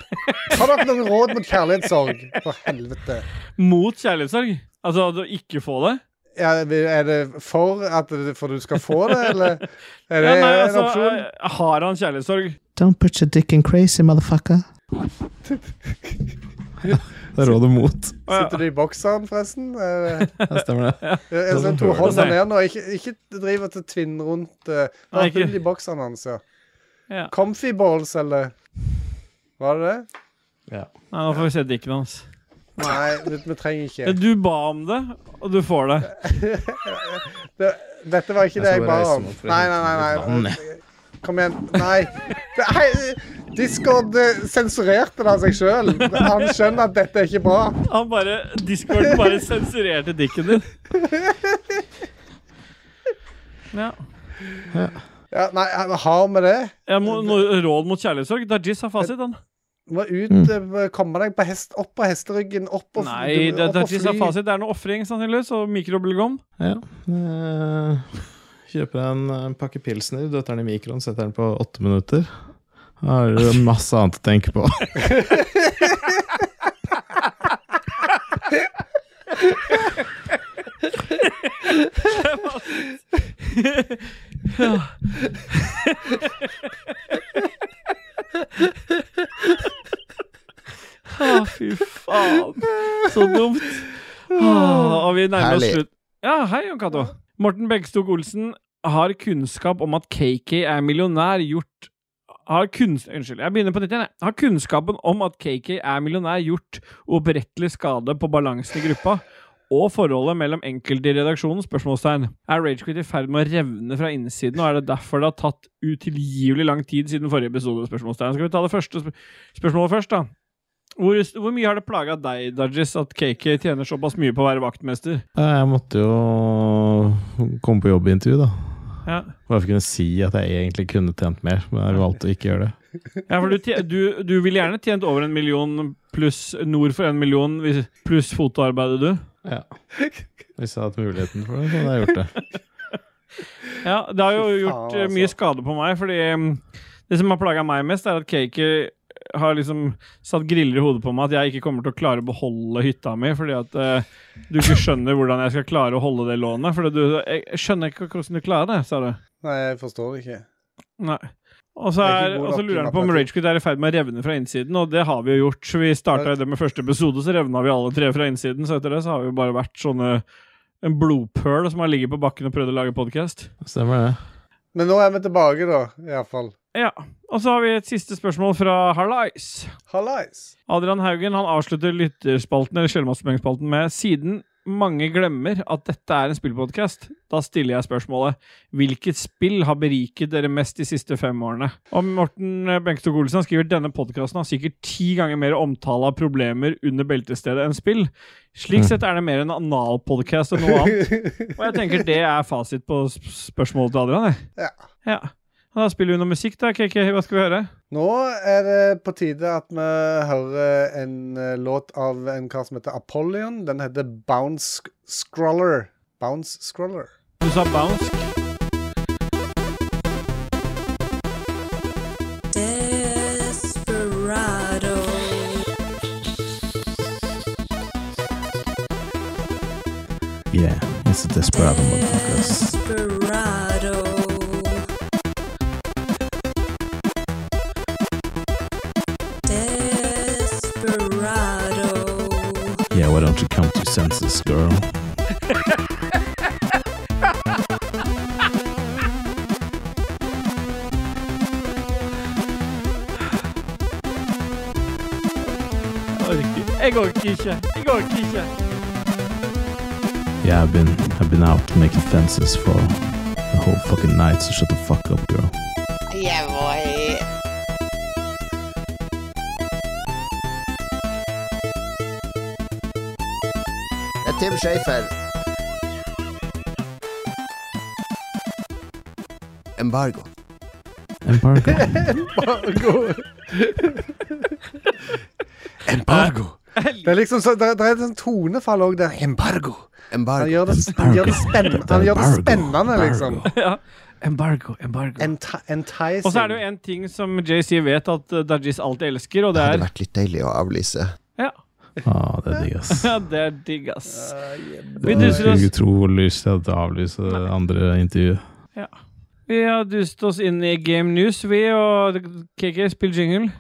Har dere noen råd mot kjærlighetssorg? For helvete.
Mot kjærlighetssorg. Altså at du ikke får det.
Ja, er det for at det- for du skal få det, eller er det
Ja, nei,
en
altså,
opsjon?
eh, har han kjærlighetssorg?
Don't put your dick in crazy, motherfucker.
Det er rådet mot.
Å, ja.
Sitter du i bokseren, forresten? Er det-
Ja, stemmer det.
er det sånn to
hører det
hånder
seg.
ned nå. Ikke, ikke driv og tvinn rundt eh, Det
Nei,
var
ikke-
hull i bokseren hans, ja.
Ja.
Comfy balls, eller Var det det?
Nei, nå får vi se dikken hans.
Nei, vi, vi trenger
Ja,
ikke
Du ba om det, og du får det.
det, Dette var ikke
Jeg
det
skal
jeg
bare
ba
reise
om.
meg opp for å
Nei,
hente
nei, nei.
litt
nei. Kom igjen. Nei. Det, hei, Discord eh, sensurerte det av seg sjøl. Han skjønner at dette er ikke bra.
Han bare, Discord bare sensurerte dikken din. Ja.
Ja, nei, har vi det?
Jeg må, no, råd mot kjærlighetssorg? Dajis har fasit, han.
Du må ut, eh, komme deg på hest, opp på hesteryggen, opp og
Nei,
opp og
Dajis har fasit. Det er noe ofring, sannsynligvis, og mikrobølgeovn.
Ja. Eh, Kjøper en eh, pakke pilsner, døtter den i mikroen, setter den på åtte minutter. Da har du masse annet å tenke på.
Å, fy faen. Så dumt. Å, og vi nærmer oss
Herlig.
slutt. Ja, hei, Jon Cato. Morten Begstok Olsen har kunnskap om at KK er millionær gjort har kunns... Unnskyld, jeg begynner på nytt igjen. jeg. Har kunnskapen om at KK er millionær gjort uopprettelig skade på balansen i gruppa? Og forholdet mellom enkelte i redaksjonen? spørsmålstegn. Er Ragequit i ferd med å revne fra innsiden, og er det derfor det har tatt utilgivelig lang tid siden forrige episode? spørsmålstegn? Skal vi ta det første sp spørsmålet først, da? Hvor, hvor mye har det plaga deg, Dajis, at KK tjener såpass mye på å være vaktmester?
Eh, Jeg måtte jo komme på jobbintervju, da.
Ja,
Bare for å kunne si at jeg egentlig kunne tjent mer, men jeg valgte å ikke gjøre det.
ja for du, tje- du, du ville gjerne tjent over en million pluss nord for en million hvis- pluss fotoarbeidet, du?
Ja. Hvis jeg hadde hatt muligheten for det, så hadde jeg gjort det.
Ja, det har jo
Fy faen,
gjort eh, mye
altså.
skade på meg, fordi mm, det som har plaga meg mest, er at Cakey har liksom satt griller i hodet på meg at jeg ikke kommer til å klare å beholde hytta mi, fordi at eh, du ikke skjønner hvordan jeg skal klare å holde det lånet. Fordi du Jeg skjønner ikke hvordan du klarer det, sa du.
Nei, jeg forstår det ikke.
Nei. Og så,
Det er ikke
er,
god
og så
nok
lurer han på om
matematikk.
Ragequit er i ferd med å revne fra innsiden, og det har vi jo gjort. Så vi starta det med første episode, så revna vi alle tre fra innsiden. Så etter det så har vi jo bare vært sånne en blodpøl som har ligget på bakken og prøvd å lage podkast.
Stemmer det.
Men nå er vi tilbake, da. Iallfall.
Ja. Og så har vi et siste spørsmål fra Harlice.
Hallais.
Adrian Haugen han avslutter lytterspalten eller sjelmatsspørringsspalten med siden mange glemmer at dette er en spillpodkast, da stiller jeg spørsmålet hvilket spill har beriket dere mest de siste fem årene? Og Morten Benkstok Olsen han skriver denne podkasten har sikkert ti ganger mer omtale av problemer under beltestedet enn spill. Slik sett er det mer en analpodkast enn noe annet. Og jeg tenker det er fasit på sp- spørsmålet til Adrian. jeg.
Ja.
ja. Da spiller vi noe musikk, da, KK. Hva skal vi høre?
Nå er det på tide at vi hører en eh, låt av en kar som heter Apollyon. Den heter Bounce Scroller. Bounce Scroller.
Du sa bounce.
Desperado.
Yeah, it's a Desperado motherfuckers.
Desperado. Desperado.
Yeah, why don't you come to your senses, girl?
Orker- Jeg orker ikke. Jeg orker ikke.
Yeah, I've been I've been out making fences for the whole fucking night, so shut the fuck up, girl.
Yeah, boy.
Det er Tim Schafer. Embargo.
Embargo.
Embargo.
Det er liksom så, det, det er et sånn tonefall òg der. Embargo. Han
Embargo.
gjør det, han gjør det, spennende, han gjør det spennende, liksom.
Ja. Embargo, embargo.
Enti- Enticing.
Og så er det jo en ting som JC vet at eh, Dajis alltid elsker, og
Det
det
hadde
er
vært litt deilig å avlyse.
Ja,
Ah, det er digg, ass.
ja det er digg, ass.
Uh,
Vi
Jeg
duser
skulle
oss
ikke tro hvor lyst jeg hadde til å avlyse det andre intervjuet.
Vi har dust oss inn i Game News, vi, og KK spiller jingle.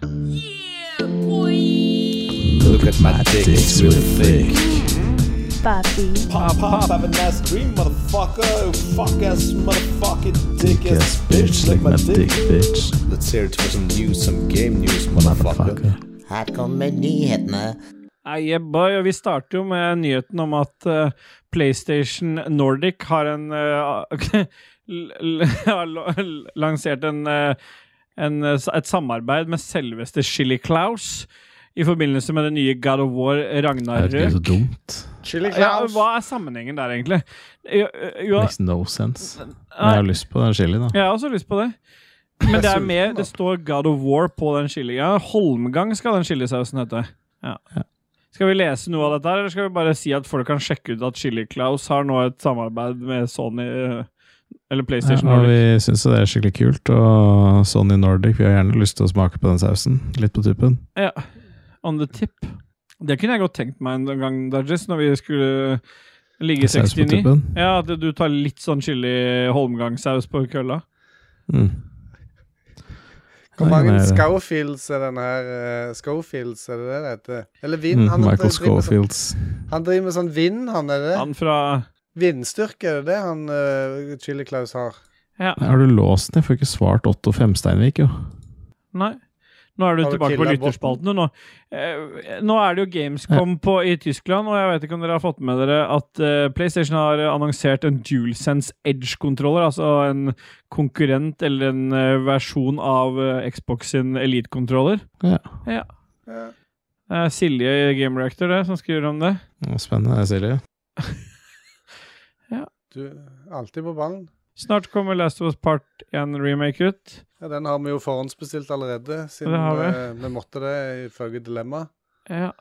Look at my dicks real thick. Dick ass bitch, like my dick bitch.
Let's hear it for some news, some game news, motherfucker.
Motherfucker.
Her kommer nyhetene.
Nei, yeah, boy, og vi starter jo med nyheten om at eh, PlayStation Nordic har en eh, l- l- har lo- l- lansert en, eh, en, eh, et samarbeid med selveste Chili Claus i forbindelse med det nye God of War
Er det så
Ragnarøk.
dumt?
Chili
Ja,
Claus.
hva er sammenhengen der, egentlig? Jo, jo,
Makes no sense. Men jeg
nei,
har lyst på den chili, da.
jeg har også lyst på det. Men det er mer, det står God of War på den chilien. Holmgang skal den chilisausen hete. Ja. Skal vi lese noe av dette, her, eller skal vi bare si at folk kan sjekke ut at Chili Claus har nå et samarbeid med Sony eh, eller
Ja,
PlayStation?
og
Nordic?
vi syns jo det er skikkelig kult. Og Sony Nordic, vi har gjerne lyst til å smake på den sausen. Litt på tuppen.
Ja. On the tip. Det kunne jeg godt tenkt meg en gang, Dajis, når vi skulle ligge i
Saus på
69.
tuppen.
Ja, At du tar litt sånn chili holmgangsaus på kølla.
Mm.
Hvor
Nei,
mange
nei, det-
Schofields er den her eh, Schofields, er det det det heter? Eller vind?
Mm,
han, driver
Michael
med sånn-
Schofields.
han driver med sånn vind, han er det?
Han fra
Vindstyrke, er det det han eh, Chili Claus har?
Ja,
Har du låst den? Jeg får ikke svart Otto Femsteinvik, jo.
nei. Nå er du
Har du
tilbake på
killet
lytterspaltene. Nå. Eh, nå er det jo Gamescom på, i Tyskland, og jeg vet ikke om dere har fått med dere at eh, PlayStation har annonsert en DualSense Edge-kontroller, altså en konkurrent eller en eh, versjon av eh, Xbox sin Elite-kontroller.
Ja.
Ja.
Det er Silje i Game Reactor det, som skriver om det.
Å, Spennende, det, Silje.
Du alltid på ballen.
Snart kommer Last of Us Part 1 remake ut.
Ja, den har vi jo forhåndsbestilt allerede, siden
Det har vi.
eh, vi måtte det ifølge Dilemma.
Ja.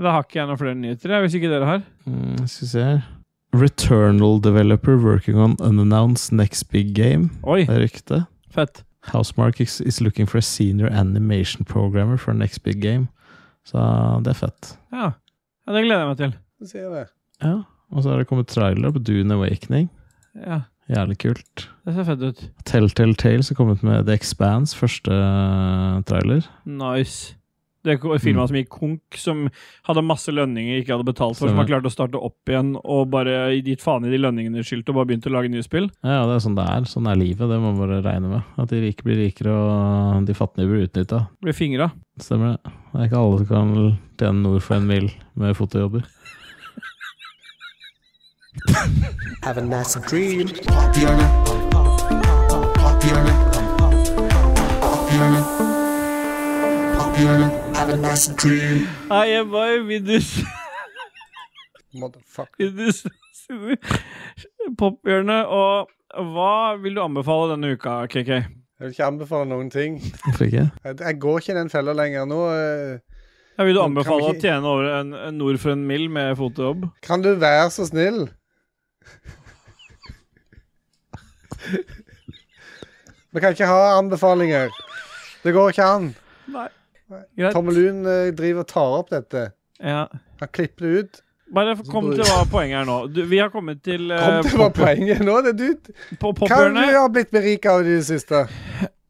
Da har ikke jeg noen flere nyheter, jeg, hvis ikke dere har.
Mm, skal vi se her Returnal developer working on unannounced next big game.
Oi,
Det er ryktet.
fett.
Housemark is, is looking for a senior animation programmer for next big game. Så det er fett.
Ja. ja, det gleder jeg meg til.
Du sier det.
Ja. Og så har det kommet trailer på Dune Awakening.
Ja,
Jævlig kult.
det ser fett ut.
Telltale Tales har kommet med The Expanse, første eh, trailer.
Nice. Det er firma som gikk konk, som hadde masse lønninger ikke hadde betalt for, som
Stemmer.
har klart å starte opp igjen og bare gitt faen i de lønningene skyld og bare begynt å lage nye spill.
Ja, ja, det er sånn det er. Sånn er livet. Det må man bare regne med. At de rike blir rikere, og de fattige blir utnytta.
Blir fingra.
Stemmer det. Det er ikke alle som kan tjene nord for en mil med fotojobber.
Hei, jeg var i Vidus
Motherfucker.
Vidus Pophjørnet, og hva vil du anbefale denne uka, KK?
Jeg vil ikke anbefale noen ting.
Hvorfor ikke?
Jeg, jeg går ikke i den fella lenger nå. eh.
Ja, vil du
Kan- kan
anbefale
vi
å
ikke-
tjene over en, en nord for en mil med fotojobb?
Kan du være så snill? Vi kan ikke ha anbefalinger. Det går ikke an.
Nei. Greit.
Tommelun eh, driver og tar opp dette.
Ja.
Han klipper det ut.
Bare kom til hva poenget er nå. Du, vi har kommet til eh,
Kom til hva
pop-
poenget nå, det du
på
Hva har du
pophjørnet.
har blitt berika av i det siste?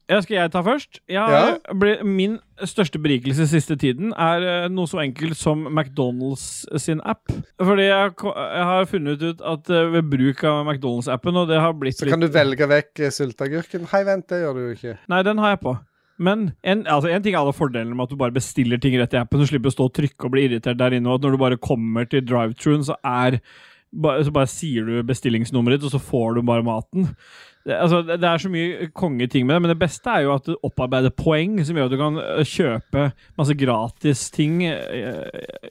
Ja, skal jeg ta først? Jeg har- ble, min største berikelse siste tiden er eh, noe så enkelt som McDonald's sin app. Fordi jeg, ko- jeg har funnet ut at eh, ved bruk av McDonald's-appen Og det har blitt
Så kan du velge vekk eh, sylteagurken. Hei, vent, det gjør du jo ikke.
Nei, den har jeg på. Men en, altså, en ting er alle fordelene med at du bare bestiller ting rett i appen. Du slipper å stå og trykke og bli irritert der inne. Og at når du bare kommer til drive-truen, så er ba- så bare sier du bestillingsnummeret ditt, og så får du bare maten. Det, altså, det det er så mye kongeting med det, men det beste er jo at du opparbeider poeng, som gjør at du kan øh, kjøpe masse gratis ting øh,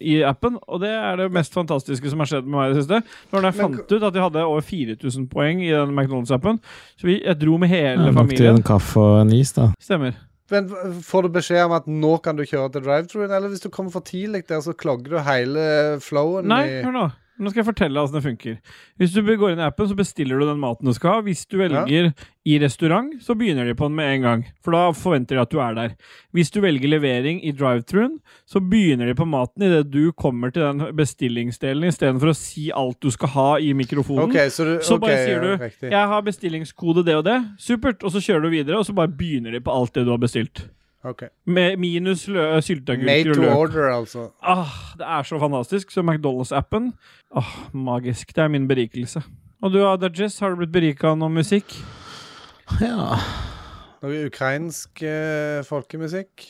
i appen. Og det er det mest fantastiske som har skjedd med meg i det siste. Det var da jeg
Men
fant ut at jeg hadde over 4000 poeng i den McDonald's-appen, så vi, jeg dro med
Ja,
hele
nok til
familien.
en kaffe og en is, da.
Stemmer.
Men v- får du beskjed om at nå kan du kjøre til drive-thruen, eller hvis du kommer for tidlig der, så klogger du hele flowen
Nei,
i
hør nå. Nå skal jeg fortelle deg hvordan det funker. Hvis du går inn i appen, så bestiller du den maten du skal ha. Hvis du velger i restaurant, så begynner de på den med en gang. For da forventer de at du er der. Hvis du velger levering i drive-thruen, så begynner de på maten idet du kommer til den bestillingsdelen, istedenfor å si alt du skal ha i mikrofonen.
OK, så du
Så
ok,
bare sier
ja,
du
riktig.
'Jeg har bestillingskode det og det'. Supert. Og så kjører du videre, og så bare begynner de på alt det du har bestilt.
Ok.
Med minus lø- sylteagurker
Made
og
to
løk.
order, altså.
Ah, det er så fantastisk. Så McDonald's-appen ah, Magisk. Det er min berikelse. Og du, Adajis, har du blitt berika av noe musikk?
Ja.
Noe ukrainsk eh, folkemusikk.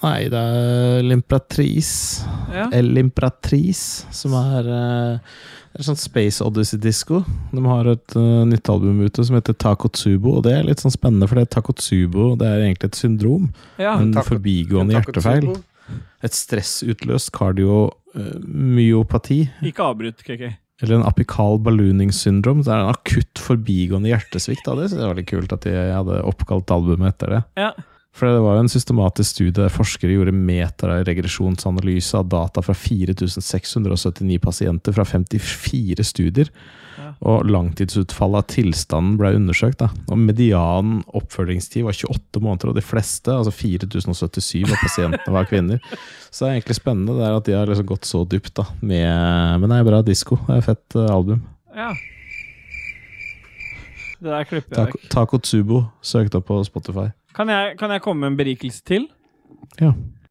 Nei, det er L'Impratrice.
Ja.
El Impratrice, som er eh, et sånt Space Odyssey-disko. De har et eh, nytt album ute som heter Takotsubo, og det er litt sånn spennende, for det er Takotsubo det er egentlig et syndrom.
Ah, ja.
En
tako-
forbigående hjertefeil.
Takotsubo.
Et stressutløst eh, kardiomyopati.
Ikke avbryt, KK.
Eller en apikal ballooning syndrom. Det er en akutt forbigående hjertesvikt. Da. Det synes jeg var litt kult at de hadde oppkalt albumet etter det.
Ja.
For det var jo en systematisk studie der forskere gjorde metaregresjonsanalyse av data fra 4679 pasienter fra 54 studier.
Ja.
Og langtidsutfallet av tilstanden ble undersøkt. Da. Og median oppfølgingstid var 28 måneder, og de fleste, altså 4077 av pasientene, var kvinner. Så det er egentlig spennende det er at de har liksom gått så dypt da, med Men det er bra disko. Det er et fett eh, album.
ja. Det der klipper jeg
Tako,
vekk.
Takotsubo søkte opp på Spotify.
Kan jeg, kan jeg komme med en berikelse til?
Ja.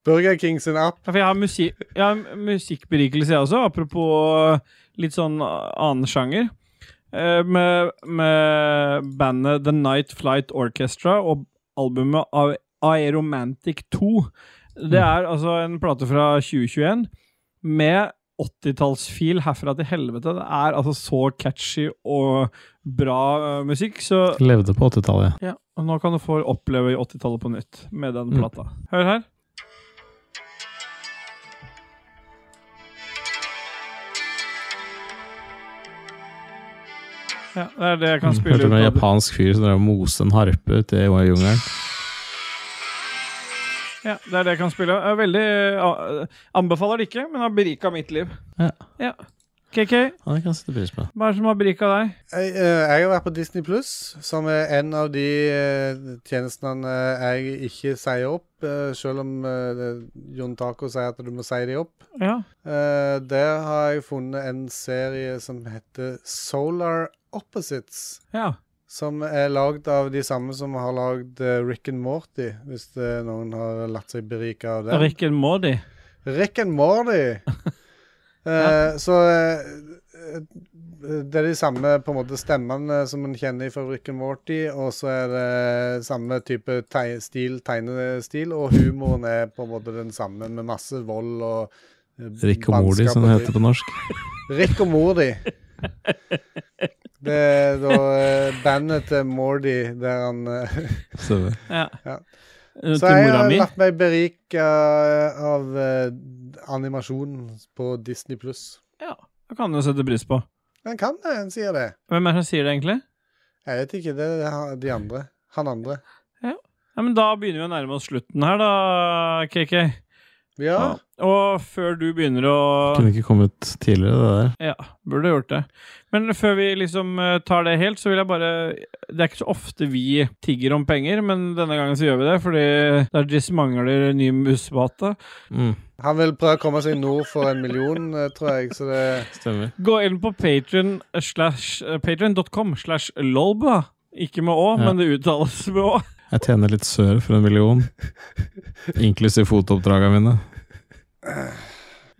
Burger King sin app.
Ja, for jeg har, musi jeg har musikkberikelse, jeg også. Apropos litt sånn annen sjanger. Eh, Med, med bandet The Night Flight Orchestra og albumet A- Aeromantic 2. Det er altså en plate fra 2021 med 80-tallsfil herfra til helvete. Det er altså så catchy og bra eh, musikk, så
Levde på 80-tallet.
ja, og nå kan du få oppleve 80-tallet på nytt med den
Mm.
plata. Hør her. Ja, det er det jeg kan spille
Mm, Hørte om en
ut. av det.
japansk fyr som drev og moste en harpe ute i jungelen.
Ja, det er det jeg kan spille. Jeg er veldig eh, Anbefaler det ikke, men har berika mitt liv.
Ja.
ja. KK,
Ja, det kan jeg sette pris på.
hva er det som har berika deg?
Jeg, eh, jeg har vært på Disney Pluss, som er en av de eh, tjenestene eh, jeg ikke sier opp, eh, selv om eh, det- Jon Taco sier at du må si de opp.
Ja.
Eh, Der har jeg funnet en serie som heter Solar Opposites.
ja.
Som er lagd av de samme som har lagd eh, Rick and Morty, hvis det, noen har latt seg berike av det.
Rick and Morty.
Rick and Morty. Eh, Så eh, eh, det er de samme på en måte stemmene som en kjenner fra Rick and Morty, og så er det samme type teg stil, tegnestil, og humoren er på en måte den samme, med masse vold og eh,
Rick og Mordi,
bannskap
som
og
det
dritt.
heter på norsk.
Rick og Mordy. Det er da eh, bandet til Mordy der han eh,
Så,
Ja.
Ja.
Eh,
Så
Til
jeg
mora
har
mi.
latt meg berike av eh, animasjon på Disney pluss.
Ja, det kan du sette pris på.
En kan det, en sier det.
Hvem er det som sier det, egentlig?
Jeg vet ikke, det er han- de andre. Han andre.
Ja, men Da begynner vi å nærme oss slutten her, da, KK.
Ja.
Og før du begynner å
Kunne ikke kommet tidligere, det der.
Ja, burde gjort det. Men før vi liksom eh, tar det helt, så vil jeg bare Det er ikke så ofte vi tigger om penger, men denne gangen så gjør vi det, fordi Dajis mangler ny musebate.
Mm,
Han vil prøve å komme seg nord for en million, eh, tror jeg. Så det
stemmer.
Gå inn på patreon slash eh, patreon.com slash lolba. Ikke med å,
Ja.
men det uttales med å.
Jeg tjener litt sør for en million, inklusiv fotooppdragene mine.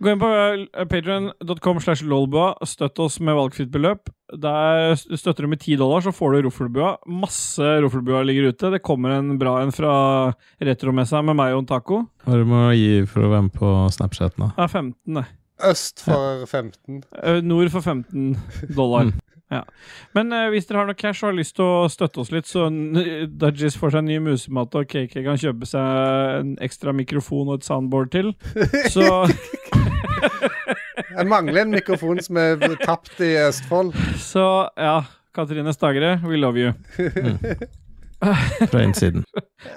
Gå inn på eh, patreon.com slash lolbua, støtt oss med valgfritt beløp. Der st- støtter du med 10 dollar, så får du Roffelbua. Masse Roffelbua ligger ute. Det kommer en bra en fra retromessa med meg og en taco.
Hva du må gi for å være med på Snapchat nå?
Det er 15, det.
øst for 15.
Eh, Nord for 15 dollar. Ja. Men eh, hvis dere har noe cash og har lyst til å støtte oss litt, så n- Dudgies får seg ny musemat, og KK kan kjøpe seg en ekstra mikrofon og et soundboard til. Så
Jeg mangler en mikrofon som er tapt i Østfold.
Så ja, Katrine Stagre, we love you.
Fra innsiden.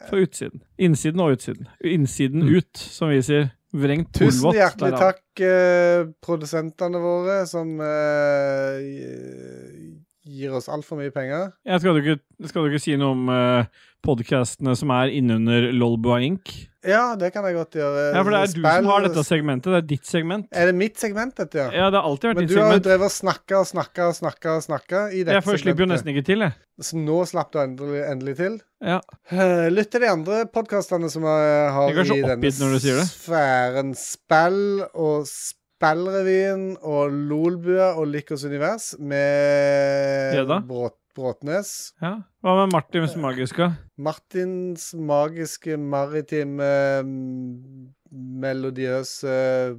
Fra utsiden. Innsiden og utsiden. Innsiden
Mm.
ut, som vi sier. Vrengt
Tusen
polvott.
hjertelig
derav.
takk, eh, produsentene våre, som eh, gi- gir oss altfor mye penger.
Jeg skal, du ikke, skal du ikke si noe om uh, podkastene som er innunder Lolbua Inc.?
Ja, det kan jeg godt gjøre.
Ja, for det er du
Spill-
som har dette segmentet. Det er ditt segment.
Er det mitt segment, dette, ja?
Ja, det har alltid vært
Men
ditt
du har jo
segment.
drevet og snakka og snakka og snakka og snakka i dette
Jeg får, slipper jo nesten ikke til, jeg.
Så nå slapp du endelig, endelig til.
Ja.
Eh, Lytt til de andre podkastene som jeg har
Jeg er så
i denne
oppgitt når du sier det.
sfæren. Spill og Spillrevyen og Lolbua og Lykkos univers med
Hedda?
Bråt, Bråtnes.
ja. Hva med Martins magiske?
Martins magiske maritime mm, melodiøse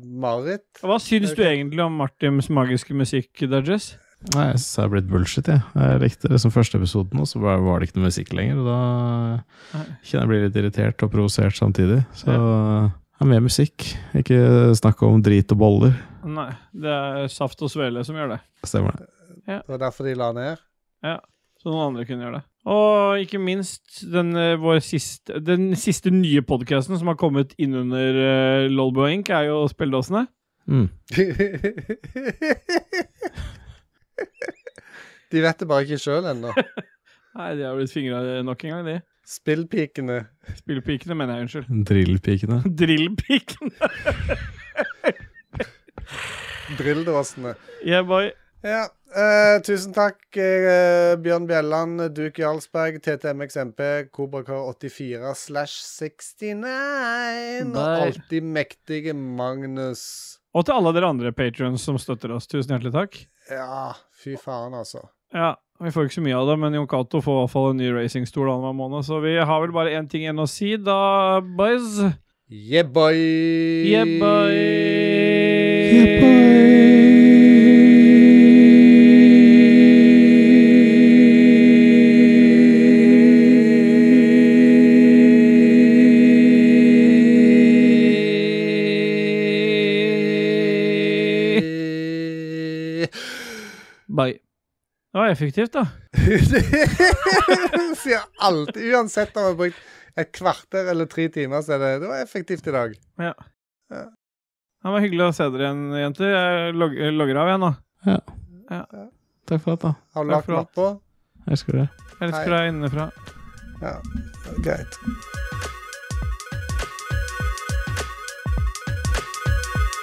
mareritt.
Hva syns du egentlig om Martins magiske musikk, Dudges?
Nei, jeg syns det er blitt bullshit, jeg. Jeg likte liksom første episoden, og så bare var det ikke noe musikk lenger. Og da kjenner jeg blir litt irritert og provosert samtidig. Så ja, mer musikk. Ikke snakk om drit og boller.
Nei, det er Saft og Svele som gjør det.
Stemmer det.
Det var derfor de la ned.
Så noen andre kunne gjøre det. Og ikke minst den, eh, vår siste, den siste nye podkasten som har kommet innunder uh, Lolbo Inc., er jo Spelledåsene.
Mm.
de vet det bare ikke sjøl ennå.
Nei, de har blitt fingra nok en gang, de.
Spillpikene.
Spillpikene, mener jeg. Unnskyld.
Drillpikene.
Drillpikene.
Drilldåsene.
Yeah, boy.
Ja. eh, tusen takk, eh, Bjørn Bjelland, Duke Jarlsberg, TTMXMP, Kobrakar84 slash 69 og
Nei.
alltid mektige Magnus.
Og til alle dere andre patrions som støtter oss, tusen hjertelig takk.
Ja, fy faen, altså.
Ja, Vi får ikke så mye av det, men Jon Cato får i hvert fall en ny racingstol annenhver måned, så vi har vel bare én ting igjen å si, da, boys.
Yeah, boy!
Yeah, boy. Bye. Det var effektivt, da.
Sier alltid, uansett om jeg har brukt et kvarter eller tre timer, så er det Det var effektivt i dag.
Ja.
Ja.
Det var hyggelig å se dere igjen, jenter. Jeg log logger av igjen nå.
Takk for at, da.
Har du
Takk
lagt
for alt.
mappa?
Jeg elsker det.
Jeg
Hei.
elsker deg innenfra.
Ja, greit.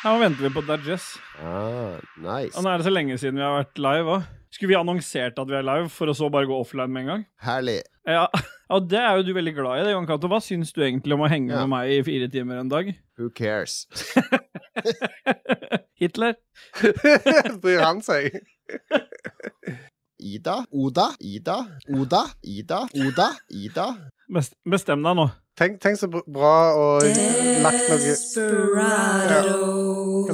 Nå venter vi på Dajess.
Ah, nice.
Og nå er det så lenge siden vi har vært live òg. Skulle vi annonsert at vi er live, for å så bare gå offline med en gang?
Herlig.
Ja, og det er jo du veldig glad i, det, Jon Cato. Hva syns du egentlig om å henge
Ja.
med meg i fire timer en dag?
Who cares?
Hitler?
Bryr han seg?
Ida? Oda? Ida? Oda? Ida? Oda? Ida?
Best, bestem deg nå.
Tenk, tenk så br- bra og lagt noe ja,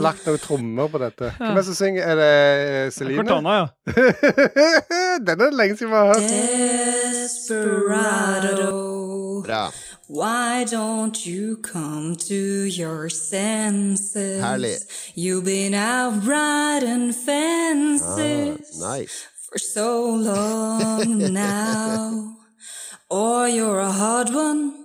Lagt noen trommer på dette. Hvem er det som synger? Er det eh, Celine?
Cortana, ja.
Den er det lenge siden vi har hørt.
Desperado,
Bra.
why don't you come to your senses?
Herlig.
You've been out riding
Ah,
fences
nice.
for so long now. Or you're a hard one.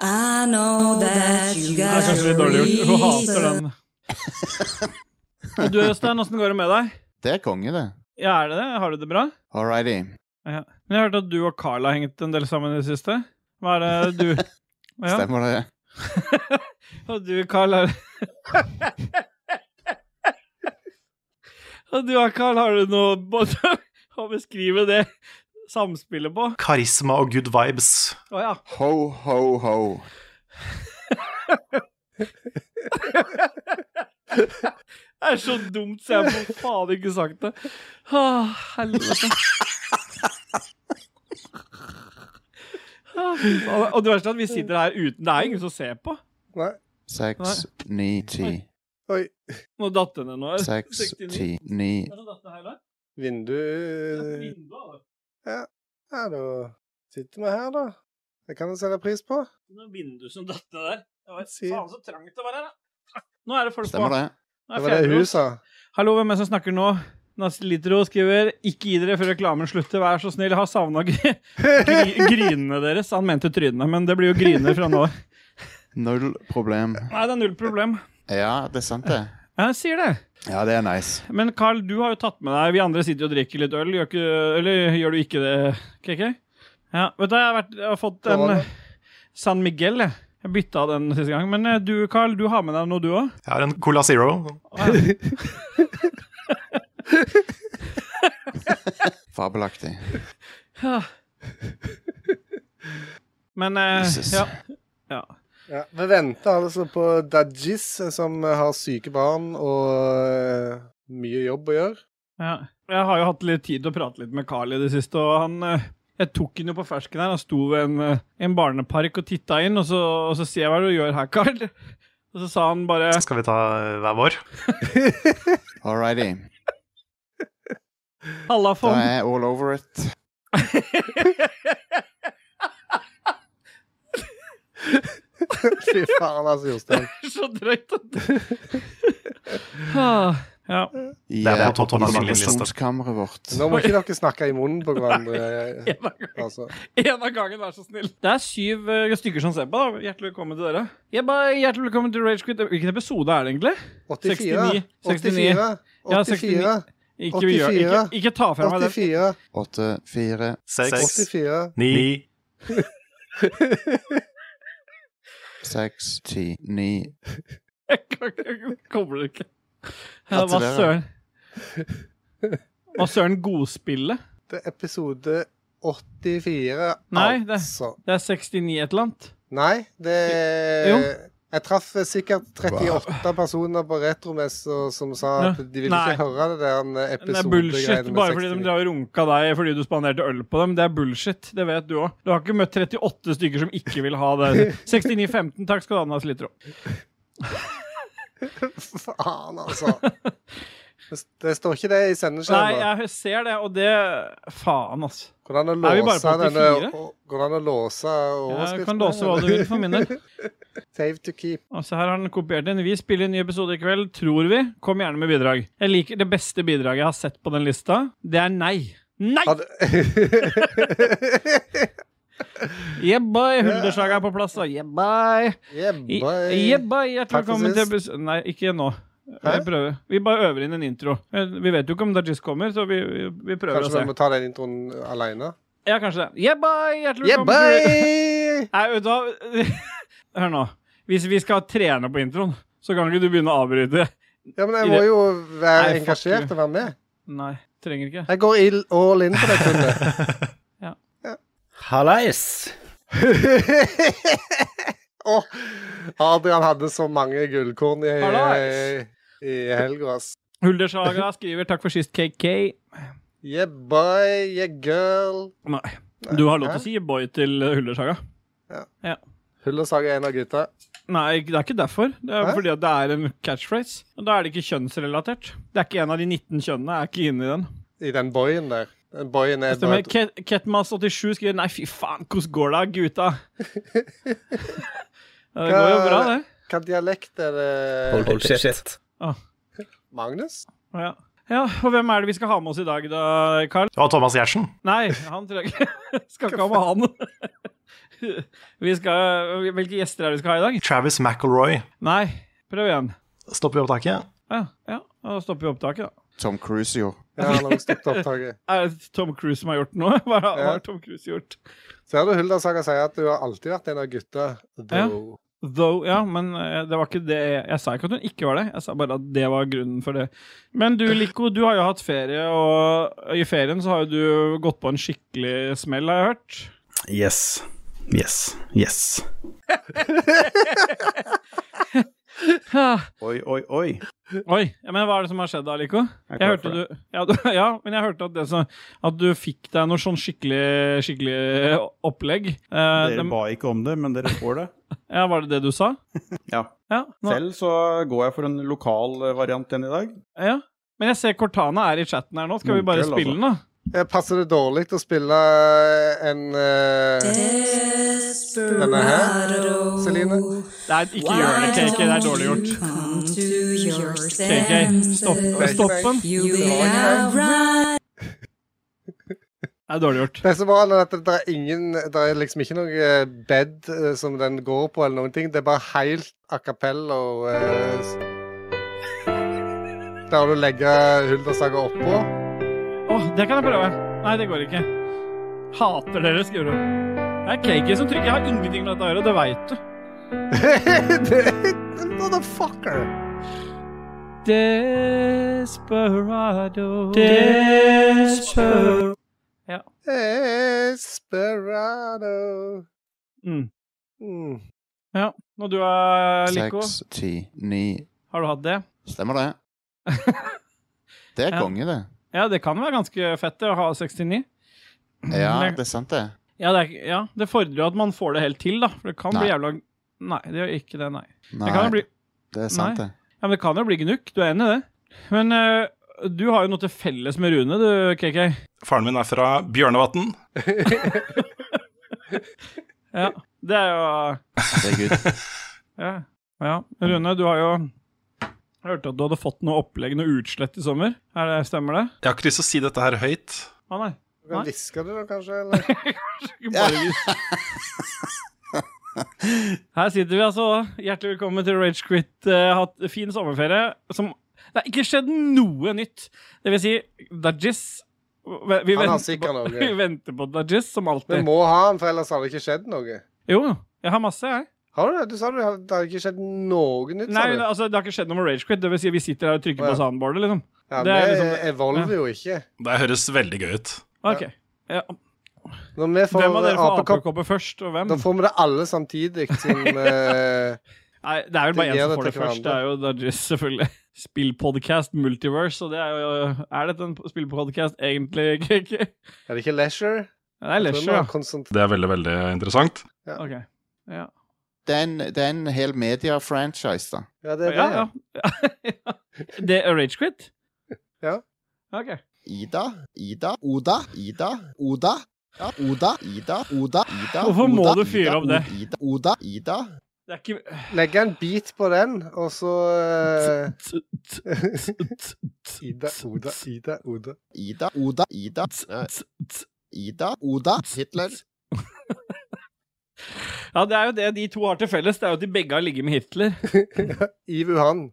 I know that you
Det er
got
kanskje litt
your
dårlig gjort. Hun hater
reason.
den. Og du Øystein, åssen går det med deg?
Det er konge, det.
Ja, er det det? Har du det bra?
Alrighty.
Ja. Men jeg har hørt at du og Carl har hengt en del sammen i det siste. Hva er det du Ja,
Stemmer det?
og du, Carl, har Og du og Carl, har du noe både å beskrive det samspillet på?
Karisma og good vibes.
Å ja.
Ho, ho, ho.
Det er så dumt, så jeg får faen ikke sagt det. Åh, helvete. Åh, fy faen. Og det verste er at vi sitter her uten Det er ingen som ser på.
Nei.
Seks, ni, ti.
Oi.
Nå datt det ned noe.
Seks, ti, ni.
Er det datt ned hele?
Vindu Eh,
Vinduet, da.
Ja, da sitter vi her, da. Det kan du sette pris på.
Det var vinduet som datt ned der. Det var
Si.
faen så trangt det var her, da. Nå er det folk
Stemmer
på.
det?
Nå er
Det var det
fjerde
hun sa.
Hallo, hvem er det som snakker nå? Nasilitro skriver Ikke gi dere før reklamen slutter, vær så snill. Jeg har savna grinene deres. Han mente trynene, men det blir jo griner fra nå.
Null problem.
Nei, det er null problem.
Ja, det er sant, det.
Ja, Jeg sier det.
Ja, det er nice.
Men Carl, du har jo tatt med deg Vi andre sitter jo og drikker litt øl, gjør, ikke, eller gjør du ikke det, KK? Ja, vet du, jeg har, vært, jeg har fått en eh, San Miguel, jeg. Jeg bytta den siste gang. Men eh, du, Carl, du har med deg noe, du òg?
Jeg har en Cola Zero.
Fabelaktig.
Men eh,
Jesus.
ja. ja.
Ja, vi venter altså på Dajis, som har syke barn og eh, mye jobb å gjøre.
Ja. Jeg har jo hatt litt tid til å prate litt med Carl i det siste, og han eh, Jeg tok han jo på fersken her. Han sto ved en, eh, en barnepark og titta inn, og så, og så sier jeg hva er det du gjør her, Carl. Og så sa han bare
Skal vi ta eh, hver vår?
Alrighty. Da
Halla, Fond.
er jeg all over it.
Fy faen, altså, Jostein.
så drøyt at Ah, Ja.
I
Det er
eh,
på toppen av min liste.
produksjonskammeret vårt.
Nå må ikke dere snakke i munnen på hverandre.
En av,
Eh,
gangen,
Altså.
en av gangen, vær så snill. Det er syv eh, stykker som ser på. da Hjertelig velkommen til dere. Jeg ba, hjertelig velkommen til Rage Quit. Hvilken episode er det egentlig?
84.
69.
84.
Ja,
84.
Ikke, vi gjør, ikke,
84.
ikke ta fra meg den.
84.
Åtte, fire,
Seks,
84.
ni,
seks, ti, ni.
Jeg kan- jeg Kommer ikke.
Ja,
Ja,
til
Hva
dere.
søren? Hva søren godspillet?
Det er episode 84,
Nei, det-
altså.
Det er 69 et eller annet.
Nei, det
Jo.
Jeg traff sikkert 38 personer på retromesser som sa at
Ja.
de ville
Nei.
ikke høre det der
Det er
episodegreiene
bullshit.
med
Bare fordi de
69.
drar og runka deg fordi du spanderte øl på dem. Det er bullshit. Det vet du òg. Du har ikke møtt 38 stykker som ikke vil ha det. 69-15, takk skal du ha, Nas Litro.
Faen, altså. Det- Det står ikke det i
Nei,
sendeskjermen.
jeg ser det, og det Faen, altså.
Hvordan å
Er vi bare
låse
på
denne
84?
å- Hvordan å låse
Jeg
overskriften?
kan låse hva du vil for min del.
Save to keep.
Og se her har han kopiert inn. Vi spiller en ny episode i kveld, tror vi. Kom gjerne med bidrag. Jeg liker Det beste bidraget jeg har sett på den lista, det er nei. Nei!
Hadde...
Jebbai! Hulderslaget er på plass, da. Jebbai!
yeah,
I-
boy.
Jebba, hjertelig
Takk for
velkommen til
sist.
episode Nei, ikke nå.
Hæ?
Jeg prøver. Vi bare øver inn en intro. Eh, Vi vet jo ikke om Dajis kommer, så vi, vi- vi prøver
Kanskje vi
å se.
må ta den introen aleine?
Ja, kanskje det. Jebba, hjertelig
Yeah,
velkommen til
boy!
Nei, vet du hva? Hør nå. Hvis vi skal trene på introen, så kan ikke du begynne å avbryte.
Ja, men jeg må jo være
Nei, fuck
engasjert
you.
og være med.
Nei, trenger ikke.
Jeg går ill- all in på det kundet.
Hallais!
Åh, Adrian hadde så mange gullkorn i,
Hallais.
i helga, ass.
Huldersaga skriver 'Takk for sist, KK'.
Yeah boy, yeah girl.
Nei. Du har lov til å si boy til eh, Huldersaga.
Ja.
Ja.
Huldersaga er en av gutta.
Nei, det er ikke derfor. Det er fordi at det er en catchphrase. Og da er det ikke kjønnsrelatert. Det er ikke en av de 19 kjønnene. Er ikke inne i den.
I den boyen der. Den boyen er
Stemmer.
bare et-
Ket- Ketmas87 skriver Nei, fy faen, hvordan går det, gutta? Ja, det går jo bra, det.
Hva dialekt er det?
Ah.
Magnus?
Ja. ja, og hvem er det vi skal ha med oss i dag, da, Carl?
Det var Thomas Giertsen.
Nei, han tror jeg ikke Skal ikke ha med han. Vi skal, hvilke gjester er det vi skal ha i dag?
Travis McElroy.
Nei, prøv igjen.
Stopper vi opptaket?
Ja, ja. Da stopper vi opptaket, da.
Tom Cruise, jo.
Ja, han har stoppet opptaket.
Er det Tom Cruise som har gjort noe? Hva har hva har Tom Cruise gjort?
Ser du Huldersaga sier at du har alltid vært en av gutta?
Ja.
Though.
Though, ja, men eh, det var ikke det Jeg sa ikke at hun ikke var det, jeg sa bare at det var grunnen for det. Men du, Lico, du har jo hatt ferie, og i ferien så har jo du gått på en skikkelig smell, har jeg hørt.
Yes. Yes. Yes. Oi, oi, oi.
Oi, ja, men hva er det som har skjedd da, Lico?
Jeg er
Jeg
klar
hørte
for
du,
det.
ja, du, ja, men jeg hørte at, det som, at du fikk deg noe sånn skikkelig, skikkelig opplegg. Eh,
Dere
dem-
ba ikke om det, men dere får det.
ja, var det det du sa?
Ja.
nå-
Selv så går jeg for en lokal eh, variant enn i dag.
Ja. Men jeg ser Cortana er i chatten her nå. Skal vi bare
Munkel, altså.
spille den, da?
Eh, Passer det dårlig å spille en eh, Denne her, Celine?
Nei, ikke gjør det, KK. Det er dårlig gjort. KK, stopp, stopp den. Det er dårlig gjort.
Det er så bra er at det er ingen Det er liksom ikke noe bed eh, som den går på, eller noen ting. Det er bare helt a cappella og eh, s- Der har du legge Huldersaga oppå.
Å, det kan jeg prøve. Nei, det går ikke. Hater dere, skriver du. Det er KK som trykker. Jeg har ingenting med dette å gjøre, det veit du.
Motherfucker!
Desperado
Desper-
Ja.
Esperado.
Mm.
Mm.
ja. Når du er Lico,
Seks, ti, ni
har du hatt det?
Stemmer det? Det er
Ja.
konge, det.
Ja, det kan være ganske fett det, å ha 69.
Ja,
Men-
det er sant, det.
Ja, det, er, ikke- ja, det fordrer jo at man får det helt til, da. For det kan bli
Nei.
jævla Nei, det gjør ikke det, nei.
Nei,
det, kan jo bli...
det er sant,
Nei.
det.
Ja, men det kan jo bli gnukk, du er enig i det? Men eh, du har jo noe til felles med Rune, du, KK.
Faren min er fra Bjørnevatn.
Ja, det er jo
Det er good.
ja. ja. Rune, du har jo Jeg hørte at du hadde fått noe opplegg, noe utslett i sommer. Er det, stemmer det?
Jeg har ikke lyst til å si dette her høyt.
Å nei.
Du kan hviske det, da, kanskje? Eller?
Her sitter vi altså. Hjertelig velkommen til Rage Quit. Eh, hatt fin sommerferie. Som Det har ikke skjedd noe nytt. Det vil si, Dajis vi, vi,
Han har
venter
sikkert
på,
noe.
vi venter på Dajis, som
Vi
alltid.
må ha den, for ellers hadde det ikke skjedd noe.
Jo, jeg har masse, jeg.
Har du det? Du sa du hadde, det hadde ikke skjedd noe nytt,
Nei,
sa du.
altså, det har ikke skjedd noe med Rage Quit. Det vil si, vi sitter her og trykker
Å, ja.
på soundboardet, liksom.
Ja,
det er
vi
liksom-
evolver jo ikke.
Det høres veldig gøy ut.
OK. Ja.
Når vi får
Hvem av dere får
apekopp,
apekopper først, og hvem?
da får vi det alle samtidig. Som, eh,
Nei, det er vel bare
Det
én
gir
som
det
får det
til
først. Det er jo Dajis, selvfølgelig. Spillpodcast Multiverse, og det er jo Er dette en spillpodcast egentlig? Ikke?
er det ikke leisure?
Ja, det er
Jeg tror vi
leisure,
har
ja.
konsent-
Det er veldig, veldig interessant.
Ja.
Ok. Ja.
Det er en, det er en hel media-franchise, da.
Ja, det er
ja,
det.
ja. det er Rage Quit?
Ja.
OK.
Ida, Ida, Oda, Ida, Oda. Ja, Oda, Ida, Oda, Ida
Hvorfor må
Oda,
du fyre
Ida,
opp det?
Oda, Oda, Ida.
Det er ikke
Legg en bit på den, og så eh, Ida, Oda, Ida, Oda.
Ida, Oda, Ida. Eh, Ida, Oda, Hitler.
Ja, det er jo det de to har til felles. Det er jo at de begge har ligget med Hitler.
I Wuhan.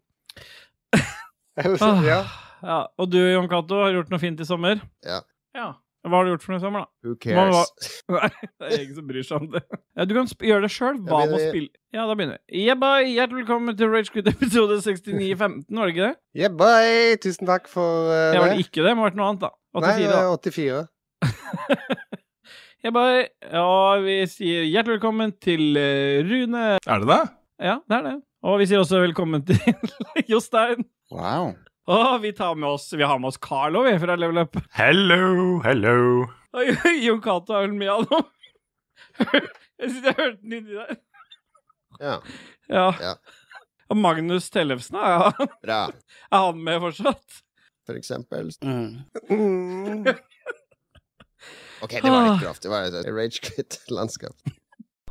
Eller, så- ja.
Ah. Ja, Og du, Jon Cato, har gjort noe fint i sommer?
Ja.
Ja. Hva har du gjort for noe i sommer, da?
Who
Hva-
cares?
Nei, det er ingen som bryr seg om det. Ja, du kan sp gjøre det sjøl. Hva med å
Ja, begynner vi?
spille Ja, da begynner vi. Yeah, bye. Hjertelig velkommen til Ragequit episode 6915, var det ikke det?
Yeah, bye! Tusen takk for eh,
Jeg var det
det.
ikke det, det må ha vært noe annet, da. 84,
Nei,
da.
eh, 84.
Yeah, bye. Ja, vi sier hjertelig velkommen til eh, Rune.
Er det det?
Ja, det er det. Og vi sier også velkommen til Jostein.
Wow.
Og vi tar med oss Vi har med oss Carl òg, vi, fra Level Up.
Hello, hello.
Oi, oi, Jon Cato er vel med han nå? Jeg synes jeg hørte den inni der.
Ja.
Ja.
Ja.
Og Magnus Tellefsen, er han,
Bra,
er han med fortsatt?
for eksempel.
Mm.
OK, det var
Ah.
litt grovt. Det var et rage quit-landskap.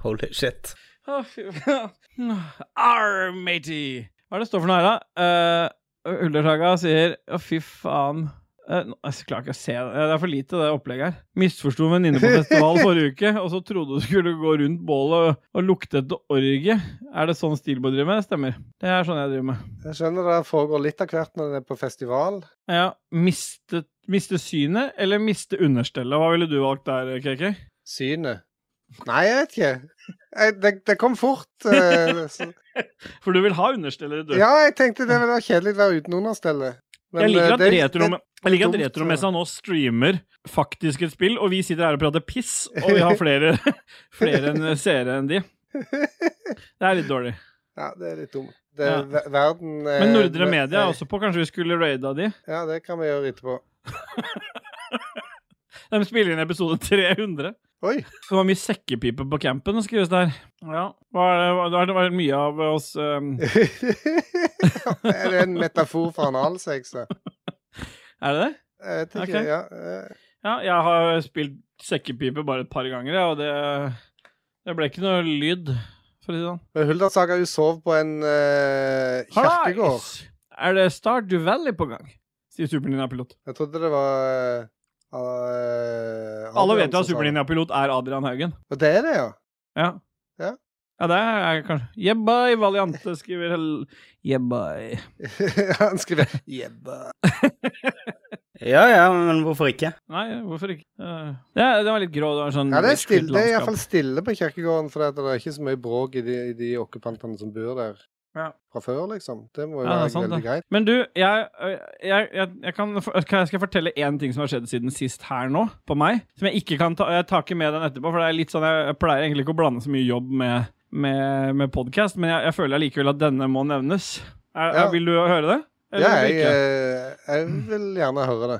Holy shit.
Å, fy faen. Arr, matey! Hva er det står for noe her, da? Uh, Uldersaga sier Å, fy faen. Eh, nå- jeg klarer ikke å se det. Det er for lite, det opplegget her. Misforsto en venninne på festival forrige uke, og så trodde hun skulle gå rundt bålet og, og lukte etter orgie. Er det sånn Steelboy driver med? Det stemmer. Det er sånn jeg driver med.
Jeg skjønner det foregår litt av hvert når en er på festival.
Ja, miste, miste synet eller miste understellet? Hva ville du valgt der, KK?
Synet. Nei, jeg vet ikke. Jeg, det, det kom fort. eh, så-
For du vil ha understellet, du.
ja, jeg tenkte det ville være kjedelig å være uten understellet. Men,
jeg liker
eh,
at,
det-
retro,
det-
jeg liker at
dumt,
Retromessa nå streamer faktisk et spill, og vi sitter her og prater piss, og vi har flere, flere enn eh, seere enn de. Det er litt dårlig.
Ja, det er litt dumt. Det,
Ja.
ver- Verden eh,
Men Nordre
ver-
Media
eh,
er også på. Kanskje vi skulle raida de?
Ja, det kan vi gjøre etterpå.
De spiller inn episode 300.
Oi.
Det var mye sekkepipe på campen, skrives det her. Ja. Var det, var det var mye av oss um,
Er det en metafor for analsex? da?
Er det det?
Jeg vet ikke.
Ok.
Ja, eh,
Ja, jeg har spilt sekkepipe bare et par ganger, jeg, og det, det ble ikke noe lyd, for å si det sånn.
Men Huldersaga hun sov på en eh, kirkegård.
Hallais! Er det Stardew Valley på gang? Sier Superninja-pilot.
Jeg trodde det var eh, eh,
Alle
Adrian
vet jo
som
at
sa det.
Superninja-pilot er Adrian Haugen.
Og det er det, ja.
Ja.
Ja.
Ja, det er kanskje Jebbai Valiante skriver hel... Jebbai.
Han skriver Jebba.
Ja ja, men hvorfor ikke?
Nei, hvorfor ikke? Eh, Det, det var litt grå. Det var sånn
Ja, det er,
litt
stille, det er
landskap.
iallfall stille på kirkegården, for det er ikke så mye bråk i de, i de okkupantene som bor der
Ja.
fra før, liksom. Det må jo
Ja, det er
være
sant,
veldig
det.
greit.
Men du, jeg, jeg, jeg, jeg kan, kan jeg skal fortelle én ting som har skjedd siden sist her nå, på meg. Som jeg ikke kan ta Jeg tar ikke med den etterpå, for det er litt sånn, jeg, jeg pleier egentlig ikke å blande så mye jobb med, med, med podkast, men jeg, jeg føler allikevel at denne må nevnes. Er,
Ja.
er, vil du høre det? Eller
Ja,
vil
jeg,
du ikke?
eh, jeg vil gjerne høre det.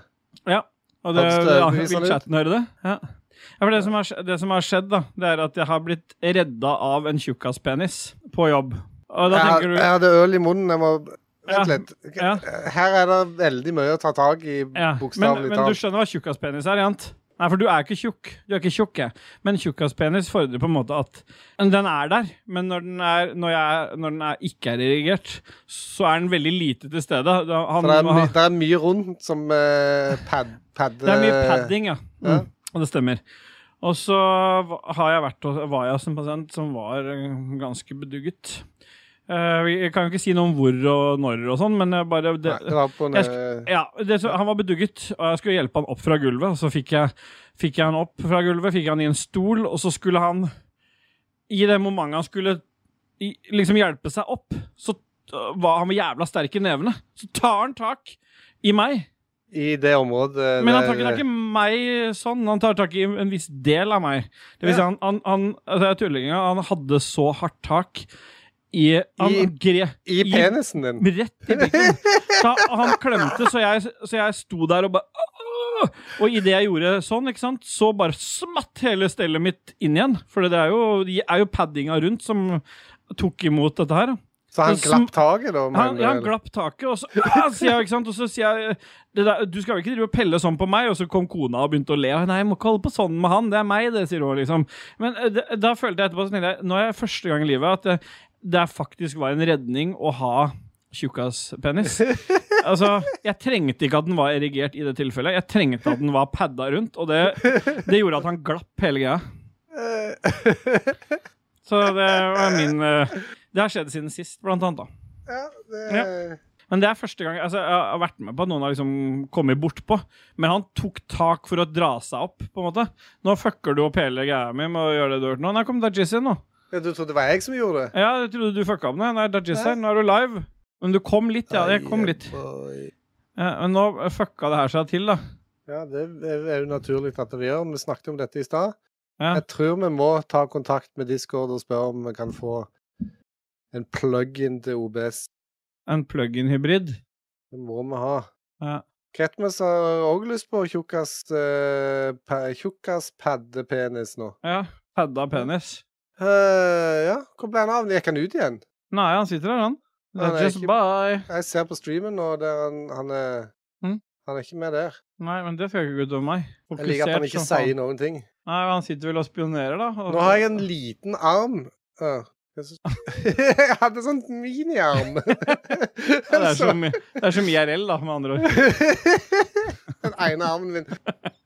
Ja.
eh,
Og det,
Høres det
ja,
overbevisende
vil
ut?
chatten høre det? Ja. ja for det som, har, skj- det som har skjedd, da, det er at jeg har blitt redda av en tjukkaspenis på jobb. Og da
Jeg, har-
tenker du
jeg hadde øl i munnen. Jeg må
Ja,
Vent litt. Her er det veldig mye å ta tak i,
Ja, men,
bokstavelig
men du
talt.
skjønner hva tjukkaspenis er, Jant? Nei, for du er ikke tjukk. Du er ikke tjukk, jeg. Men tjukkaspenis fordrer på en måte at den er der, men når den, er, når jeg, når den er, ikke er irrigert, så er den veldig lite til stede. Da- Han,
For det er, my,
han-
det er mye rundt som eh, pad, pad...
det er mye
eh,
padding, ja. Mm, og det stemmer. Og så va- har jeg vært, hos- var jeg hos en pasient som var eh, ganske bedugget. Eh, vi- jeg kan jo ikke si noe om hvor og når og sånn, men jeg bare det,
Nei, det var på en, eh,
jeg sk- ja, det, så, Han var bedugget, og jeg skulle hjelpe han opp fra gulvet. Og så fikk jeg, fikk jeg han opp fra gulvet, fikk jeg han i en stol, og så skulle han I det momentet han skulle i, liksom hjelpe seg opp, så t- var han var jævla sterk i nevene. Så tar han tak i meg.
I det området
Men han
der-
tar ikke tak i meg sånn, han tar tak i en viss del av meg. Det vil si, han, han, han altså, jeg tuller ikke, han hadde så hardt tak i han,
I-
gre,
i penisen din.
Rett i pikken. Så han, han klemte, så jeg, så jeg sto der og bare «Åh!» Og idet jeg gjorde sånn, ikke sant, så bare smatt hele stellet mitt inn igjen. For det er jo, det er jo paddinga rundt som tok imot dette her.
Så han
sm-
glapp taket, da?
han,
mener
ja, han
du, eller?
glapp taket, og så, ah, sier jeg, ikke sant? Og så sier jeg det der, Du skal jo ikke drive og pelle sånn på meg, og så kom kona og begynte å le. Nei, jeg må ikke holde på sånn med han, det er meg, det, sier hun liksom. Men eh, det, da følte jeg etterpå så tenkte jeg, Nå er jeg første gang i livet at det, det faktisk var en redning å ha tjukkaspenis. Altså, jeg trengte ikke at den var erigert i det tilfellet. Jeg trengte at den var padda rundt, og det, det gjorde at han glapp hele greia. eh, Så det var min eh, Det har skjedd siden sist, blant annet, da.
Ja, det,
Ja. Men det er første gang altså, jeg har vært med på at noen har liksom kommet bortpå. Men han tok tak for å dra seg opp, på en måte. Nå fucker du opp hele greia mi med å gjøre det du har gjort nå. Nei, kom Dajis inn nå.
Ja, du trodde det var jeg som gjorde det?
Ja, jeg trodde du fucka opp nå. Nei, Dajis her, nå er du live. Men du kom litt, ja. Jeg kom litt. Ja, men nå fucka det her seg til, da.
Ja, det er jo naturlig at vi gjør. Vi snakket om dette i stad. Jeg tror vi må ta kontakt med Discord og spørre om vi kan få en plug-in til OBS.
En plug-in-hybrid.
Det må vi ha.
Ja.
Ketmus har òg lyst på tjukkas eh, pa- tjukkas paddepenis nå.
Ja. Padda penis.
Eh, ja, hvor ble han av? Gikk han ut igjen?
Nei, han sitter der, han.
Han er
Dajis,
ikke-
bye.
Jeg ser på streamen nå, der han, han er
Mm.
Han er ikke med der.
Nei, men det skal ikke gå utover meg.
Jeg liker at han ikke
Fokusert som
sier
faen.
noen ting.
Nei, men han sitter vel og spionerer, da. og-
Nå har jeg en liten arm. Ja. Jeg synes- Jeg hadde sånn miniarm.
Ja, det, er sånn. som, det er som IRL, da, med andre ord.
Den ene armen min.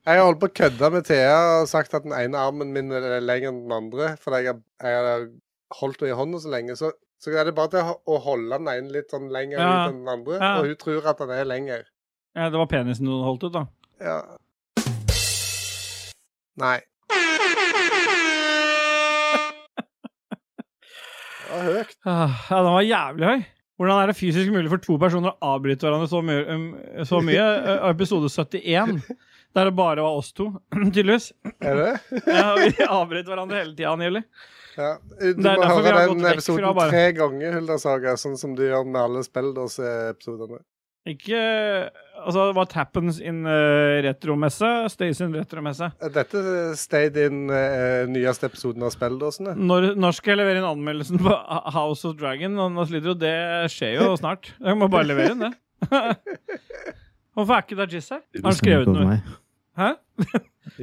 Jeg har holdt på å kødde med Thea og sagt at den ene armen min er lenger enn den andre, fordi jeg, har- jeg har holdt henne i hånda så lenge. Så, så er det bare til å- å holde den ene litt sånn lenger
Ja.
ut enn den andre,
Ja.
og hun tror at den er lenger.
Ja, det var penisen du holdt ut, da.
Ja. Nei. Det var høyt.
Ah, Ja, den var jævlig høy. Hvordan er det fysisk mulig for to personer å avbryte hverandre så, mye- um, så mye? Eh, Episode 71, der det bare var oss to, tydeligvis.
Er det?
Ja, vi avbrøt hverandre hele tida, angivelig.
Ja.
Det
Du
er
må
derfor vi har
høre
gått
den
vekk fra
episoden
bare-
tre ganger, Hulda Saga, sånn som du gjør med alle spilledåseepisodene.
Ikke Altså, what happens in eh, retromesse? Stays in retromesse.
Dette stayed in eh, nyeste episoden av spilledåsene.
Når, når skal jeg levere inn anmeldelsen på Ha- House of Dragon? Og nå sliter jo, det skjer jo snart. Jeg må bare levere inn det. Hvorfor er ikke Dajis her? Har han skrevet noe? Hæ?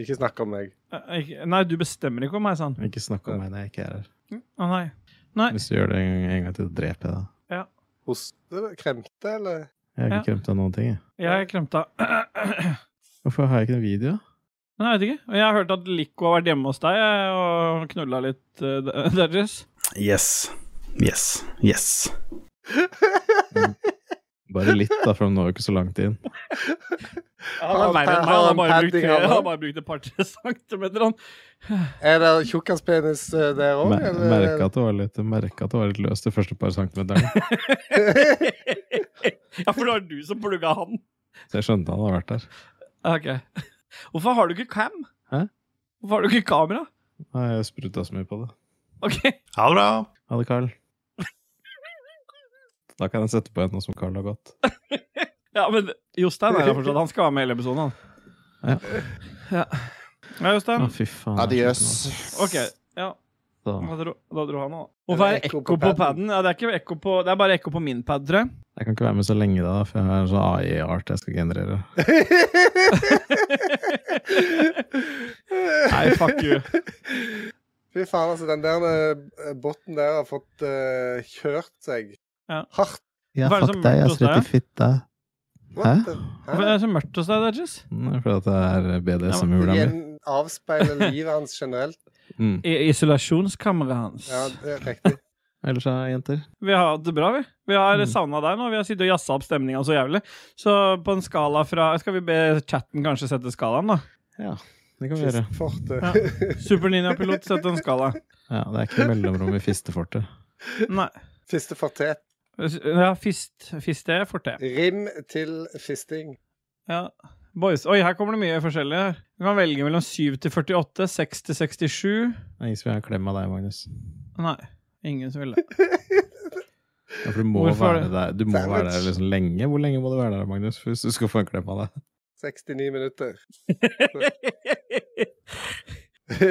Ikke snakk om meg.
Eh, ikke- Nei, du bestemmer ikke om meg, sa han.
Ikke snakk om meg når jeg ikke er her.
Å nei. Nei.
Hvis du gjør det en gang, en gang til, dreper jeg deg.
Ja.
Hoste, kremte, eller?
Jeg har
Ja.
ikke kremt av noen ting. jeg.
Jeg kremta.
Hvorfor har jeg ikke noen video?
Nei, jeg vet ikke. Og Jeg har hørt at Lico har vært hjemme hos deg jeg, og knulla litt, eh, Da- Dajis.
Yes. Yes. Yes.
Bare litt, da, for han når jo ikke så langt inn.
Han er verre enn meg. Han har bare brukt, han har bare brukt et par centimeter, han.
Er det tjukkaspenis eh, der òg,
Mer- Merka at det var litt, merket at det var litt løst de første par centimeterne.
Ja, for det var du som plugga han.
Så jeg skjønte han hadde vært der.
Ah, Ok. Hvorfor har du ikke cam?
Hæ?
Hvorfor har du ikke kamera?
Nei, jeg spruta så mye på det.
Ok.
Ha det bra.
Ha det, Carl. Da kan jeg sette på en nå som Carl har gått.
Ja, men Jostein er her fortsatt. Han skal være med i hele episoden, han.
Ja.
Ja, ja Jostein.
Å, fy faen.
Adiøs.
OK. Ja,
Da.
da dro, da dro han òg. Hvorfor er det ekko på paden? Ja, det, er ikke ekko på, det er bare ekko på min pad, tror jeg.
Jeg kan ikke være med så lenge da, for jeg har en sånn AI-art jeg skal generere.
Nei, fuck you.
Fy faen, altså. Den der eh, botten der har fått eh, kjørt seg
Ja.
hardt.
Ja,
Hva er det
fuck
som
deg, jeg
mørkt hos
er
deg?
i fitta. Hæ?
What the-
Hvorfor er det så mørkt hos deg, Dajis?
Nei, Fordi at Mm, det er BDSM i hula mi.
Igjen avspeiler livet hans generelt.
Mm.
I isolasjonskammeret hans.
Ja, det er riktig.
Ellers, ja, jenter.
Vi har hatt det bra, vi. Vi har
Mm.
savnet savna deg nå. Vi har sittet og jazza opp stemninga så jævlig. Så på en skala fra Skal vi be chatten kanskje sette skalaen, da?
Ja, det kan vi gjøre.
Kystfortet.
Ja. Superninja-pilot, sett en skala.
Ja, Det er ikke noe mellomrom i fistefortet.
Nei.
Fiste fortet.
Ja, fist, fiste forte.
Rim til fisting.
Ja. Boys. Oi, her kommer det mye forskjellig. her. Du kan velge mellom 7 til 48, 6 til 67
Det er ingen som vil ha en klem av deg, Magnus.
Nei, ingen som vil det.
Ja, for du må
Hvorfor
være
det?
der, du må
Sandwich.
være der liksom lenge. Hvor lenge må du være der, Magnus, hvis du skal få en klem av deg?
69 minutter.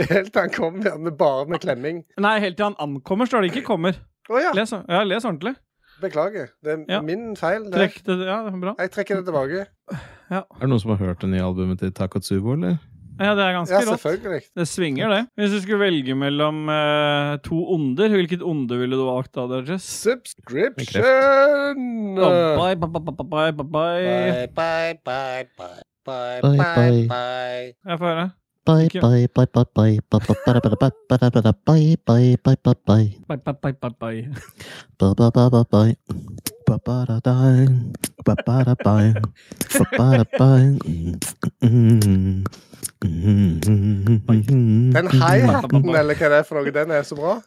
Helt til han kom igjen med bare med klemming.
Nei, helt til han ankommer, står det ikke 'kommer'.
Å ja,
Les, ja, les ordentlig.
beklager. Det er
Ja.
min feil. Det.
Trekk det Ja, det er bra.
Jeg trekker det tilbake.
Er det noen som har hørt det nye albumet til Takotsubo, eller?
Ja, det er ganske
Ja,
rått.
selvfølgelig.
Det svinger, det. Hvis du skulle velge mellom eh, to onder, hvilket onde ville du valgt da, Dodges?
Subscription!
Bye, bye, bye, bye, eh. bye, bye.
Bye, bye, bye, bye,
Bye, bye.
bye.
Jeg får høre.
Bye,
Ikke-
bye, bye, bye, bye, bye, bye, bye, bye, bye, bye, bye, bye, bye, bye, bye, bye.
Bye, bye, bye, bye, bye.
Ba, ba, ba, ba, bye. Ba, ba, da, da. Ba, ba, da, bye. Ba, ba, da, bye. Mm. Mm.
Den high-hatten, eller hva det er for noe, den er så bra.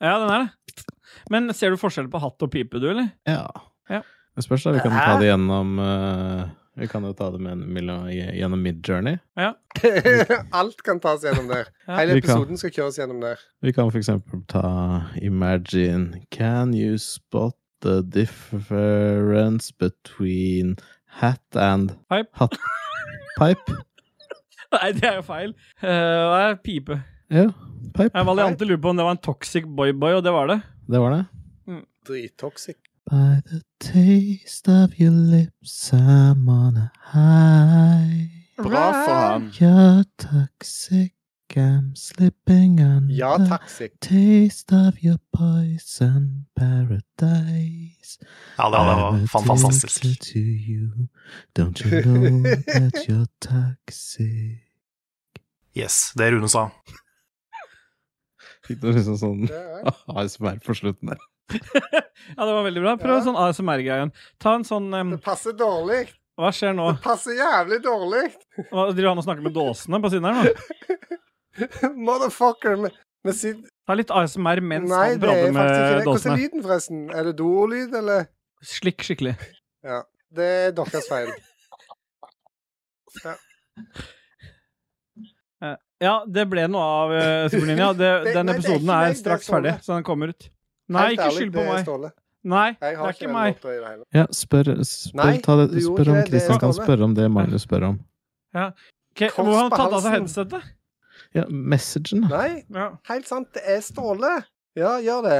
Ja, den er det. Men ser du forskjell på hatt og pipe, du, eller?
Ja.
Ja.
Det spørs, da. Vi kan jo ta det gjennom eh, Vi kan jo ta det med, mellom- gjennom Midjourney.
Alt kan tas gjennom der. Hele
Vi kan.
episoden skal kjøres gjennom der.
Vi kan for eksempel ta Imagine Can you spot the difference between hat and
Pipe.
Hat. Pipe.
Nei, det er jo feil. Eh, Hva er pipe?
Ja, pipe.
Jeg var alltid lurt på om det var en toxic boy-boy, og det var det.
Det var det.
Drittoxic.
By the taste of your lips, I'm on a high.
Bra for han.
You're toxic, I'm slipping on
Ja,
the
toxic.
taste of your poison paradise.
Ja, det var
I'm
fantastisk.
addicted to you. Don't you know that you're toxic?
Yes, det Rune sa.
Fikk du liksom sånn
Ja.
ASMR på slutten der?
Ja, det var veldig bra. Prøv sånn ASMR-greien. Ta en sånn em,
Det passer dårlig.
Hva skjer nå?
Det passer jævlig dårlig.
Hva, driver han og snakker med dåsene på siden her nå?
Motherfucker. Med, med sin...
Ta litt ASMR mens
Nei,
han
det er
prater
faktisk ikke
med
det. Hvordan er
dåsene.
lyden, forresten? Er det dolyd, eller?
Slikk skikkelig.
Ja. Det er deres feil. Ja.
Eh, Ja, det ble noe av eh, Superlinja. Det, den
Det- nei, det er
episoden
ikke meg,
er,
det er
straks
Ståle.
ferdig, så den kommer ut. Nei,
Helt
ikke
ærlig,
skyld
det
på
er
meg.
Ståle.
Nei, det
Jeg har
er
ikke
ikke
den
meg.
låta i det hele.
Ja, spør, spør,
Nei,
ta det,
du gjorde
spør
ikke det,
om
det
Christian kan
stemmer.
spørre om det Magnus spør om.
Ja. Ok, Hvor har han tatt av seg
Kors på
headsetet?
Ja, messagen, da.
Nei,
Ja.
helt sant. Det er Ståle. Ja, gjør det.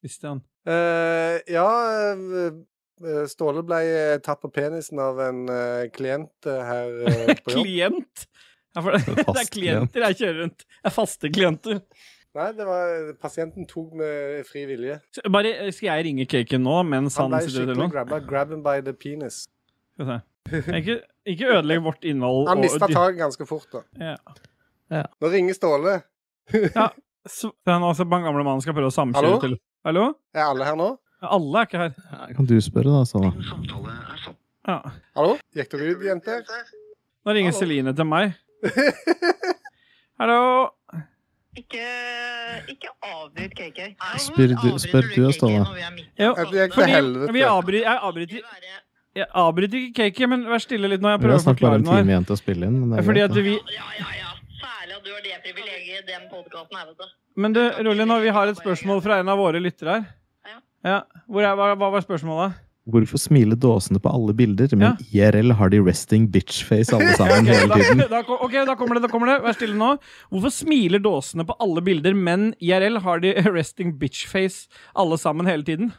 Christian.
Eh, ja, eh, Ståle ble eh, tatt på penisen av en eh, klient eh, her eh, på jobb.
Klient? Ja, for det, det er
fast klient.
klienter jeg kjører rundt. Det er faste klienter.
Nei, det var pasienten tok med fri vilje.
Så Bare, eh, skal jeg ringe Kaken nå mens
Han
han,
ble
sitter og
skikkelig
teller?
grabba. Grab him by the penis.
Skal vi se. Ikke, ikke ødelegg vårt innhold.
Han
og-
mista taket ganske fort, da.
Ja.
Nå ringer Ståle.
Så Den altså, den gamle mannen skal prøve å samkjøre
Hallo?
til Hallo?
Er alle her nå?
Alle er ikke her.
Kan du spørre, da, Sanna?
Ja.
Hallo? Gikk dere ut, jenter?
Nå ringer Celine til meg. Hallo?
Spør du, spør du oss, Ståle?
Jo,
Ja, det gikk til helvete.
fordi vi avbryter Jeg avbryter jeg avbryter ikke Kake, men vær stille litt nå. Jeg
Vi har
prøver å
snart bare
forklare
en
noe.
time
her.
igjen til å spille inn. Men det er
Fordi at
greit,
vi
Særlig at du har det privilegiet den podkasten her, vet du.
Men du, rolig nå. Vi har et spørsmål fra en av våre lyttere her. Ja. Hvor er, hva, hva var spørsmålet?
da. Hvorfor smiler dåsene på alle bilder, men IRL har de resting bitch-face alle sammen
Ok,
hele
da,
tiden?
da, kom- ok, da kommer det. da kommer det Vær stille nå. Hvorfor smiler dåsene på alle bilder, men IRL har de resting bitch-face alle sammen hele tiden?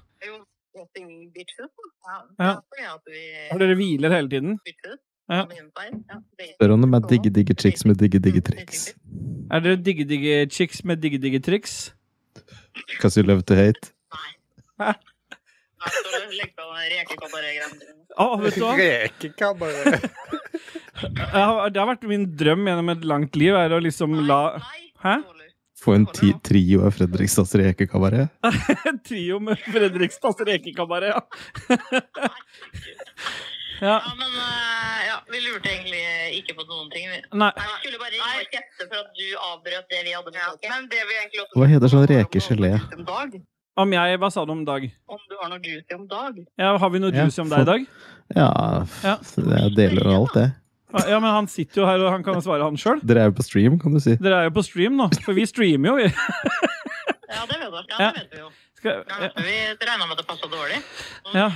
Ja. Har dere hviler hele tiden? Ja.
Spør om de er digge-digge chicks med digge-digge triks.
Er dere digge-digge-chicks med digge-digge-triks?
Cause you love to hate.
Å, vet du hva?
Rekekammeret.
Jeg har- Det har vært min drøm gjennom et langt liv, er å liksom la Hæ?
Få en ti trio av Fredrikstads rekekabaret.
En trio med Fredrikstads rekekabaret, ja. ja.
Eh, ja, vi lurte egentlig ikke på noen ting. Vi
Nei.
Vi skulle bare ringe og kjefte for at du avbrøt det vi hadde med saken. men det vi egentlig
Hva heter sånn rekegelé?
om dag,
Om jeg, Hva sa du om Dag?
om du har noe juicy om dag.
Ja, har vi noe
Ja,
juice om deg i dag?
Ja, f- jeg deler jo alt, det.
Ja, men han sitter jo her, og han kan jo svare han sjøl.
Dere er jo på stream, kan du si.
Dere er jo på stream nå, for vi streamer jo. vi.
Ja, det vet du. Ja,
Ja.
det vet vi jo.
Skal,
Ja, vi regna med at det passa dårlig.
ja.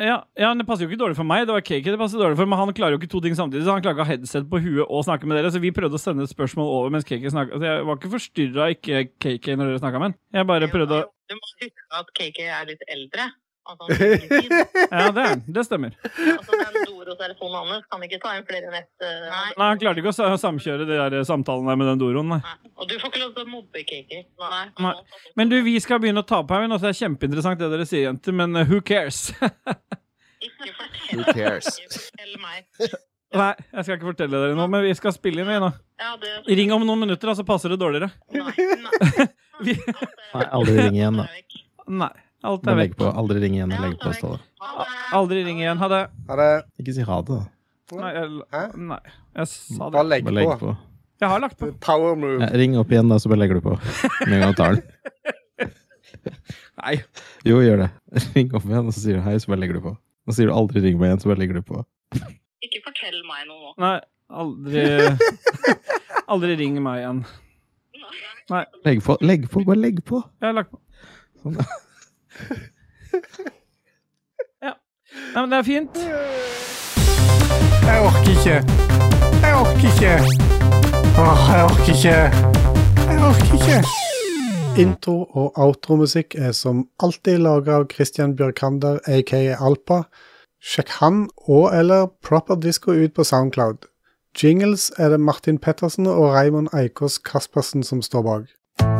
Ja, ja, men Det passer jo ikke dårlig for meg, Det var cake det passer dårlig for men han klarer jo ikke to ting samtidig. Så han klarer ikke å ha headset på huet og snakke med dere. Så vi prøvde å sende et spørsmål over mens Cake snakka. Så jeg var ikke forstyrra ikke Cake når dere snakka med han. Jeg bare prøvde å
Du må huske at KK er litt eldre. Altså,
Ja, det er han. Det stemmer.
altså den Doro-telefonen hans kan ikke ta inn flere enn ett. eh,
Nei, Han klarte ikke å sa- samkjøre de der eh, samtalene der med den doroen, nei.
Og du får ikke lov til å mobbe KK. Nei.
nei. Men du, vi skal begynne å ta på her, nå, så det er kjempeinteressant det dere sier, jenter, men eh, who cares?
Ikke fortell
Who cares?
Fortell meg
Nei, jeg skal ikke fortelle dere noe, men vi skal spille inn, vi nå.
Ja, det-
Ring om noen minutter, da, så passer det dårligere. Vi-
Nei, aldri ring igjen, da.
Nei. Alt er
Bare
vekk.
legg på. Aldri ring igjen. Legg på Ståle.
Aldri ring igjen. Ha det.
Ikke si ha det, da.
Nei, jeg, nei, jeg sa det.
Bare legg
Bare legg
på.
på.
Jeg har lagt på.
Power move.
Ja, Eh, ring opp igjen, da, så bare legger du på. Med en gang du tar den.
Nei.
Jo, gjør det. Ring opp igjen, og så sier du hei, så bare legger du på. Og så sier du aldri ring meg igjen, så bare legger du på.
Ikke fortell meg noe nå.
Nei, aldri Aldri ring meg igjen. Nei.
Legg på, legg på, bare legg på.
Jeg har lagt på.
Sånn.
Nei, men det er fint.
Jeg orker ikke. Jeg orker ikke. Åh, jeg orker ikke. Jeg orker ikke. Intro- og outromusikk er som alltid laga av Christian Bjørkander, aka Alpa. Sjekk han og eller Proper Disco ut på Soundcloud. Jingles er det Martin Pettersen og Raymond Eikås Kaspersen som står bak.